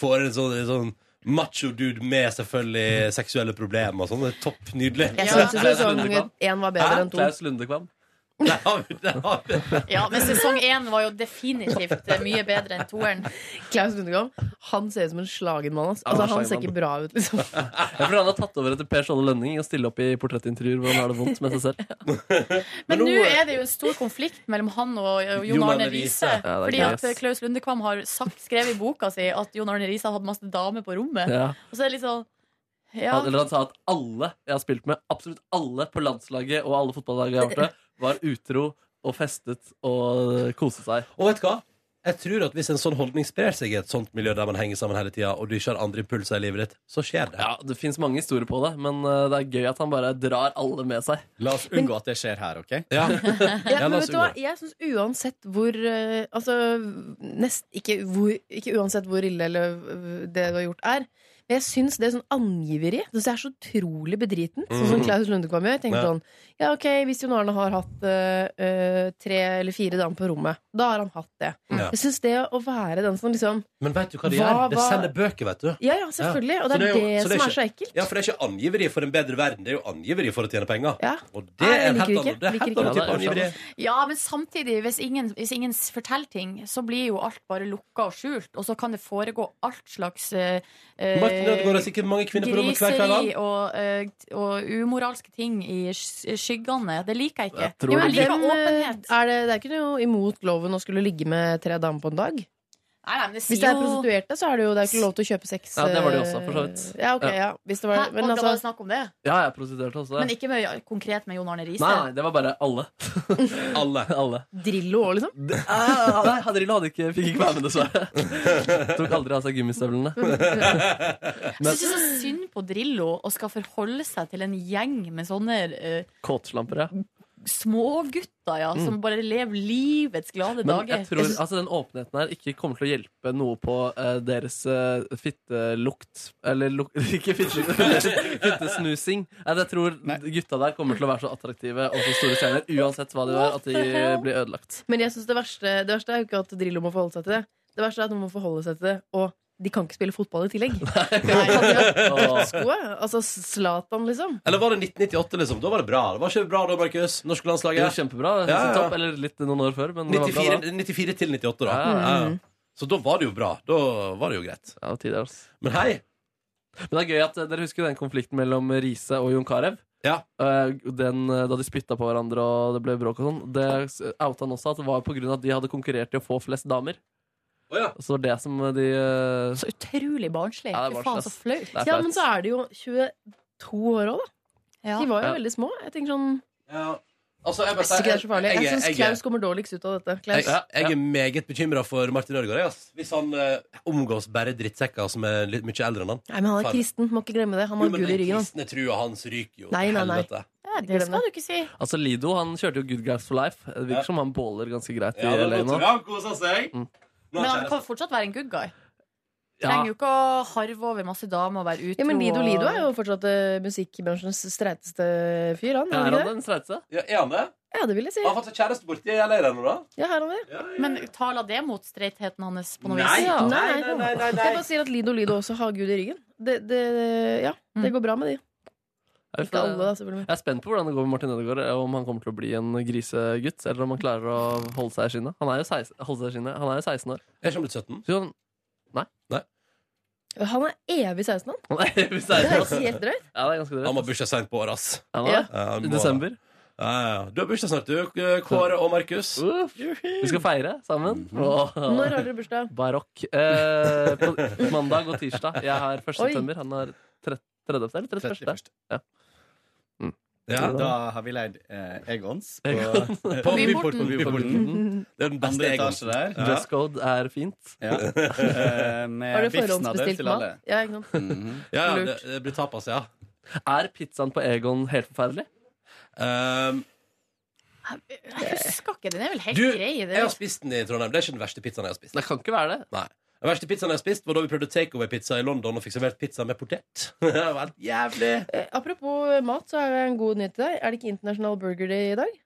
Speaker 2: Får en sånn, en sånn macho dude med selvfølgelig seksuelle problemer og sånn. Det er topp nydelig.
Speaker 11: Jeg synes jo sesong én var bedre enn to.
Speaker 5: Klaus Lundekvam.
Speaker 2: Der har vi- der har vi det.
Speaker 3: Ja, men sesong én var jo definitivt eh, mye bedre enn toeren.
Speaker 11: Klaus Lundegård, han ser ut som en slagenmann. ass.
Speaker 5: Ja,
Speaker 11: Altså,
Speaker 5: han er
Speaker 11: han ser
Speaker 5: slagen
Speaker 11: ikke bra ut, liksom.
Speaker 5: Jeg tror han har tatt over etter Per Ståle Lønning og stille opp i portrettintervjuer hvor han har det vondt med seg selv.
Speaker 3: Men nå er det jo en stor konflikt mellom han og og Jon Arne Riise.
Speaker 5: Ja, det er
Speaker 3: Fordi
Speaker 5: greit.
Speaker 3: at eh, Klaus Lundekvam har sagt, skrevet i boka si at Jon Arne Riise har hatt masse damer på rommet.
Speaker 5: Ja.
Speaker 3: Og så er det litt sånn ja.
Speaker 5: Han, eller han sa at alle jeg har spilt med, absolutt alle på landslaget og alle fotballag jeg har vært med, var utro og festet og koste seg.
Speaker 2: Og vet du hva? Jeg tror at Hvis en sånn holdning sprer seg i et sånt miljø der man henger sammen hele tida, og du ikke har andre impulser i livet ditt, så skjer det.
Speaker 5: Ja, Det fins mange historier på det, men eh, det er gøy at han bare drar alle med seg.
Speaker 12: La oss unngå at det skjer her, OK?
Speaker 2: Ja.
Speaker 11: Ja, men vet du hva? Jeg syns uansett hvor eh, Altså, nest, ikke, hvor, ikke uansett hvor ille eller eh, det du har gjort, er, Men jeg syns det er sånn angiveri. Det synes jeg er så utrolig bedritent. Sånn som
Speaker 3: Mm.
Speaker 11: Klaus Lundekvam gjør. Jeg tenker
Speaker 3: Ja.
Speaker 11: sånn Ja, ok, hvis Jon Arne har hatt eh, eh, tre eller fire damer på rommet, da har han hatt det.
Speaker 2: Ja.
Speaker 11: Jeg syns det å være den som liksom
Speaker 2: Men vet du hva de
Speaker 11: Hva
Speaker 2: gjør? De
Speaker 11: var-
Speaker 2: sender bøker, vet du.
Speaker 11: Ja, ja, selvfølgelig. Og det
Speaker 2: Så
Speaker 11: er
Speaker 2: jo-
Speaker 11: det
Speaker 2: så
Speaker 11: som er så
Speaker 2: ikke-
Speaker 11: ekkelt.
Speaker 2: Ja, for det er ikke angiveri for en bedre verden, det er jo angiveri for å tjene penger. Og det
Speaker 11: Nei,
Speaker 2: er
Speaker 11: jeg
Speaker 2: en
Speaker 11: liker
Speaker 2: helt annen,
Speaker 11: ikke.
Speaker 2: det er
Speaker 11: Liker
Speaker 2: helt
Speaker 11: ikke.
Speaker 2: annen
Speaker 11: Ja,
Speaker 2: type
Speaker 11: det er
Speaker 2: angiveri.
Speaker 3: Ja, men samtidig, hvis ingen, hvis ingen forteller ting, så blir jo alt bare lukka og skjult. Og så kan det foregå alt slags eh, eh,
Speaker 2: Martin Ødegaard har sikkert mange kvinner på rommet hver kveld, han.
Speaker 3: Griseri og, eh, og umoralske ting i sky- eh, skyggene. Det liker jeg ikke.
Speaker 2: Jeg tror
Speaker 3: Jo,
Speaker 2: det
Speaker 3: jeg liker
Speaker 11: Men,
Speaker 3: åpen-
Speaker 11: eh, er det, det er ikke noe imot loven å skulle ligge med tre damer på en dag?
Speaker 3: Nei, nei, men det
Speaker 11: Hvis
Speaker 3: sier
Speaker 11: det er
Speaker 3: jo
Speaker 11: prostituerte, så er det jo det er ikke lov til å kjøpe sex.
Speaker 5: Ja, det var det
Speaker 11: eh,
Speaker 5: også, for så vidt.
Speaker 11: Ja, ok,
Speaker 5: Ja.
Speaker 11: ja. Hvis det var,
Speaker 3: Hæ? Og
Speaker 11: men
Speaker 3: da var det
Speaker 11: altså
Speaker 3: snakk om det?
Speaker 5: Ja, jeg prostituerte også.
Speaker 3: Men ikke med, konkret med Jon Arne Riise?
Speaker 5: Nei, nei, det var bare alle.
Speaker 2: alle.
Speaker 11: Drillo òg, liksom?
Speaker 5: Ah, nei, Hadrilo hadde ikke, fikk ikke være med, dessverre. Tok aldri av seg gummistøvlene.
Speaker 3: Jeg syns det er så synd på Drillo å skal forholde seg til en gjeng med sånne eh,
Speaker 5: Kåtslamper, ja.
Speaker 3: smågutter ja, som
Speaker 5: Mm.
Speaker 3: bare lever livets glade
Speaker 5: Men
Speaker 11: eh,
Speaker 3: dager.
Speaker 5: jeg tror altså, den åpenheten her ikke kommer til å hjelpe noe på eh, deres eh, fittelukt Eller luk ikke fittelukt, men fittesnusing. Nei, jeg tror gutta der kommer til å være så attraktive og så store stjerner uansett hva de gjør, at de
Speaker 11: What the hell?
Speaker 5: blir ødelagt.
Speaker 11: Men jeg synes det verste, det verste er jo ikke at Drillo må forholde seg til det. Det verste er at noen må forholde seg til det, og de kan ikke spille fotball i tillegg. Skoet? Altså Zlatan, liksom?
Speaker 2: Eller var det 1998, liksom? Da var det bra. Det var ikke bra da, Markus? Norske landslaget?
Speaker 5: Det var kjempebra. det synes jeg topp, eller litt noen år før, men det var bra
Speaker 2: 94,
Speaker 5: da.
Speaker 2: 94 til 98, da.
Speaker 5: Ja, ja, ja.
Speaker 11: Mm.
Speaker 2: Ja. Så da var det jo bra. Da var det jo greit.
Speaker 5: altså.
Speaker 2: Men hei!
Speaker 5: Men det er gøy at eh, Dere husker den konflikten mellom Riise og Jon Carew? Eh, Den, eh, da de spytta på hverandre og det ble bråk og sånn. Det s- outa han også at det var på grunn av at de hadde konkurrert i å få flest damer. Så det var det som eh, de eh,
Speaker 3: Så utrolig barnslig.
Speaker 5: Ja, det er
Speaker 3: Fy faen,
Speaker 5: barnslig,
Speaker 3: så
Speaker 5: ass.
Speaker 3: flaut.
Speaker 5: Det er
Speaker 11: Ja,
Speaker 5: flaut.
Speaker 11: men så er det jo 22 år òg, da. De var jo
Speaker 2: Ja.
Speaker 11: veldig små. Jeg tenker sånn
Speaker 2: Altså, jeg
Speaker 11: Jeg
Speaker 2: bare
Speaker 11: synes ikke det er så farlig.
Speaker 2: jeg-
Speaker 11: Jeg syns
Speaker 2: jeg-
Speaker 11: Klaus kommer dårligst ut av dette.
Speaker 2: Jeg,
Speaker 11: Klaus.
Speaker 2: jeg er meget bekymra for Martin Ødegaard. jeg, ass. Hvis han eh, omgås bare drittsekker som er litt mye eldre enn han.
Speaker 11: Nei, men han er
Speaker 2: Faen.
Speaker 11: kristen. Må ikke glemme det. Han
Speaker 2: Jo,
Speaker 11: har
Speaker 2: men
Speaker 11: Gud i
Speaker 2: den
Speaker 11: ryggen. han.
Speaker 2: kristne trua hans ryker jo.
Speaker 11: Nei, nei, nei.
Speaker 2: Helvete.
Speaker 3: Ja, det skal du ikke si.
Speaker 5: Altså Lido han kjørte jo Good Guys for Life. Det virker som han båler ganske greit
Speaker 2: Ja,
Speaker 5: i
Speaker 2: det
Speaker 5: LA
Speaker 2: låter
Speaker 5: nå.
Speaker 2: bra. Kosa seg.
Speaker 3: Men han kan fortsatt være en good guy.
Speaker 5: Ja.
Speaker 3: Trenger jo ikke å harve over masse damer og være utro.
Speaker 11: Ja, men Lido
Speaker 3: og-
Speaker 11: Lido er jo fortsatt eh, musikkbransjens streiteste fyr, han.
Speaker 2: Er
Speaker 11: Er
Speaker 2: han
Speaker 11: han ikke det?
Speaker 2: Ja, er han det?
Speaker 11: Ja, det vil jeg si.
Speaker 2: Har han fått seg kjæreste borti LA ennå, da?
Speaker 11: Ja, her er han det.
Speaker 3: Men taler det mot streitheten hans på noe
Speaker 2: Nei.
Speaker 3: vis?
Speaker 11: Ja. Nei,
Speaker 2: nei, nei, nei, nei.
Speaker 11: Jeg bare sier at Lido Lido også har Gud i ryggen. Det, det, ja, det går bra med de.
Speaker 5: Jeg vet
Speaker 11: Ikke alle, da, selvfølgelig.
Speaker 5: Jeg er spent på hvordan det går med Martin Ødegaard. eh, Om han kommer til å bli en grisegutt, eller om han klarer å holde seg i skinnet. Han er jo 16, holde seg i skinnet. Han er jo 16 år.
Speaker 2: Er ikke han blitt 17?
Speaker 5: Så han, nei.
Speaker 11: Han er evig 16, han.
Speaker 5: Han er evig
Speaker 11: Det
Speaker 5: 16
Speaker 11: er
Speaker 5: år.
Speaker 11: helt drøyt.
Speaker 5: Ja, det er ganske drøyt.
Speaker 2: Han må bursdag seint på året, ass. Eh,
Speaker 5: Ja, han er det.
Speaker 2: han
Speaker 5: I
Speaker 2: må-
Speaker 5: desember.
Speaker 2: Ja, ja, ja. Du har bursdag snart, du, Kåre og Markus.
Speaker 5: Vi skal feire sammen.
Speaker 2: Mhm.
Speaker 5: Åh.
Speaker 11: Når har dere bursdag?
Speaker 5: Barokk. Eh, på mandag og tirsdag. Jeg har 1.
Speaker 11: Oi.
Speaker 5: september. Han har 30. eller 31.? Ja.
Speaker 12: Ja, da har vi leid eh, Egons på,
Speaker 5: Egon. På
Speaker 12: eh,
Speaker 5: Byporten.
Speaker 12: på
Speaker 5: Byporten.
Speaker 12: Det er den beste Andre etasje der.
Speaker 5: Egonsen. Dress code er fint.
Speaker 12: Ja. Eh, med
Speaker 11: Har du
Speaker 12: biffen av det
Speaker 11: forhåndsbestilt
Speaker 12: til alle. Mhm.
Speaker 11: mat? Ja, ikke sant?
Speaker 2: Ja, ja, det,
Speaker 11: Lurt.
Speaker 2: det blir tapas, ja.
Speaker 5: Er pizzaen på Egon helt forferdelig?
Speaker 2: Eh,
Speaker 3: Jeg husker ikke. Den er vel helt
Speaker 2: Du,
Speaker 3: grei. Det
Speaker 2: jeg har spist den i Trondheim. Det er ikke den verste pizzaen jeg har spist.
Speaker 5: Det kan ikke være det.
Speaker 2: Nei. Den verste pizzaen jeg har spist, var da vi prøvde takeaway-pizza i London og fikk servert pizza med potet. Det var helt jævlig
Speaker 11: Eh, Apropos eh, mat, så er det en god nyhet til deg. Er det ikke internasjonal burger day i dag?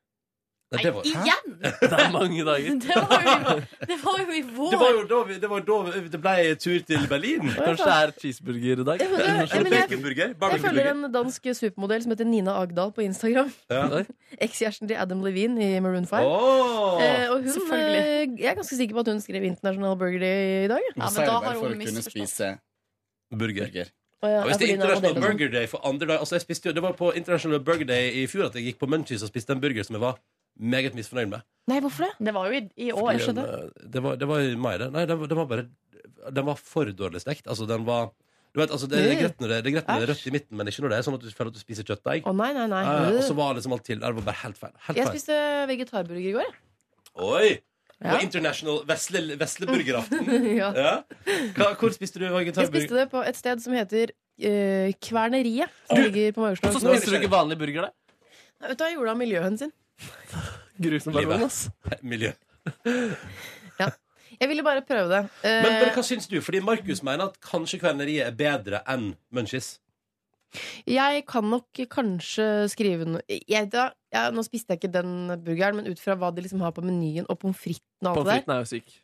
Speaker 2: Nei, det var- Hæ?
Speaker 3: igjen?
Speaker 5: Det er mange dager.
Speaker 3: Det var jo, det var jo i vår.
Speaker 2: Det var jo da, vi, det, var da vi- det ble tur til Berlin.
Speaker 5: Kanskje det er cheeseburger i dag?
Speaker 11: Ja, men det- ja, men jeg-
Speaker 2: Baconburger.
Speaker 11: Jeg
Speaker 2: baconburger.
Speaker 11: følger en dansk supermodell som heter Nina Agdal på Instagram.
Speaker 2: Ja.
Speaker 11: Ekskjæresten til Adam Levine i Maroon 5.
Speaker 2: Åh!
Speaker 11: Eh, og hun, eh,
Speaker 3: Selvfølgelig.
Speaker 11: jeg er ganske sikker på at hun skrev International Burger Day i dag.
Speaker 12: Ja, men da har hun misforstått.
Speaker 2: Burger.
Speaker 11: Å ja,
Speaker 2: Og hvis det er International
Speaker 11: Adelina Modell og sånn.
Speaker 2: Burger Day for andre dag altså jeg spiste, jo- Det var på International Burger Day i fjor at jeg gikk på Munchies og spiste en burger som jeg var meget misfornøyd med.
Speaker 11: Nei, hvorfor det?
Speaker 3: Det var jo i, i år.
Speaker 2: Fordi den, eh, det, var, det var i mai, det. Nei, den, var- den var bare Den var for dårlig stekt. Altså, den var du vet, altså, det, er greit når det, det er greit når det er rødt i midten, men ikke når det er sånn at du føler at du spiser kjøttdeig.
Speaker 11: Å, nei, nei, nei.
Speaker 2: Eh, og så var liksom alt til. Det var bare helt feil. Helt
Speaker 11: Jeg
Speaker 2: feil.
Speaker 11: spiste vegetarburger i går.
Speaker 2: Oi! Det
Speaker 11: Ja.
Speaker 2: var International vesle, Vesleburgeraften.
Speaker 11: Ja.
Speaker 2: Ja. Hva, hvor spiste du
Speaker 11: Jeg spiste
Speaker 2: vegetarburger?
Speaker 11: det på et sted som heter eh, Kverneriet. Som ligger på Majorstua.
Speaker 5: Så spiser du ikke vanlig burger, da?
Speaker 11: Nei, Vet du hva jeg gjorde av miljøhensyn? Eh.
Speaker 5: Grusom baron, ass.
Speaker 2: Miljø.
Speaker 11: Jeg ville bare prøve det. Eh,
Speaker 2: Men, men hva syns du? Fordi Markus mener at kanskje Kvelneriet er bedre enn Munchies.
Speaker 11: Mm. Jeg kan nok kanskje skrive noe jeg, da, ja, Nå spiste jeg ikke den burgeren, men ut fra hva de liksom har på menyen, og pommes fritesen og alt
Speaker 5: Pommes
Speaker 11: det der.
Speaker 5: fritesen er jo syk.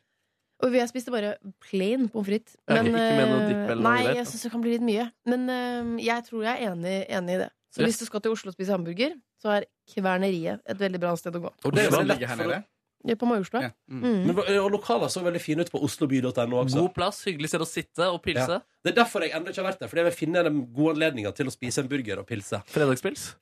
Speaker 11: Og jeg spiste bare plain pommes frites. eh,
Speaker 5: Ja, ikke med noe dipp eller noe
Speaker 11: nei,
Speaker 5: greit,
Speaker 11: jeg
Speaker 5: da.
Speaker 11: syns det kan bli litt mye. Men eh, jeg tror jeg er enig, enig i det. Så
Speaker 5: Ja.
Speaker 11: hvis du skal til Oslo og spise hamburger, så er Kverneriet et veldig bra sted å gå.
Speaker 2: Og det er
Speaker 12: Hvor
Speaker 2: veldig
Speaker 12: ligger
Speaker 2: lett
Speaker 12: her
Speaker 2: for
Speaker 12: nede?
Speaker 11: Ja, På Majorstua. Mm.
Speaker 2: Men, eh, og lokaler så veldig fine ut på osloby.no også.
Speaker 5: God plass, hyggelig sted å sitte og
Speaker 2: Ja.
Speaker 5: pilse.
Speaker 2: Det er derfor jeg ennå ikke har vært der, fordi jeg vil finne den gode anledninga til å spise en burger og pilse.
Speaker 5: Fredagspils?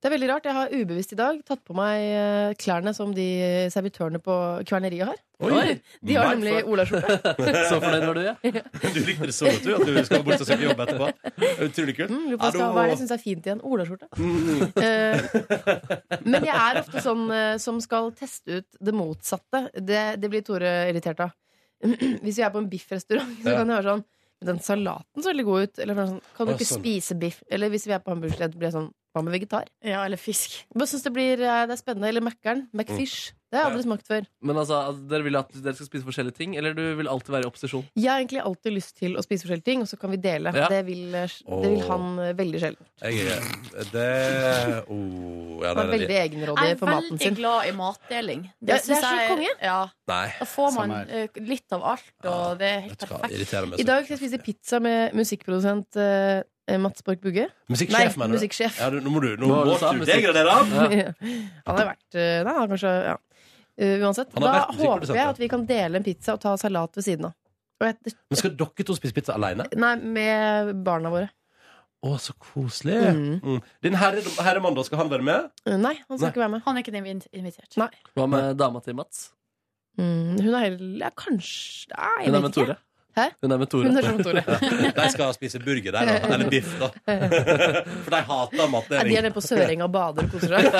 Speaker 11: Det er veldig rart. Jeg har ubevisst i dag tatt på meg eh, klærne som de servitørene på Kverneriet har.
Speaker 2: Oi.
Speaker 11: De
Speaker 2: Nei,
Speaker 11: har nemlig
Speaker 2: for-
Speaker 11: olaskjorte.
Speaker 5: Så fornøyd var du, ja.
Speaker 2: Du likte det så godt, du, at du skal bort og søke jobb etterpå. Det er Utrolig kult.
Speaker 11: Mm, lurer på hva jeg skal- hva er det jeg syns er fint i en olaskjorte? Eh, men jeg er ofte sånn eh, som skal teste ut det motsatte. Det, det blir Tore irritert av. Hvis vi er på en biffrestaurant, så
Speaker 13: Ja.
Speaker 11: kan jeg være sånn Men den salaten så veldig god ut. Eller sånn, kan du
Speaker 13: Å,
Speaker 11: ikke
Speaker 13: sånn.
Speaker 11: spise biff? Eller hvis vi er på hamburgersted, blir jeg sånn Hva med vegetar? Ja, eller fisk. Jeg synes det, blir, eh, det er spennende. Eller Mækkern. Mcfish. Det har jeg aldri smakt før.
Speaker 5: Men altså, at dere vil at dere skal spise forskjellige ting, eller du vil alltid være i opposisjon?
Speaker 11: Jeg har egentlig alltid lyst til å spise forskjellige ting, og så kan vi dele.
Speaker 5: Ja.
Speaker 11: Det, vil, det vil han eh, veldig sjelden.
Speaker 2: Jeg er Det oh, ja, nei,
Speaker 11: Han er
Speaker 2: det
Speaker 11: veldig
Speaker 2: er de.
Speaker 11: egenrådig på
Speaker 3: Jeg
Speaker 11: maten
Speaker 3: er
Speaker 11: sin.
Speaker 3: veldig glad i matdeling.
Speaker 11: Ja, det
Speaker 3: synes
Speaker 11: er så
Speaker 3: jeg-
Speaker 11: konge.
Speaker 3: Ja.
Speaker 2: Nei.
Speaker 3: Da får man
Speaker 2: Samme her. Ah,
Speaker 3: eh, litt av alt, og det er helt perfekt.
Speaker 2: Irriterer meg
Speaker 11: I
Speaker 2: så.
Speaker 11: dag skal jeg spise pizza med musikkprodusent eh, Mats Borch Bugge.
Speaker 2: Musikksjef,
Speaker 11: Nei,
Speaker 2: mener du?
Speaker 11: musikksjef.
Speaker 2: Ja, du, nå må du, nå
Speaker 5: Nå har du
Speaker 2: må
Speaker 5: sagt
Speaker 2: du
Speaker 5: musikk.
Speaker 2: degradere han!
Speaker 11: Ja. Han har vært eh, Nei, han har kanskje Ja. Eh, uansett.
Speaker 2: Han
Speaker 11: Da
Speaker 2: har vært musikkprodusent,
Speaker 11: håper jeg
Speaker 2: ja.
Speaker 11: at vi kan dele en pizza og ta salat ved siden av. Og jeg,
Speaker 2: Men skal dere to spise pizza aleine?
Speaker 11: nei, med barna våre.
Speaker 2: Å, så koselig. Mm. Din herre, herremann, da, skal han være med?
Speaker 11: Eh, Nei, han skal
Speaker 2: Nei.
Speaker 11: ikke være med.
Speaker 3: Han er ikke invit- invitert.
Speaker 11: Nei.
Speaker 5: Hva med dama til Mats?
Speaker 11: Mm, hun er heller ja, Kanskje Nei, jeg
Speaker 5: Hun er
Speaker 11: vet
Speaker 5: med
Speaker 11: ikke.
Speaker 5: Tore.
Speaker 11: Hæ?
Speaker 5: Hun er med Tore.
Speaker 11: Hun er som Tore.
Speaker 2: Ja, De skal spise burger der, da. Eller biff, da. For de hater
Speaker 11: Nei, de er
Speaker 2: matnæring.
Speaker 11: nede på Sørenga og bader og koser seg.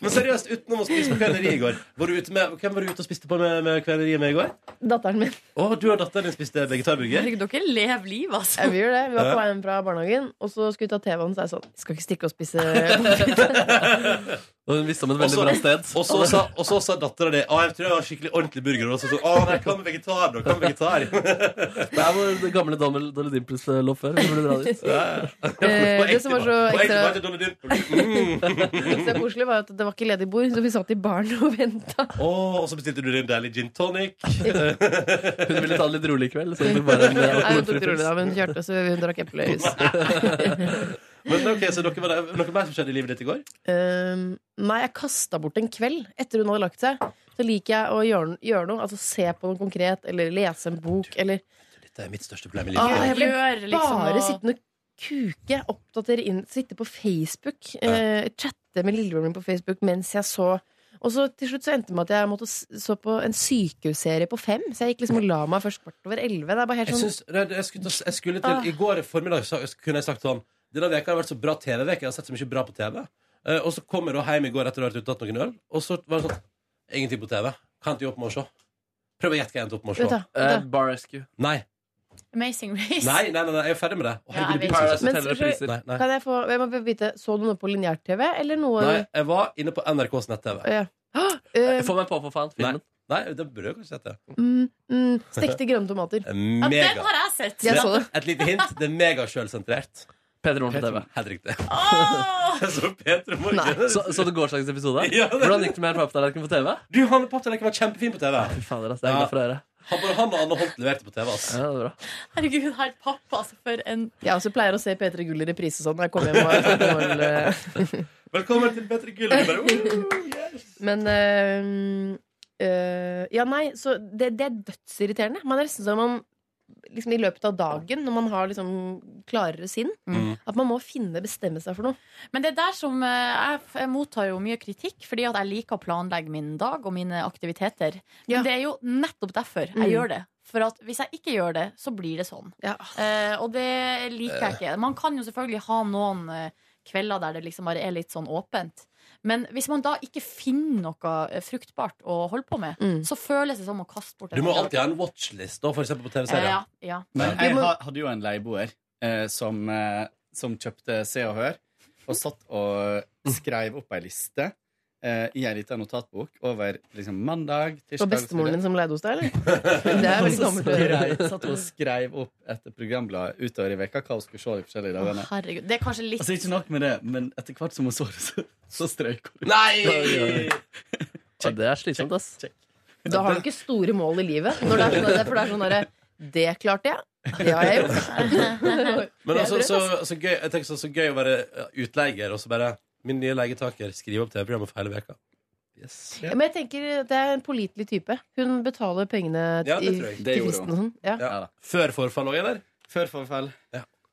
Speaker 2: Men seriøst, utenom å spise på Kveleri i går, var du ute med, hvem var du ute og spiste på med, med Kveleri med i går?
Speaker 11: Datteren min.
Speaker 2: Å, du og datteren din spiste vegetarburger?
Speaker 3: Herregud, dere lever livet, altså.
Speaker 11: Ja, vi gjør det. Vi var
Speaker 2: Ja.
Speaker 11: på vei hjem fra barnehagen, og så skulle vi ta TV-en, så er jeg sånn Skal ikke stikke og spise pommes frites.
Speaker 5: Og hun visste om et
Speaker 2: Og
Speaker 5: veldig
Speaker 2: så-
Speaker 5: bra sted.
Speaker 2: Og så sa, og så sa dattera di Å, jeg tror jeg har skikkelig ordentlig burger. Og så sa hun, å, nei, hva med vegetar, da? Hva med vegetar?
Speaker 5: Det er hvor det gamle Donald Donald Dimples eh, lå før. Vi burde dra dit.
Speaker 11: Eh, det som var så
Speaker 2: På ekte var
Speaker 11: ekstra,
Speaker 2: det Donald Duck. Mm.
Speaker 11: ekstra koselig, var at det var ikke ledig bord, så vi satt i baren og venta.
Speaker 2: Å, og så bestilte du din deilige gin tonic.
Speaker 5: Hun ville ta det litt rolig i kveld. Så hun ble bare en eh,
Speaker 11: Hun tok
Speaker 5: alkoholfri
Speaker 11: det rolig da,
Speaker 5: pils.
Speaker 11: men hun kjørte, så hun drakk eplejus.
Speaker 2: Men ok, så dere var der, noe mer som skjedde i livet ditt i går?
Speaker 11: Um, nei, jeg kasta bort en kveld etter hun hadde lagt seg. Så liker jeg å gjøre, gjøre noe. Altså se på noe konkret, eller lese en bok, eller
Speaker 2: Dette er mitt største problem i
Speaker 11: Ah,
Speaker 2: livet.
Speaker 11: jeg ble
Speaker 3: Gjør liksom
Speaker 11: bare
Speaker 3: noe-
Speaker 11: sittende og kuke, oppdatere inn, sitte på Facebook, eh, chatte med lillebroren min på Facebook mens jeg så Og så til slutt så endte det med at jeg måtte s- så på en sykehusserie på fem, så jeg gikk liksom og la meg først kvart over elleve. Det er bare helt
Speaker 2: Jeg,
Speaker 11: sånn
Speaker 2: syns- nei, jeg, skulle, ta- jeg skulle til
Speaker 11: Ah.
Speaker 2: I går formiddag sa- kunne jeg sagt sånn Denne veka har vært så bra TV-veke. Jeg har sett så mye bra på TV. Eh, og så kom jeg da hjem i går etter å ha vært ute og tatt noen øl, og så var det sånn Ingenting på TV. Hva endte jeg opp med å se? Prøv å gjette hva jeg endte opp med å se.
Speaker 11: Vet du, vet
Speaker 5: Eh, Bar Rescue.
Speaker 2: Nei.
Speaker 3: Amazing Race.
Speaker 2: Nei, nei, nei, nei, jeg er ferdig med det. Å,
Speaker 3: Ja,
Speaker 2: herregud, det
Speaker 3: jeg
Speaker 2: blir
Speaker 5: vet.
Speaker 2: så-
Speaker 5: Men skal vi-
Speaker 2: Nei, nei.
Speaker 11: Kan jeg få Jeg må bare vite, så du noe på lineær-TV, eller noe
Speaker 2: nei, jeg var inne på NRKs nett-TV.
Speaker 11: Ja. Eh,
Speaker 5: Få meg på, for faen.
Speaker 2: Nei,
Speaker 5: Filmen.
Speaker 2: nei, det burde jeg kanskje sett det.
Speaker 11: mm, mm, stekte grønne tomater.
Speaker 3: Ja,
Speaker 2: Mega.
Speaker 3: den har jeg sett.
Speaker 11: Jeg så det.
Speaker 2: Et lite hint. Det er megasjølsentrert.
Speaker 5: Peter Morten TV.
Speaker 2: Helt riktig.
Speaker 3: Åh!
Speaker 2: Så Peter
Speaker 11: Nei.
Speaker 5: Så, så det gårsdagens episode?
Speaker 2: Ja, det-
Speaker 5: Hvordan gikk det med Papptallerken på TV?
Speaker 2: Du, han med papptallerken var kjempefin på TV.
Speaker 5: Fy fader, ass, det er jeg
Speaker 2: Ja.
Speaker 5: glad for å høre.
Speaker 2: Han, både han og Anne Holt leverte på TV. ass.
Speaker 5: Ja, det er bra.
Speaker 3: Herregud, her pappa, altså, for en
Speaker 11: Jeg også pleier å se P3 Gull i reprise sånn når jeg kommer hjem. og har fått mål, eh.
Speaker 2: Velkommen til Petter Gull. Jeg bare, «Woo!»
Speaker 11: Men eh, eh, Ja, nei, så det, det er dødsirriterende. Man er nesten som om liksom, i løpet av dagen, når man har liksom klarere sinn,
Speaker 2: Mm.
Speaker 11: at man må finne bestemme seg for noe.
Speaker 3: Men det er der som eh, jeg, f- jeg mottar jo mye kritikk, fordi at jeg liker å planlegge min dag og mine aktiviteter. Men
Speaker 11: Ja.
Speaker 3: det er jo nettopp derfor jeg
Speaker 11: Mm.
Speaker 3: gjør det. For at hvis jeg ikke gjør det, så blir det sånn.
Speaker 11: Ja.
Speaker 3: Eh, og det liker jeg ikke. Man kan jo selvfølgelig ha noen eh, kvelder der det liksom bare er litt sånn åpent. Men hvis man da ikke finner noe eh, fruktbart å holde på med,
Speaker 11: Mm.
Speaker 3: så føles det som å kaste bort
Speaker 2: Du må
Speaker 3: dag.
Speaker 2: alltid ha en watchlist, da, for eksempel på
Speaker 3: Eh, ja,
Speaker 2: TV-serier.
Speaker 3: ja.
Speaker 12: Men
Speaker 11: Vi
Speaker 12: jeg
Speaker 11: må-
Speaker 12: ha- hadde jo en leieboer eh, som, eh, som kjøpte Se og Hør, og satt og skrev opp ei liste eh, i ei lita notatbok over liksom, mandag,
Speaker 11: Det var
Speaker 12: tirsdag
Speaker 11: bestemoren din som leide hos deg, eller?
Speaker 12: Det
Speaker 11: er veldig gammelt å gjøre.
Speaker 12: Satt hun og skrev opp etter programbladet utover i veka hva hun skulle se de
Speaker 3: Å,
Speaker 12: forskjellige dagene.
Speaker 3: herregud. Det er kanskje litt
Speaker 12: Altså, ikke nok med det, men etter hvert som hun så det, så, så strøyk hun.
Speaker 2: Nei!
Speaker 12: Ja, det er slitsomt, ass.
Speaker 11: Da har du ikke store mål i livet. Når det er sånn, for det er sånn derre Det klarte jeg. Det har jeg gjort.
Speaker 2: Men
Speaker 11: Det er
Speaker 2: altså,
Speaker 11: drømt,
Speaker 2: så,
Speaker 11: ass.
Speaker 2: så gøy, jeg tenker sånn, så gøy å være utleier, og så bare Min nye leietaker skriver opp TV-programmet for hele veka. Yes.
Speaker 11: Ja, Men jeg tenker det er en pålitelig type. Hun betaler pengene
Speaker 2: Ja, det
Speaker 11: til
Speaker 2: tror jeg.
Speaker 11: til
Speaker 2: Det gjorde
Speaker 11: fristen og sånn. Ja.
Speaker 2: Ja. Før forfall òg, eller?
Speaker 12: Før forfall.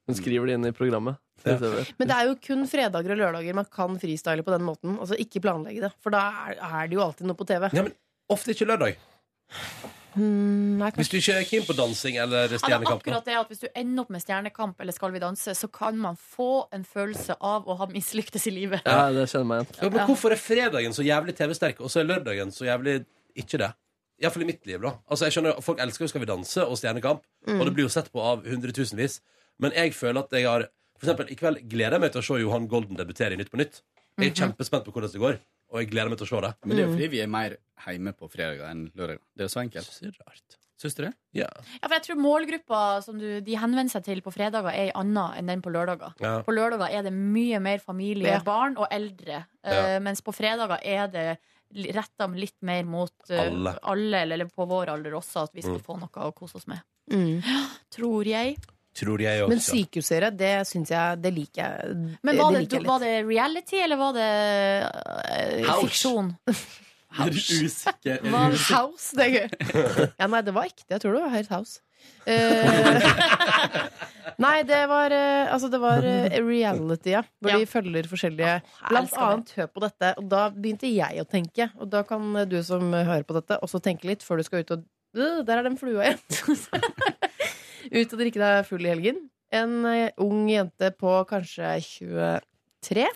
Speaker 5: Hun skriver det inn i programmet. Til TV.
Speaker 11: Men det er jo kun fredager og lørdager man kan freestyle på den måten. Altså ikke planlegge det, for da er, er det jo alltid noe på TV.
Speaker 2: Ja, men ofte ikke lørdag.
Speaker 11: Mm, nei,
Speaker 2: Hvis du ikke er keen på dansing eller
Speaker 3: Ja, det er
Speaker 2: Stjernekamp.
Speaker 3: akkurat det at Hvis du ender opp med Stjernekamp eller Skal vi danse, så kan man få en følelse av å ha mislyktes i livet.
Speaker 2: Ja,
Speaker 5: det kjenner meg
Speaker 2: Ja, men hvorfor er fredagen så jævlig TV-sterk, og så er lørdagen så jævlig ikke det? Iallfall i mitt liv, da. Altså, jeg skjønner, Folk elsker jo Skal vi danse og Stjernekamp,
Speaker 12: Mm.
Speaker 2: og det blir jo sett på av hundretusenvis. Men jeg føler at jeg har For eksempel, i kveld gleder jeg meg til å se Johan Golden debutere i Nytt på Nytt. Jeg er
Speaker 12: Mhm.
Speaker 2: kjempespent på hvordan det går, og jeg gleder meg til å se det.
Speaker 12: Men det er jo fordi vi er mer hjemme på fredager enn lørdager. Det er jo så enkelt. Syns du det?
Speaker 2: Ja.
Speaker 3: Ja, for jeg tror målgruppa som du, de henvender seg til på fredager, er en annen enn den på lørdager.
Speaker 12: Ja.
Speaker 3: På lørdager er det mye mer familie,
Speaker 11: Ja.
Speaker 3: barn og eldre. Eh, mens på fredager er det li- retta litt mer mot eh,
Speaker 2: Alle.
Speaker 3: alle, eller eller på vår alder også, at vi skal
Speaker 2: Mm.
Speaker 3: få noe å kose oss med.
Speaker 11: Mm.
Speaker 3: Tror jeg.
Speaker 2: Tror jeg også.
Speaker 11: Men sykehusserier, det syns jeg Det liker jeg.
Speaker 3: Men var det,
Speaker 11: liker jeg litt.
Speaker 3: var det reality, eller var det eh,
Speaker 11: House.
Speaker 3: fiksjon?
Speaker 12: Er du usikker? Er du
Speaker 11: Var det
Speaker 12: usikker?
Speaker 11: house, det er gøy. Ja, nei, det var ekte. Jeg tror det var helt house. Eh, nei, det var eh, Altså, det var eh, reality, ja. Hvor de følger forskjellige Blant
Speaker 3: elsker
Speaker 11: annet Hør på dette. Og da begynte jeg å tenke. Og da kan eh, du som hører på dette, også tenke litt før du skal ut og Øh, Der er den flua igjen! ut og drikke deg full i helgen. En eh, ung jente på kanskje 23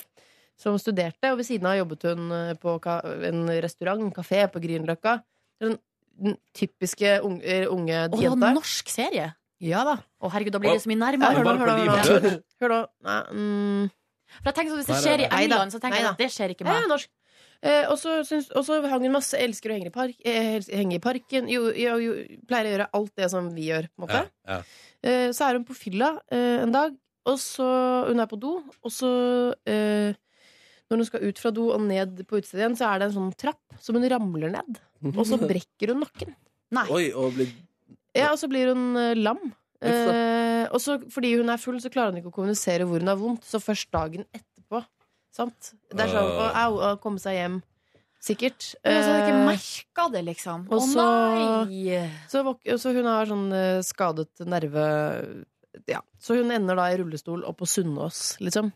Speaker 11: som studerte, og ved siden av jobbet hun eh, på ka- en restaurant, en kafé på Grünerløkka. Den den typiske unge, eh, unge
Speaker 3: Å,
Speaker 11: jenta.
Speaker 3: norsk serie!
Speaker 11: Ja da.
Speaker 3: Å, herregud, da blir det så mye nærmere.
Speaker 11: Ja, hør nå, hør nå, hør nå. Hør nå. Nei, mm.
Speaker 3: For jeg tenker sånn, Hvis det
Speaker 11: Nei, nei,
Speaker 3: skjer i
Speaker 11: nei.
Speaker 3: England,
Speaker 11: Neida.
Speaker 3: så tenker jeg
Speaker 11: Neida.
Speaker 3: at det skjer ikke
Speaker 11: Ja,
Speaker 3: meg.
Speaker 11: ja, norsk. Eh, og så syns- og så hang hun masse 'elsker å henge i, park, eh, hels- henge i parken'. Jo, jo, jo, pleier å gjøre alt det som vi gjør, på en måte.
Speaker 2: Ja.
Speaker 11: Eh, så er hun på fylla eh, en dag, og så Hun er på do, og så eh, Når hun skal ut fra do og ned på utstedet igjen, så er det en sånn trapp som hun ramler ned. Og så brekker hun nakken.
Speaker 5: Oi, og blir
Speaker 11: Ja, og så blir hun eh, lam.
Speaker 5: Uff da.
Speaker 11: Eh, og så fordi hun er full, så klarer hun ikke å kommunisere hvor hun har vondt. Så først dagen etterpå. Sant? Det er sånn å,
Speaker 3: Ah.
Speaker 11: au, å komme seg hjem. Sikkert.
Speaker 3: Men altså, jeg har ikke
Speaker 11: Eh,
Speaker 3: merka det, liksom. Å
Speaker 11: og så,
Speaker 3: nei!
Speaker 11: så, våk- så hun har sånn eh, skadet nerve Ja. Så hun ender da i rullestol og på Sunnaas, liksom.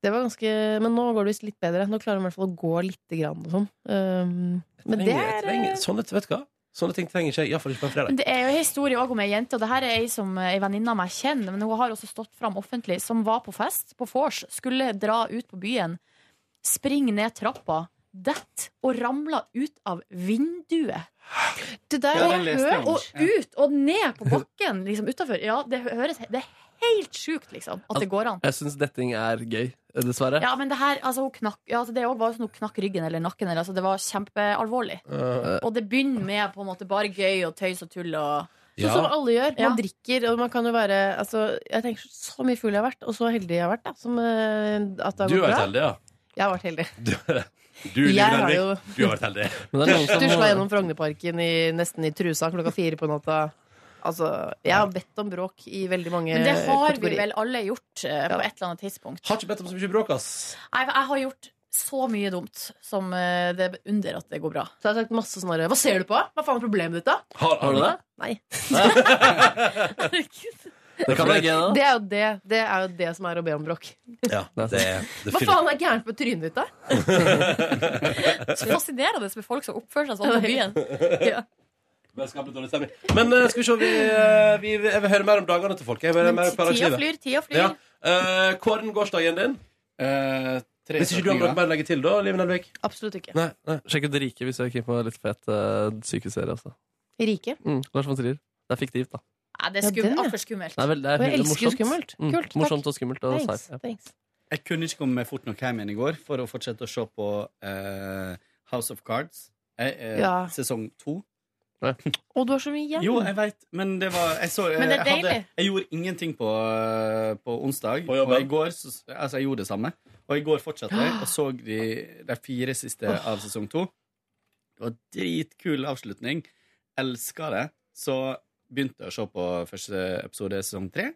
Speaker 11: Det var ganske Men nå går det visst litt bedre. Nå klarer hun i hvert fall å gå lite grann og sånn. Um, men det
Speaker 2: Trenger-
Speaker 11: er eh,
Speaker 2: trenger- sånne, vet du hva? Sånne ting trenger ikke jeg, iallfall ikke på en fredag.
Speaker 3: Men det er jo en historie også om ei jente, og det her er ei som ei venninne av meg kjenner, men hun har også stått fram offentlig, som var på fest på vors, skulle dra ut på byen, springe ned trappa, dett og ramla ut av vinduet.
Speaker 11: Det
Speaker 3: og,
Speaker 11: der har jeg lest om.
Speaker 3: og ut og ned på bakken, liksom utafor. Ja, det høres Det er helt sjukt, liksom, at det går an.
Speaker 5: Jeg syns detting er gøy, dessverre.
Speaker 3: Ja, men det her, altså, hun knakk, ja, altså, det også var sånn hun knakk ryggen eller nakken. Eller, altså, det var kjempealvorlig.
Speaker 5: Eh,
Speaker 3: Og det begynner med på en måte bare gøy og tøys og tull og
Speaker 11: Sånn som alle gjør.
Speaker 3: Ja.
Speaker 11: Man drikker, og man kan jo være altså, Jeg tenker så mye full jeg har vært, og så heldig jeg har vært, da. Som, eh, at det har
Speaker 2: Du har
Speaker 11: gått
Speaker 2: vært
Speaker 11: bra.
Speaker 2: heldig, ja.
Speaker 11: Jeg har vært heldig.
Speaker 2: Du, Liv
Speaker 11: Jeg har
Speaker 2: Nelvik,
Speaker 11: jo-
Speaker 2: du har vært heldig.
Speaker 11: Stusla gjennom Frognerparken i, nesten i trusa klokka fire på natta. Altså, jeg har bedt om bråk i veldig mange
Speaker 3: Men det har vi
Speaker 11: kategorier.
Speaker 3: vel alle gjort eh, på et eller annet tidspunkt.
Speaker 2: Har ikke bedt om så mye bråk, ass.
Speaker 3: Nei, for jeg har gjort så mye dumt som eh, det er under at det går bra.
Speaker 11: Så jeg har sagt masse sånn herre Hva ser du på? Hva faen er problemet ditt, da?
Speaker 2: Har,
Speaker 5: har du det?
Speaker 11: Nei.
Speaker 5: Det kan være gøy, da.
Speaker 11: Det er jo det, det, er jo det som er å be om bråk.
Speaker 2: Ja, det, det
Speaker 11: Hva faen er gærent med trynet ditt, da?
Speaker 3: Så fascinerende med folk som oppfører seg sånn på byen.
Speaker 11: Ja.
Speaker 2: Men skaper dårlig stemning. Men eh, skal vi se, vi, eh, vi, jeg vil høre mer om dagene til folk. Jeg vil høre mer om
Speaker 3: Tida
Speaker 2: hverdagslivet.
Speaker 3: flyr, tida flyr.
Speaker 2: Ja. Eh, Kåren, gårsdagen din? Hvis ikke du har
Speaker 5: setninger.
Speaker 2: noe mer å legge til, da, Liv Nelvik?
Speaker 11: Absolutt ikke.
Speaker 5: Sjekk ut Rike hvis du er keen på litt fet uh, sykeserie. Altså.
Speaker 11: Rike?
Speaker 5: Mm, Lars von Trier. Det er fiktivt, da.
Speaker 3: Nei, det er skum,
Speaker 11: Ja, den, ja.
Speaker 3: altfor skummelt.
Speaker 5: Det er, vel, det er
Speaker 11: Og jeg
Speaker 5: hyggelig,
Speaker 11: elsker
Speaker 5: morsomt.
Speaker 11: skummelt.
Speaker 5: Mm,
Speaker 11: Kult, takk.
Speaker 5: morsomt og skummelt. Og
Speaker 11: Thanks,
Speaker 5: sci-fi.
Speaker 11: thanks.
Speaker 12: Jeg kunne ikke komme meg fort nok hjem igjen i går for å fortsette å se på eh, House of Cards, eh, eh,
Speaker 11: Ja.
Speaker 12: sesong to.
Speaker 11: Og du har så mye igjen.
Speaker 12: Jo, jeg veit, men det var Jeg, så, jeg,
Speaker 11: Men det er
Speaker 12: jeg, hadde,
Speaker 11: deilig.
Speaker 12: jeg gjorde ingenting på, eh, på onsdag. og i går så, altså, jeg gjorde det samme. Og i går fortsatte jeg og så de, de fire siste av sesong to. Det var dritkul avslutning. Elska det. Så begynte jeg å se på første episode i sesong tre.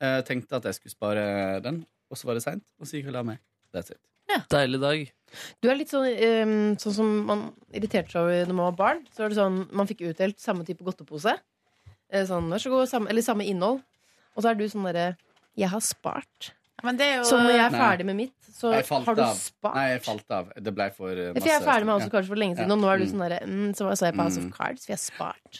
Speaker 12: Eh, tenkte at jeg skulle spare den, og så var det seint. Og så gikk jeg og la meg. That's it.
Speaker 5: Deilig dag.
Speaker 11: Du er litt sånn, ehm, sånn som man irriterte seg over når man var barn. Så var det sånn, Man fikk utdelt samme type godtepose. Eh, Sånn, vær så god, samme, Eller samme innhold. Og så er du sånn derre Jeg har spart. Så når jeg er ferdig med mitt, så
Speaker 12: Jeg falt
Speaker 11: har du
Speaker 12: av.
Speaker 11: spart.
Speaker 12: Nei, jeg falt av. Det ble for eh,
Speaker 11: For jeg er ferdig med House
Speaker 12: Ja.
Speaker 11: of Cards for lenge siden,
Speaker 12: Ja.
Speaker 11: og nå er du
Speaker 12: Mm.
Speaker 11: sånn derre mm, Så så jeg på House of
Speaker 12: Mm.
Speaker 11: Cards, for jeg har spart.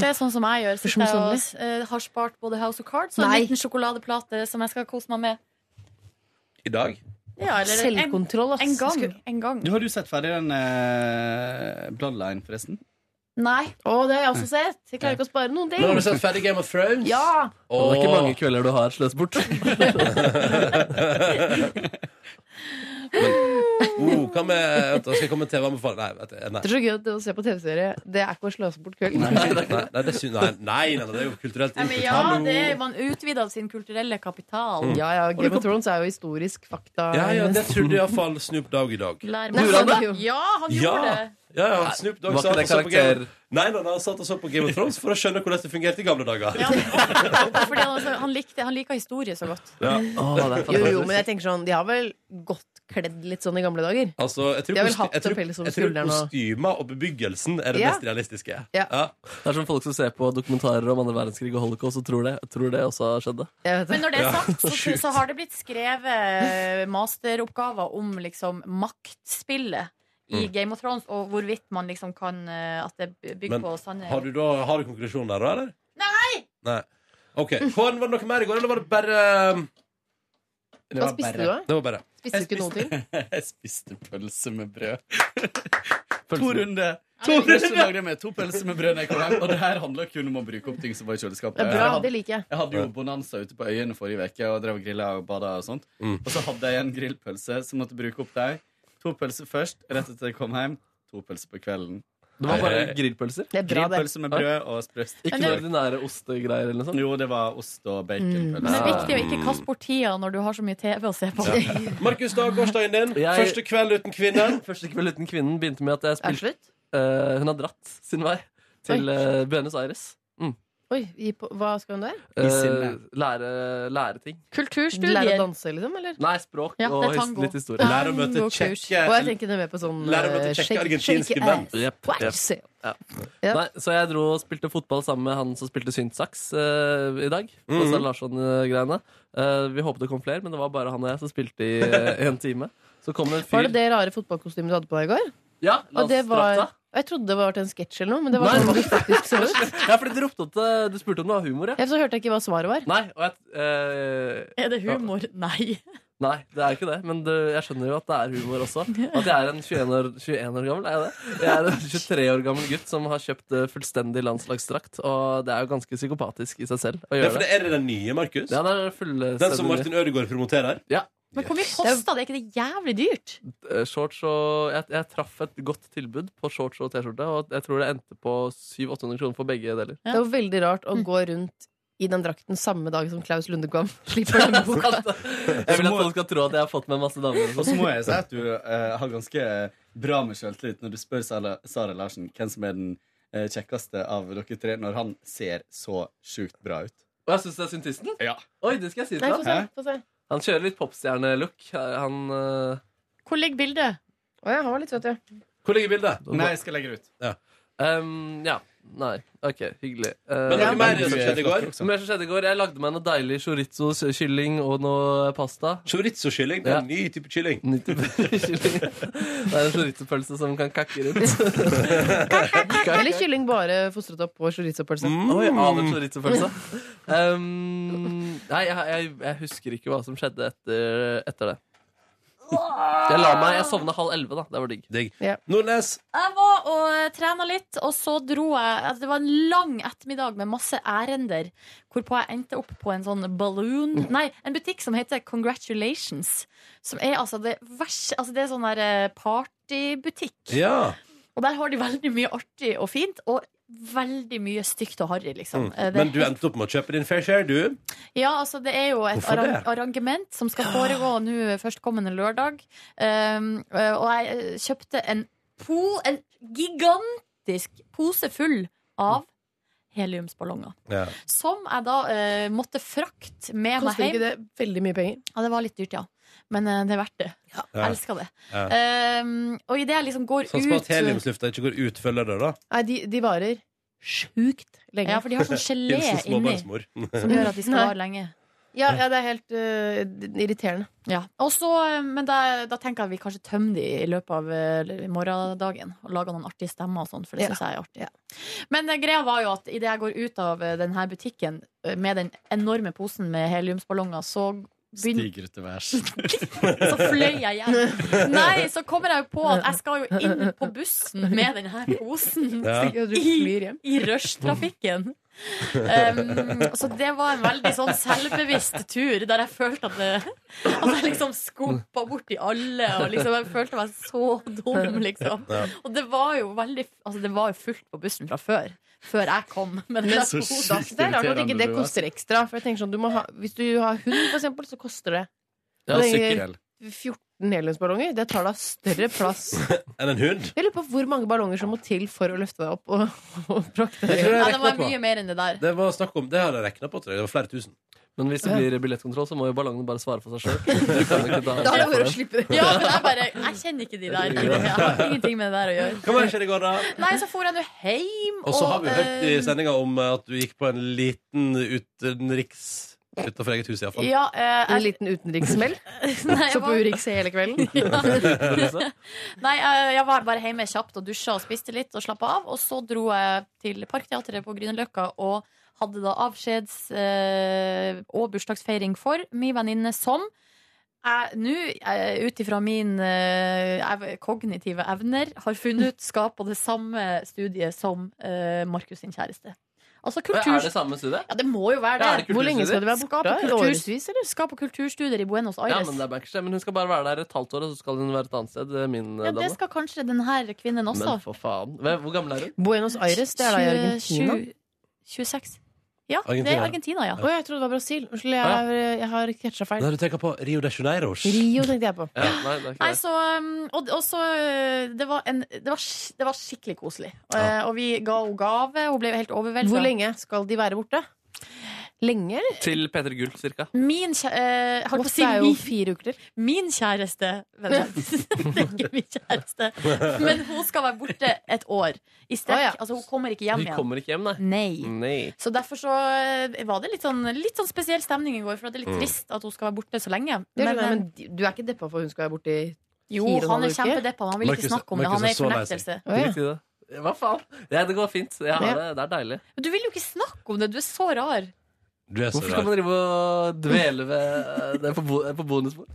Speaker 3: Det er sånn som jeg gjør. Sitter jeg og
Speaker 11: Forsomsomlig.
Speaker 3: eh, har spart både House of Cards og en
Speaker 11: Nei.
Speaker 3: liten sjokoladeplate som jeg skal kose meg med.
Speaker 2: I dag?
Speaker 3: Ja, eller en-
Speaker 11: Selvkontroll, ass.
Speaker 3: En gang.
Speaker 11: Skulle-
Speaker 3: En gang.
Speaker 12: Du Har du sett ferdig den eh, Bloodline, forresten?
Speaker 3: Nei.
Speaker 11: Å, det har jeg også sett. Jeg klarer ikke å spare noen ting.
Speaker 12: Men har du
Speaker 2: sett ferdig Game of Thrones?
Speaker 11: Mm. Ja.
Speaker 5: Det er ikke mange kvelder du har sløst bort.
Speaker 2: Oh, hva med vent, da Skal jeg komme med TV-anbefaling? Nei, vet du, nei.
Speaker 11: Det er så gøy at det å se på TV-serie, det er ikke å sløse bort kveld.
Speaker 2: Nei, nei, nei, det syn- nei, nei, nei, det er jo kulturelt
Speaker 3: Nei, men
Speaker 2: input.
Speaker 3: ja,
Speaker 2: Hallo.
Speaker 3: det er man utvider sin kulturelle kapital.
Speaker 2: Mm.
Speaker 11: Ja, ja,
Speaker 2: Og det
Speaker 11: Game of Thrones er jo historisk fakta.
Speaker 2: Ja, ja, det trodde iallfall Snoop Dogg i dag.
Speaker 3: Lær
Speaker 11: meg. Gjorde han det?
Speaker 3: Ja, han
Speaker 2: Ja,
Speaker 3: gjorde det.
Speaker 2: ja, ja Snoop Dogg
Speaker 5: Var
Speaker 2: satt og
Speaker 5: ikke det
Speaker 2: så på Game
Speaker 5: karakter?
Speaker 2: Nei, nei, nei, han satt og så på Game of Thrones for å skjønne hvordan det fungerte i gamle dager.
Speaker 3: Fordi han, altså, han, likte, han liker historie så godt.
Speaker 2: Ja.
Speaker 11: Jo, jo, men jeg tenker sånn, de har vel godt kledd litt sånn i gamle dager.
Speaker 2: Altså, jeg tror,
Speaker 11: De har vel
Speaker 2: kost-
Speaker 11: hatt
Speaker 2: jeg tror,
Speaker 11: og pels over
Speaker 2: jeg tror
Speaker 11: skulderen og-
Speaker 2: kostymer og bebyggelsen er det
Speaker 11: Ja.
Speaker 2: mest realistiske.
Speaker 11: Ja.
Speaker 5: Det er som folk som ser på dokumentarer om andre verdenskrig og holocaust og tror det, tror det også skjedde.
Speaker 3: Men når det er
Speaker 5: Ja,
Speaker 3: sagt, så,
Speaker 5: sjukt.
Speaker 3: så har det blitt skrevet eh, masteroppgaver om liksom maktspillet i
Speaker 2: Mm.
Speaker 3: Game of Thrones, og hvorvidt man liksom kan eh, At det bygger
Speaker 2: Men
Speaker 3: på sanne
Speaker 2: har du, da, har du konklusjonen der, da, eller?
Speaker 3: Nei!
Speaker 2: Nei. OK. Kåren, var det noe mer i går, eller var det bare
Speaker 11: Hva var spiste bare- du, da?
Speaker 2: Det var bare.
Speaker 11: Spiste du ikke noen ting?
Speaker 12: Jeg spiste pølse med brød. to runder.
Speaker 11: Ja, det er
Speaker 12: Første
Speaker 11: viktig.
Speaker 12: lagde jeg med to pølser med brød. når jeg kom hjem. Og det her handler kun om å bruke opp ting som var i kjøleskapet.
Speaker 11: Det er bra,
Speaker 12: Jeg hadde-
Speaker 11: det liker jeg.
Speaker 12: Jeg hadde jo bonanza ute på øyene forrige uke og drev og grilla og bada og sånt. Og så hadde jeg en grillpølse som måtte bruke opp der. To pølser først, rett etter jeg kom hjem. To pølser på kvelden.
Speaker 5: Det var bare
Speaker 12: Eh,
Speaker 5: grillpølser?
Speaker 11: Det er bra, det.
Speaker 12: Grillpølse med brød og sprøst.
Speaker 5: Ikke noe ordinære ostegreier eller noe sånt?
Speaker 12: Jo, det var ost og
Speaker 11: Mm.
Speaker 3: Men det er viktig å
Speaker 2: Mm.
Speaker 3: ikke kaste bort tida når du har så mye TV å se på.
Speaker 2: Markus, da gårsdagen din.
Speaker 5: Jeg-
Speaker 2: Første kveld uten kvinnen.
Speaker 5: Første kveld uten kvinnen begynte med at jeg spilte Eh, Hun har dratt sin vei til
Speaker 11: Oi.
Speaker 5: eh, Buenos Aires. Mm.
Speaker 11: Oi, i på, hva skal hun der?
Speaker 5: Eh, lære, lære ting.
Speaker 3: Kulturstudier.
Speaker 11: Lære å danse, liksom? Eller?
Speaker 5: Nei, språk
Speaker 11: Ja, det er
Speaker 5: og his-
Speaker 11: tango.
Speaker 5: litt historie.
Speaker 2: Lære å møte
Speaker 11: Tangokurs.
Speaker 2: kjekke-
Speaker 11: Og jeg tenker det er med på sånn
Speaker 2: Lære å møte
Speaker 11: eh,
Speaker 5: kjekke
Speaker 11: shake-
Speaker 5: argentinske
Speaker 11: shake
Speaker 5: menn.
Speaker 11: ass.
Speaker 5: Jep,
Speaker 11: Wow,
Speaker 5: jep.
Speaker 11: se.
Speaker 5: Ja. Nei, så jeg dro og spilte fotball sammen med han som spilte syntsaks eh, i dag. På
Speaker 2: Mhm.
Speaker 5: Sara Larsson-greiene Eh, Vi håpet det kom flere, men det var bare han og jeg som spilte i eh, en time. Så kom det en fyr
Speaker 11: Var det det rare fotballkostymet du hadde på deg i går?
Speaker 5: Ja,
Speaker 11: Og det var,
Speaker 5: landstrakta.
Speaker 11: jeg trodde det var til en sketsj eller noe, men det var sånn du faktisk så ut.
Speaker 5: Ja, fordi du ropte at eh, du spurte om det var humor, ja.
Speaker 11: Ja, Så hørte jeg ikke hva svaret var.
Speaker 5: Nei, og jeg, eh,
Speaker 3: Er det humor? Nei.
Speaker 5: Nei, det er ikke det, men det, jeg skjønner jo at det er humor også. At jeg er en 21 år, 21 år gammel, er jeg det? Jeg er en 23 år gammel gutt som har kjøpt eh, fullstendig landslagsdrakt, og det er jo ganske psykopatisk i seg selv å
Speaker 2: Ja,
Speaker 5: gjøre
Speaker 2: for det er det den nye, Markus?
Speaker 5: Ja, det er fullstendig
Speaker 2: Den som Martin Ødegaard promoterer?
Speaker 5: Ja.
Speaker 3: Men hvor mye kosta det? Er ikke det jævlig dyrt?
Speaker 5: Eh, Shorts og jeg, jeg traff et godt tilbud på shorts og T-skjorte, og jeg tror det endte på 700-800 kroner for begge deler.
Speaker 11: Det var veldig rart å gå rundt i den drakten samme dag som Klaus Lunde kom. Slipper den boka.
Speaker 5: Jeg vil at folk skal tro at jeg har fått med masse damer. sånn.
Speaker 12: Og så må jeg si at du eh, har ganske bra med selvtillit når du spør Sara, Sara Larsen hvem som er den eh, kjekkeste av dere tre, når han ser så sjukt bra ut.
Speaker 5: Og jeg syns det er syntisten?
Speaker 12: Ja.
Speaker 5: Oi, det skal jeg si
Speaker 11: Nei,
Speaker 5: til
Speaker 11: få se,
Speaker 5: han.
Speaker 11: få se.
Speaker 5: Han kjører litt popstjernelook. Han eh,
Speaker 3: Hvor ligger bildet?
Speaker 11: Å, jeg har litt, vet du.
Speaker 2: Hvor ligger bildet?
Speaker 12: Nei, jeg skal legge det ut.
Speaker 2: Ja.
Speaker 5: Ehm, ja. Nei. OK, hyggelig. Eh,
Speaker 2: Men noe
Speaker 5: ja.
Speaker 2: mer som skjedde i går?
Speaker 5: Mer som skjedde i går? Jeg lagde meg noe deilig chorizo, kylling og noe pasta.
Speaker 2: Chorizo-kylling? Det er en ny type kylling.
Speaker 5: Ny type kylling. Det er en chorizo-pølse som kan kakke rundt.
Speaker 11: Eller kylling bare fostret opp på chorizopølse.
Speaker 5: Mm. Oi, aner chorizo-pølse. Um, nei, jeg, jeg, jeg husker ikke hva som skjedde etter, etter det. Jeg la meg, jeg sovna halv elleve, da. Det var digg.
Speaker 11: Ja.
Speaker 2: Nordnes!
Speaker 3: Jeg var og eh, trena litt, og så dro jeg altså, Det var en lang ettermiddag med masse ærender, hvorpå jeg endte opp på en sånn balloon Nei, en butikk som heter Congratulations. Som er altså det verste altså, Det er sånn der eh, partybutikk.
Speaker 2: Ja.
Speaker 3: Og der har de veldig mye artig og fint, og veldig mye stygt og harry, liksom.
Speaker 2: Mm.
Speaker 3: Eh, det er
Speaker 2: Men du endte opp med å kjøpe din fair share, du.
Speaker 3: ja, altså det er jo et
Speaker 2: Hvorfor
Speaker 3: arrang
Speaker 2: det?
Speaker 3: arrangement som skal foregå nå eh, førstkommende lørdag. Um, øh, og jeg øh, kjøpte en, po en gigantisk pose full av heliumsballonger.
Speaker 2: Ja.
Speaker 3: Som jeg da øh, måtte frakte med meg
Speaker 11: Koster
Speaker 3: hjem.
Speaker 11: ikke det veldig mye penger?
Speaker 3: Ja, det var litt dyrt, ja. Men øh, det er verdt det.
Speaker 2: Ja.
Speaker 3: Jeg elsker det.
Speaker 2: Ja.
Speaker 3: Um, og idet jeg liksom går
Speaker 2: Sånn som at
Speaker 3: ut
Speaker 2: heliumslufta ikke går ut før lørdag, da.
Speaker 11: Nei, de, de varer sjukt lenge.
Speaker 3: Ja, for de har sånn gelé
Speaker 2: Hilsen
Speaker 3: inni
Speaker 2: småbarnsmor.
Speaker 3: som gjør at de skal
Speaker 11: Nei.
Speaker 3: vare lenge.
Speaker 11: Ja, ja, det er helt øh, irriterende.
Speaker 3: Ja, og så, Men da, da tenker jeg vi kanskje tømmer de i løpet av eh, morgendagen. Og lager noen artige stemmer og sånn, for det
Speaker 11: Ja.
Speaker 3: synes jeg er artig. Men eh, greia var jo at idet jeg går ut av eh, denne butikken eh, med den enorme posen med heliumsballonger, så begynner
Speaker 12: Stiger ut til værs.
Speaker 3: så fløy jeg hjem. Nei, så kommer jeg jo på at jeg skal jo inn på bussen med denne posen
Speaker 11: Ja. Stikker du flyr
Speaker 3: i,
Speaker 11: hjem.
Speaker 3: i rushtrafikken. Um, så det var en veldig sånn selvbevisst tur, der jeg følte at, det, at jeg liksom skumpa borti alle. Og liksom jeg følte meg så dum, liksom.
Speaker 2: Ja.
Speaker 3: Og det var jo veldig Altså, det var jo fullt på bussen fra før. Før jeg kom. Men
Speaker 11: Men
Speaker 3: det,
Speaker 11: så sykt Det er rart at ikke det koster ekstra. For jeg tenker sånn, du må ha, Hvis du har hund, for eksempel, så koster det.
Speaker 2: Ja,
Speaker 11: Og det er
Speaker 2: sykkel.
Speaker 11: 14 heliumsballonger. Det tar da større plass.
Speaker 2: Enn en hund?
Speaker 11: Jeg lurer på hvor mange ballonger som må til for å løfte deg opp og, og brakte
Speaker 2: Jeg tror jeg
Speaker 11: deg hjem.
Speaker 3: Ja, det
Speaker 2: rekna
Speaker 3: var
Speaker 2: på.
Speaker 3: mye mer enn det der.
Speaker 2: Det var snakk om, det har jeg rekna på, tror jeg. Det var flere tusen.
Speaker 5: Men hvis det blir billettkontroll, så må jo ballongen bare svare for seg
Speaker 3: Da er det bare å
Speaker 5: sjøl.
Speaker 3: slippe det. Ja, men jeg bare Jeg kjenner ikke de der. Jeg har ingenting med det der å gjøre.
Speaker 2: Hva var det som skjedde i går, da?
Speaker 3: Nei, så for jeg nå hjem.
Speaker 2: Og så har vi jo hørt i
Speaker 3: eh,
Speaker 2: sendinga om eh, at du gikk på en liten utenriks Utenfor eget hus, iallfall.
Speaker 3: ja, eh,
Speaker 11: En
Speaker 3: jeg-
Speaker 11: liten utenrikssmell.
Speaker 3: Nei, jeg
Speaker 11: Så på
Speaker 3: var-
Speaker 11: Urix hele kvelden.
Speaker 3: Nei, eh, jeg var bare hjemme kjapt og dusja og spiste litt og slappa av. Og så dro jeg til Parkteatret på Grünerløkka og hadde da avskjeds- eh, og bursdagsfeiring for min venninne som jeg nå, eh, ut ifra mine kognitive evner, har funnet ut skal på det samme studiet som eh, Markus sin kjæreste. Altså kultur...
Speaker 5: Er det samme studie?
Speaker 3: Ja, det må jo være det.
Speaker 5: Ja, er det kulturstudier? Hvor lenge skal du være borte?
Speaker 3: Skal på,
Speaker 5: Er det
Speaker 3: kultur...
Speaker 5: årevis,
Speaker 3: skal på kulturstudier i Buenos
Speaker 5: Ja,
Speaker 3: Aires.
Speaker 5: men, det er backstage. men hun skal bare være der et halvt år, og så skal hun være et annet sted. eh, Min eh,
Speaker 3: Ja, det
Speaker 5: dame.
Speaker 3: skal kanskje denne kvinnen også.
Speaker 5: Men for faen. Hvem- Hvor gammel er hun?
Speaker 11: Buenos Aires, det er da i Argentina.
Speaker 3: 27 26. Ja, det
Speaker 2: Argentina.
Speaker 3: er Argentina, ja.
Speaker 11: Å, jeg trodde det var Brasil. Unnskyld,
Speaker 2: Ah,
Speaker 11: jeg, jeg har catcha feil.
Speaker 2: Nei, du tenker på Rio de Janeiro.
Speaker 11: Rio tenkte jeg på.
Speaker 5: Ja, nei, det er ikke
Speaker 3: Nei,
Speaker 5: det.
Speaker 3: så, um, og, og så uh, det, var en, det, var, sk- det var skikkelig koselig. Uh, og vi ga henne gave. Hun ble jo helt overveldet.
Speaker 11: Hvor lenge skal de være borte? Lenge, eller?
Speaker 5: Til P3 Gull, cirka.
Speaker 3: Min kjære, eh, holdt på å
Speaker 11: Ofte er jo
Speaker 3: si fire uker Min kjæreste vent, vent. Det er ikke min kjæreste. Men hun skal være borte et år i strekk. Altså, hun kommer ikke hjem
Speaker 5: Hun
Speaker 3: igjen.
Speaker 5: kommer Mm. ikke hjem, nei.
Speaker 3: Så derfor så eh, var det litt sånn, litt sånn spesiell stemning i går, for det er litt
Speaker 11: Mm.
Speaker 3: trist at hun skal være borte så lenge.
Speaker 11: Det skjønner jeg,
Speaker 3: eh,
Speaker 11: men de- du er ikke deppa for hun skal være borte i
Speaker 3: jo,
Speaker 11: fire og en
Speaker 3: han
Speaker 11: halv
Speaker 3: er
Speaker 11: uke?
Speaker 3: kjempedeppa, men han vil ikke snakke om det. Han er i fornektelse.
Speaker 5: Drit i det. Hva faen? Ja, det går fint. Jeg har
Speaker 3: Ja.
Speaker 5: det. Det er deilig.
Speaker 3: Men du vil jo ikke snakke om det! Du er så rar.
Speaker 5: Hvorfor skal man drive og dvele ved eh, det på, bo på bonusbord?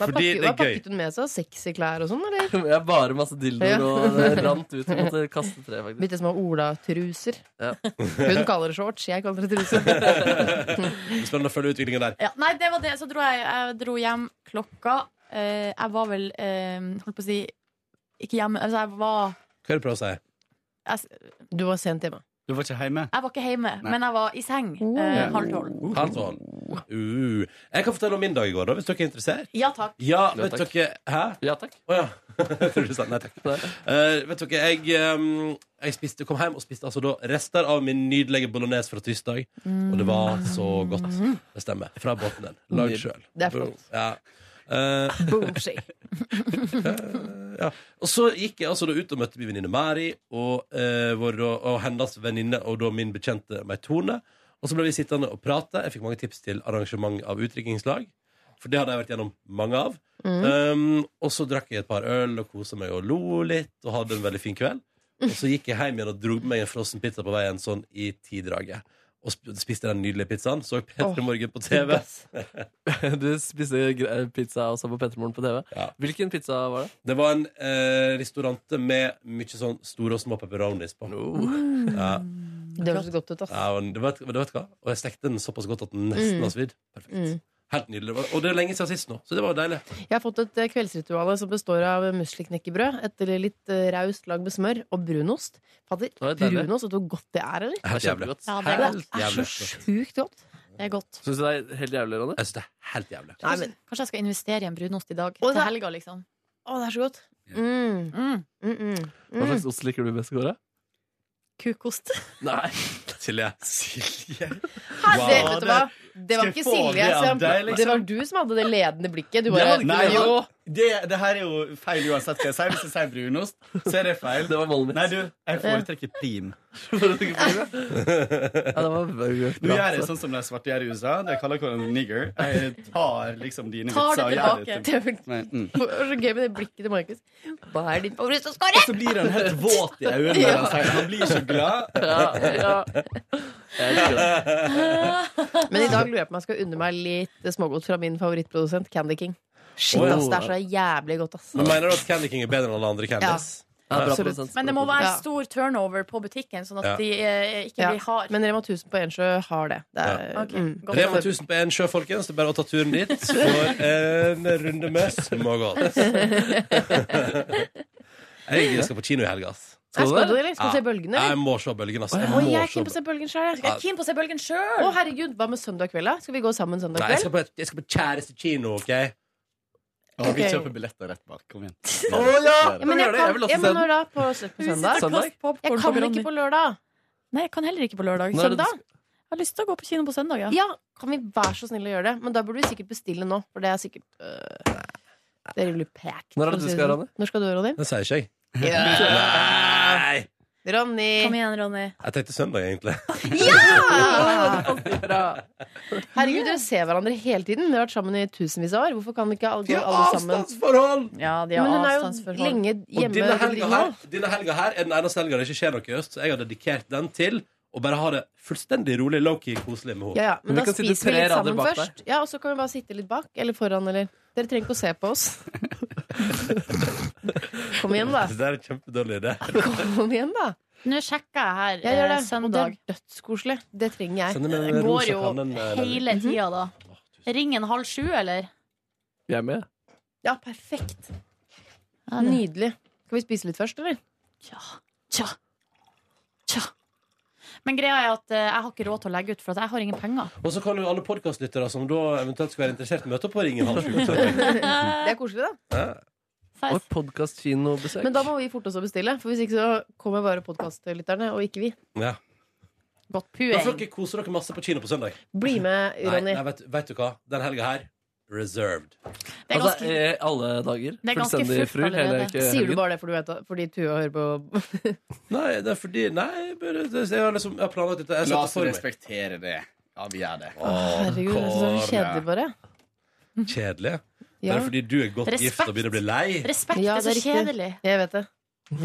Speaker 11: Hva pakket- Hva pakket hun med seg? Sexy klær og sånn, eller?
Speaker 5: Jeg har bare masse dildoer,
Speaker 11: Ja.
Speaker 5: og det rant ut. Jeg måtte kaste tre, faktisk.
Speaker 11: Bitte små Ola-truser.
Speaker 5: Ja.
Speaker 11: Hun kaller det shorts, jeg kaller det truser.
Speaker 2: Spennende å følge utviklinga der.
Speaker 3: Ja, nei, det var det. Så dro jeg, jeg dro hjem klokka eh, Jeg var vel eh, Holdt på å si Ikke hjemme. Altså, jeg
Speaker 2: Hva
Speaker 3: var
Speaker 2: er det du prøver å si?
Speaker 3: jeg,
Speaker 11: Du var sent hjemme.
Speaker 12: Du var ikke hjemme?
Speaker 3: jeg var ikke hjemme,
Speaker 2: Nei.
Speaker 3: men jeg var i seng eh,
Speaker 2: Ja.
Speaker 3: halv tolv.
Speaker 2: Halv tolv. Uh. Jeg kan fortelle om min dag i går, da, hvis dere er interessert.
Speaker 3: Ja takk.
Speaker 2: Ja,
Speaker 5: Ja,
Speaker 2: vet
Speaker 5: takk.
Speaker 2: dere Hæ?
Speaker 5: Ja takk.
Speaker 2: Å ja. Jeg trodde du sa nei takk. Eh, vet dere, jeg, ehm, jeg spiste, kom hjem og spiste altså da rester av min nydelige bolognese fra tirsdag. Og det var så godt. Det stemmer. Fra båten den. Lagd sjøl.
Speaker 11: Mm. Det er flott.
Speaker 2: Ja. Eh,
Speaker 11: Boomshy.
Speaker 2: ja. Og så gikk jeg altså da ut og møtte min venninne Mari og, eh, vår, da- og hennes venninne og da min bekjente Meitone. Og så ble vi sittende og prate. Jeg fikk mange tips til arrangement av utdrikningslag. For det hadde jeg vært gjennom mange av. Um, og så drakk jeg et par øl og kosa meg og lo litt og hadde en veldig fin kveld. Og så gikk jeg hjem igjen og dro med meg en frossen pizza på veien sånn i tidraget. og sp- spiste den nydelige pizzaen. Så P3
Speaker 5: Åh,
Speaker 2: Morgen på TV.
Speaker 5: du spiste gre- eh, pizza også på Petermoren på TV. Hvilken pizza var det?
Speaker 2: Det var en eh, restaurante med mye sånn store og små pepperonis på. Ja.
Speaker 11: Det høres godt ut, ass.
Speaker 2: Ja, men det vet, men det vet du hva? Og jeg stekte den såpass godt at den nesten
Speaker 11: Mm.
Speaker 2: var svidd. Perfekt.
Speaker 11: Mm.
Speaker 2: Helt nydelig. Det var- Og det er lenge siden sist nå, så det var jo deilig.
Speaker 11: Jeg har fått et eh, kveldsritual som består av musliknekkebrød, et litt eh, raust lag med smør og brunost. Fader,
Speaker 2: Oi, deilig.
Speaker 11: brunost, vet du hvor godt det er, eller?
Speaker 2: Helt jævlig.
Speaker 11: Ja, det er,
Speaker 2: Helt
Speaker 11: det er så
Speaker 2: jævlig.
Speaker 11: sjukt godt.
Speaker 3: Det er godt.
Speaker 5: Syns du det er helt jævlig, Ronny?
Speaker 2: Jeg syns det er helt jævlig.
Speaker 11: Nei,
Speaker 3: Kanskje,
Speaker 11: men-
Speaker 3: kanskje jeg skal investere i en brunost i dag.
Speaker 11: Å,
Speaker 3: til
Speaker 11: det-
Speaker 3: helga, liksom.
Speaker 11: Å, det er så godt. Mm.
Speaker 3: Mm.
Speaker 5: Hva slags ost liker du best, Kåre?
Speaker 3: Kukost.
Speaker 5: Nei.
Speaker 2: Silje. Silje.
Speaker 11: Her, det,
Speaker 5: Wow.
Speaker 11: vet du hva? Det var
Speaker 12: Skal jeg
Speaker 11: ikke
Speaker 12: få
Speaker 11: Silje.
Speaker 12: det av
Speaker 11: Sam.
Speaker 12: deg, liksom?
Speaker 11: Det var du som hadde det ledende blikket. Du
Speaker 12: Ja,
Speaker 11: bare,
Speaker 12: nei,
Speaker 11: jo.
Speaker 12: jo. Det, det her er jo feil uansett hva jeg sier. Hvis jeg sier brunost, så er det feil. Nei, du, jeg foretrekker prim. Du gjør det sånn som de svarte gjør i USA. De kaller hverandre nigger. Jeg tar liksom dine
Speaker 11: Tar det
Speaker 12: vitser og gjør det
Speaker 11: tilbake.
Speaker 12: til Nei, mm.
Speaker 11: Det var så gøy med det blikket til Markus. Hva er din
Speaker 12: Og så blir han helt våt i øynene. når han sier det. Han blir så glad.
Speaker 11: Men i dag lurer jeg på om jeg skal unne meg litt smågodt fra min favorittprodusent Candy King. Shit,
Speaker 2: Oi.
Speaker 11: ass, det er så jævlig godt, ass.
Speaker 2: Men mener du at Candy King er bedre enn alle andre candies?
Speaker 5: Ja, bra
Speaker 2: Absolutt.
Speaker 5: prosent.
Speaker 3: Men det må være
Speaker 11: Ja.
Speaker 3: stor turnover på butikken, sånn at
Speaker 2: Ja.
Speaker 3: de eh, ikke
Speaker 11: Ja,
Speaker 3: blir hard.
Speaker 11: Men Rema 1000 på Ensjø har det. det er,
Speaker 2: Ja.
Speaker 11: mm.
Speaker 2: Rema 1000 på én sjø, folkens. Det er bare å ta turen dit for en runde med smågodt. Jeg skal på kino i helga. ass.
Speaker 11: Skal du Skal det? du, eller? Skal du se Bølgen, eller?
Speaker 2: Ja, Jeg må se Bølgen, ass. Jeg
Speaker 11: Oi,
Speaker 2: må
Speaker 11: jeg er
Speaker 2: se
Speaker 11: keen på å se Bølgen sjøl.
Speaker 2: Jeg er keen
Speaker 3: på å se Bølgen sjøl!
Speaker 11: Å, herregud, hva med søndag kveld, da? Skal vi gå sammen søndag
Speaker 2: Nei, jeg skal
Speaker 11: kveld?
Speaker 2: på, jeg skal på kjæreste kino, OK?
Speaker 11: Å, vi Ok. kjøper
Speaker 2: billetter rett bak. Kom igjen.
Speaker 11: Å, ja, men jeg kan, jeg må når da? På sø- på
Speaker 3: Huset
Speaker 11: søndag?
Speaker 3: til kast popcorn
Speaker 11: Jeg
Speaker 3: på
Speaker 11: kan
Speaker 3: Ronny.
Speaker 11: ikke på lørdag.
Speaker 3: Nei, jeg kan heller ikke på lørdag.
Speaker 11: Nå er det-
Speaker 3: Søndag? Jeg har lyst til å gå på kino på søndag, ja.
Speaker 11: Ja, kan vi være så snille å gjøre det? Men da burde vi sikkert bestille nå, for det er sikkert øh, Det er rimelig packed.
Speaker 2: Når er det
Speaker 11: for å
Speaker 2: du
Speaker 11: si
Speaker 2: skal,
Speaker 11: sånn.
Speaker 2: Ronny?
Speaker 11: Når skal du, Ronny?
Speaker 2: Det sier ikke jeg. Nei!
Speaker 11: Ronny!
Speaker 3: Kom igjen, Ronny.
Speaker 2: Jeg tenkte søndag, egentlig.
Speaker 11: Herregud, dere ser hverandre hele tiden. Dere har vært sammen i tusenvis av år. Hvorfor kan ikke alle, gå alle sammen?
Speaker 3: Ja, de har
Speaker 11: Men hun er jo
Speaker 3: avstandsforhold.
Speaker 11: lenge
Speaker 2: Og
Speaker 11: hjemme.
Speaker 2: denne helga,
Speaker 11: driver
Speaker 2: her,
Speaker 11: nå.
Speaker 2: denne helga her er den eneste helga det ikke skjer noe i øst, så jeg har dedikert den til å bare ha det fullstendig rolig, low-key, koselig med henne.
Speaker 11: Ja, ja, men da spiser vi litt sammen først. Ja, Og så kan vi bare sitte litt bak eller foran. Eller. Dere trenger ikke å se på oss. Kom igjen, da.
Speaker 2: Det der er en kjempedårlig idé.
Speaker 11: Kom igjen, da.
Speaker 3: Nå sjekker jeg her
Speaker 11: Jeg gjør
Speaker 3: eh,
Speaker 11: det. Og det
Speaker 3: søndag.
Speaker 11: er dødskoselig. Det trenger jeg.
Speaker 2: Send dem en
Speaker 3: Jeg går
Speaker 2: rosa
Speaker 3: jo
Speaker 2: kanin, eh,
Speaker 3: hele
Speaker 11: Mhm.
Speaker 2: Nelly.
Speaker 3: tida, da. Ring en halv sju, eller?
Speaker 5: Vi er med.
Speaker 11: Ja, perfekt.
Speaker 3: Ja, det-
Speaker 11: Nydelig. Skal vi spise litt først, eller?
Speaker 3: Tja. Tja. Men greia er at eh, jeg har ikke råd til å legge ut, for at jeg har ingen penger.
Speaker 2: Og så kan jo alle podkastlyttere som da eventuelt skulle være interessert, møte opp på Ringen halv sju.
Speaker 11: Det er koselig, da.
Speaker 5: Og podkast-kinobesøk.
Speaker 11: Men da må vi forte oss å bestille, for hvis ikke så kommer bare podkastlytterne, og ikke vi.
Speaker 2: Ja.
Speaker 11: Godt
Speaker 2: Da får dere kose dere masse på kino på søndag.
Speaker 11: Bli med,
Speaker 2: Nei,
Speaker 11: Ronny.
Speaker 2: nei vet, vet du hva? Den helga her reserved.
Speaker 11: Det er
Speaker 5: Altså,
Speaker 11: ganske-
Speaker 5: eh, alle dager.
Speaker 11: Det er ganske
Speaker 5: Fullstendig
Speaker 11: fullt
Speaker 5: fru hele ikke
Speaker 11: Sier du
Speaker 5: helgen.
Speaker 11: bare det fordi, du vet, at- fordi Tua hører på
Speaker 2: Nei, det er fordi Nei, bare- det- jeg har liksom jeg har planlagt dette. Jeg
Speaker 12: La
Speaker 2: setter
Speaker 12: oss
Speaker 2: for meg.
Speaker 12: respektere det. Ja, vi gjør det.
Speaker 11: Herregud, det er så kjedelig, bare.
Speaker 2: Kjedelig?
Speaker 11: Ja.
Speaker 2: Bare fordi du er godt gift og begynner å bli lei?
Speaker 5: eh,
Speaker 3: Respekt
Speaker 11: Ja,
Speaker 3: er så
Speaker 11: det er riktig.
Speaker 3: kjedelig.
Speaker 11: Jeg vet det.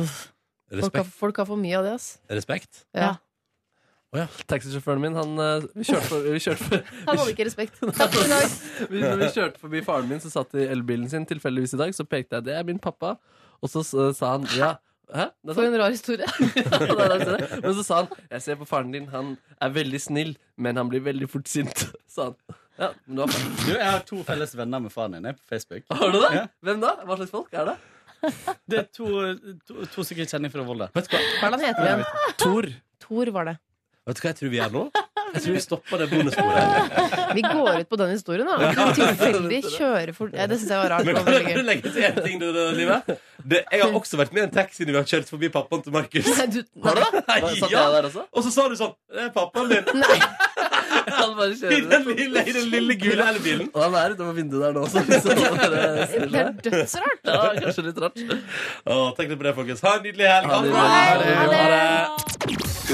Speaker 11: Folk har,
Speaker 2: Respekt?
Speaker 11: folk har for mye av det, ass.
Speaker 2: Respekt?
Speaker 11: Ja.
Speaker 2: Å ja.
Speaker 5: Taxisjåføren min, han eh, Vi kjørte, for, vi kjørte for,
Speaker 11: Han hadde ikke respekt. Takk for i dag.
Speaker 5: vi, når vi kjørte forbi faren min, så satt i elbilen sin tilfeldigvis i dag. Så pekte jeg det er min pappa, og så s- eh, sa han ja. Hæ? Det er
Speaker 11: For en rar historie.
Speaker 5: sant, det er det jeg sier. Men så sa han jeg ser på faren din, han er veldig snill, men han blir veldig fort sint. Sa han. Ja, men det var faren.
Speaker 12: Du, jeg har to felles venner med faren din jeg, på Facebook.
Speaker 5: Har du det?
Speaker 12: Ja.
Speaker 5: Hvem da? Hva slags folk er det?
Speaker 12: Det er to, to, to stykker jeg kjenner fra Volda.
Speaker 11: Hva er det han heter igjen?
Speaker 2: Tor.
Speaker 11: Tor var det.
Speaker 2: Vet du hva jeg tror vi gjør nå? Jeg tror vi stopper det bonussporet.
Speaker 11: Vi går ut på den historien, da. Vi kan Tilfeldig kjøre for ja, Det syns jeg var rart. Det
Speaker 2: Men
Speaker 11: var
Speaker 2: kan
Speaker 11: veldig
Speaker 2: jeg
Speaker 11: gøy.
Speaker 2: legge til en ting, du, du, Live? Det, jeg har også vært med i en taxi når vi har kjørt forbi pappaen til Markus.
Speaker 11: Nei, du-
Speaker 2: Har du det? Nei,
Speaker 5: Hva, satt jeg
Speaker 2: ja.
Speaker 5: der også?
Speaker 2: Og så sa du sånn Det er pappaen din!
Speaker 5: Han bare
Speaker 2: I
Speaker 5: kjører
Speaker 2: den lille, i den lille gule elbilen.
Speaker 5: Og han er utover vinduet der nå også. hvis han bare snur
Speaker 11: Det er
Speaker 5: seg.
Speaker 11: dødsrart.
Speaker 5: Ja, kanskje litt rart.
Speaker 2: Å, tenk litt på det, folkens. Ha en nydelig helg.
Speaker 5: Ha det. Ha det.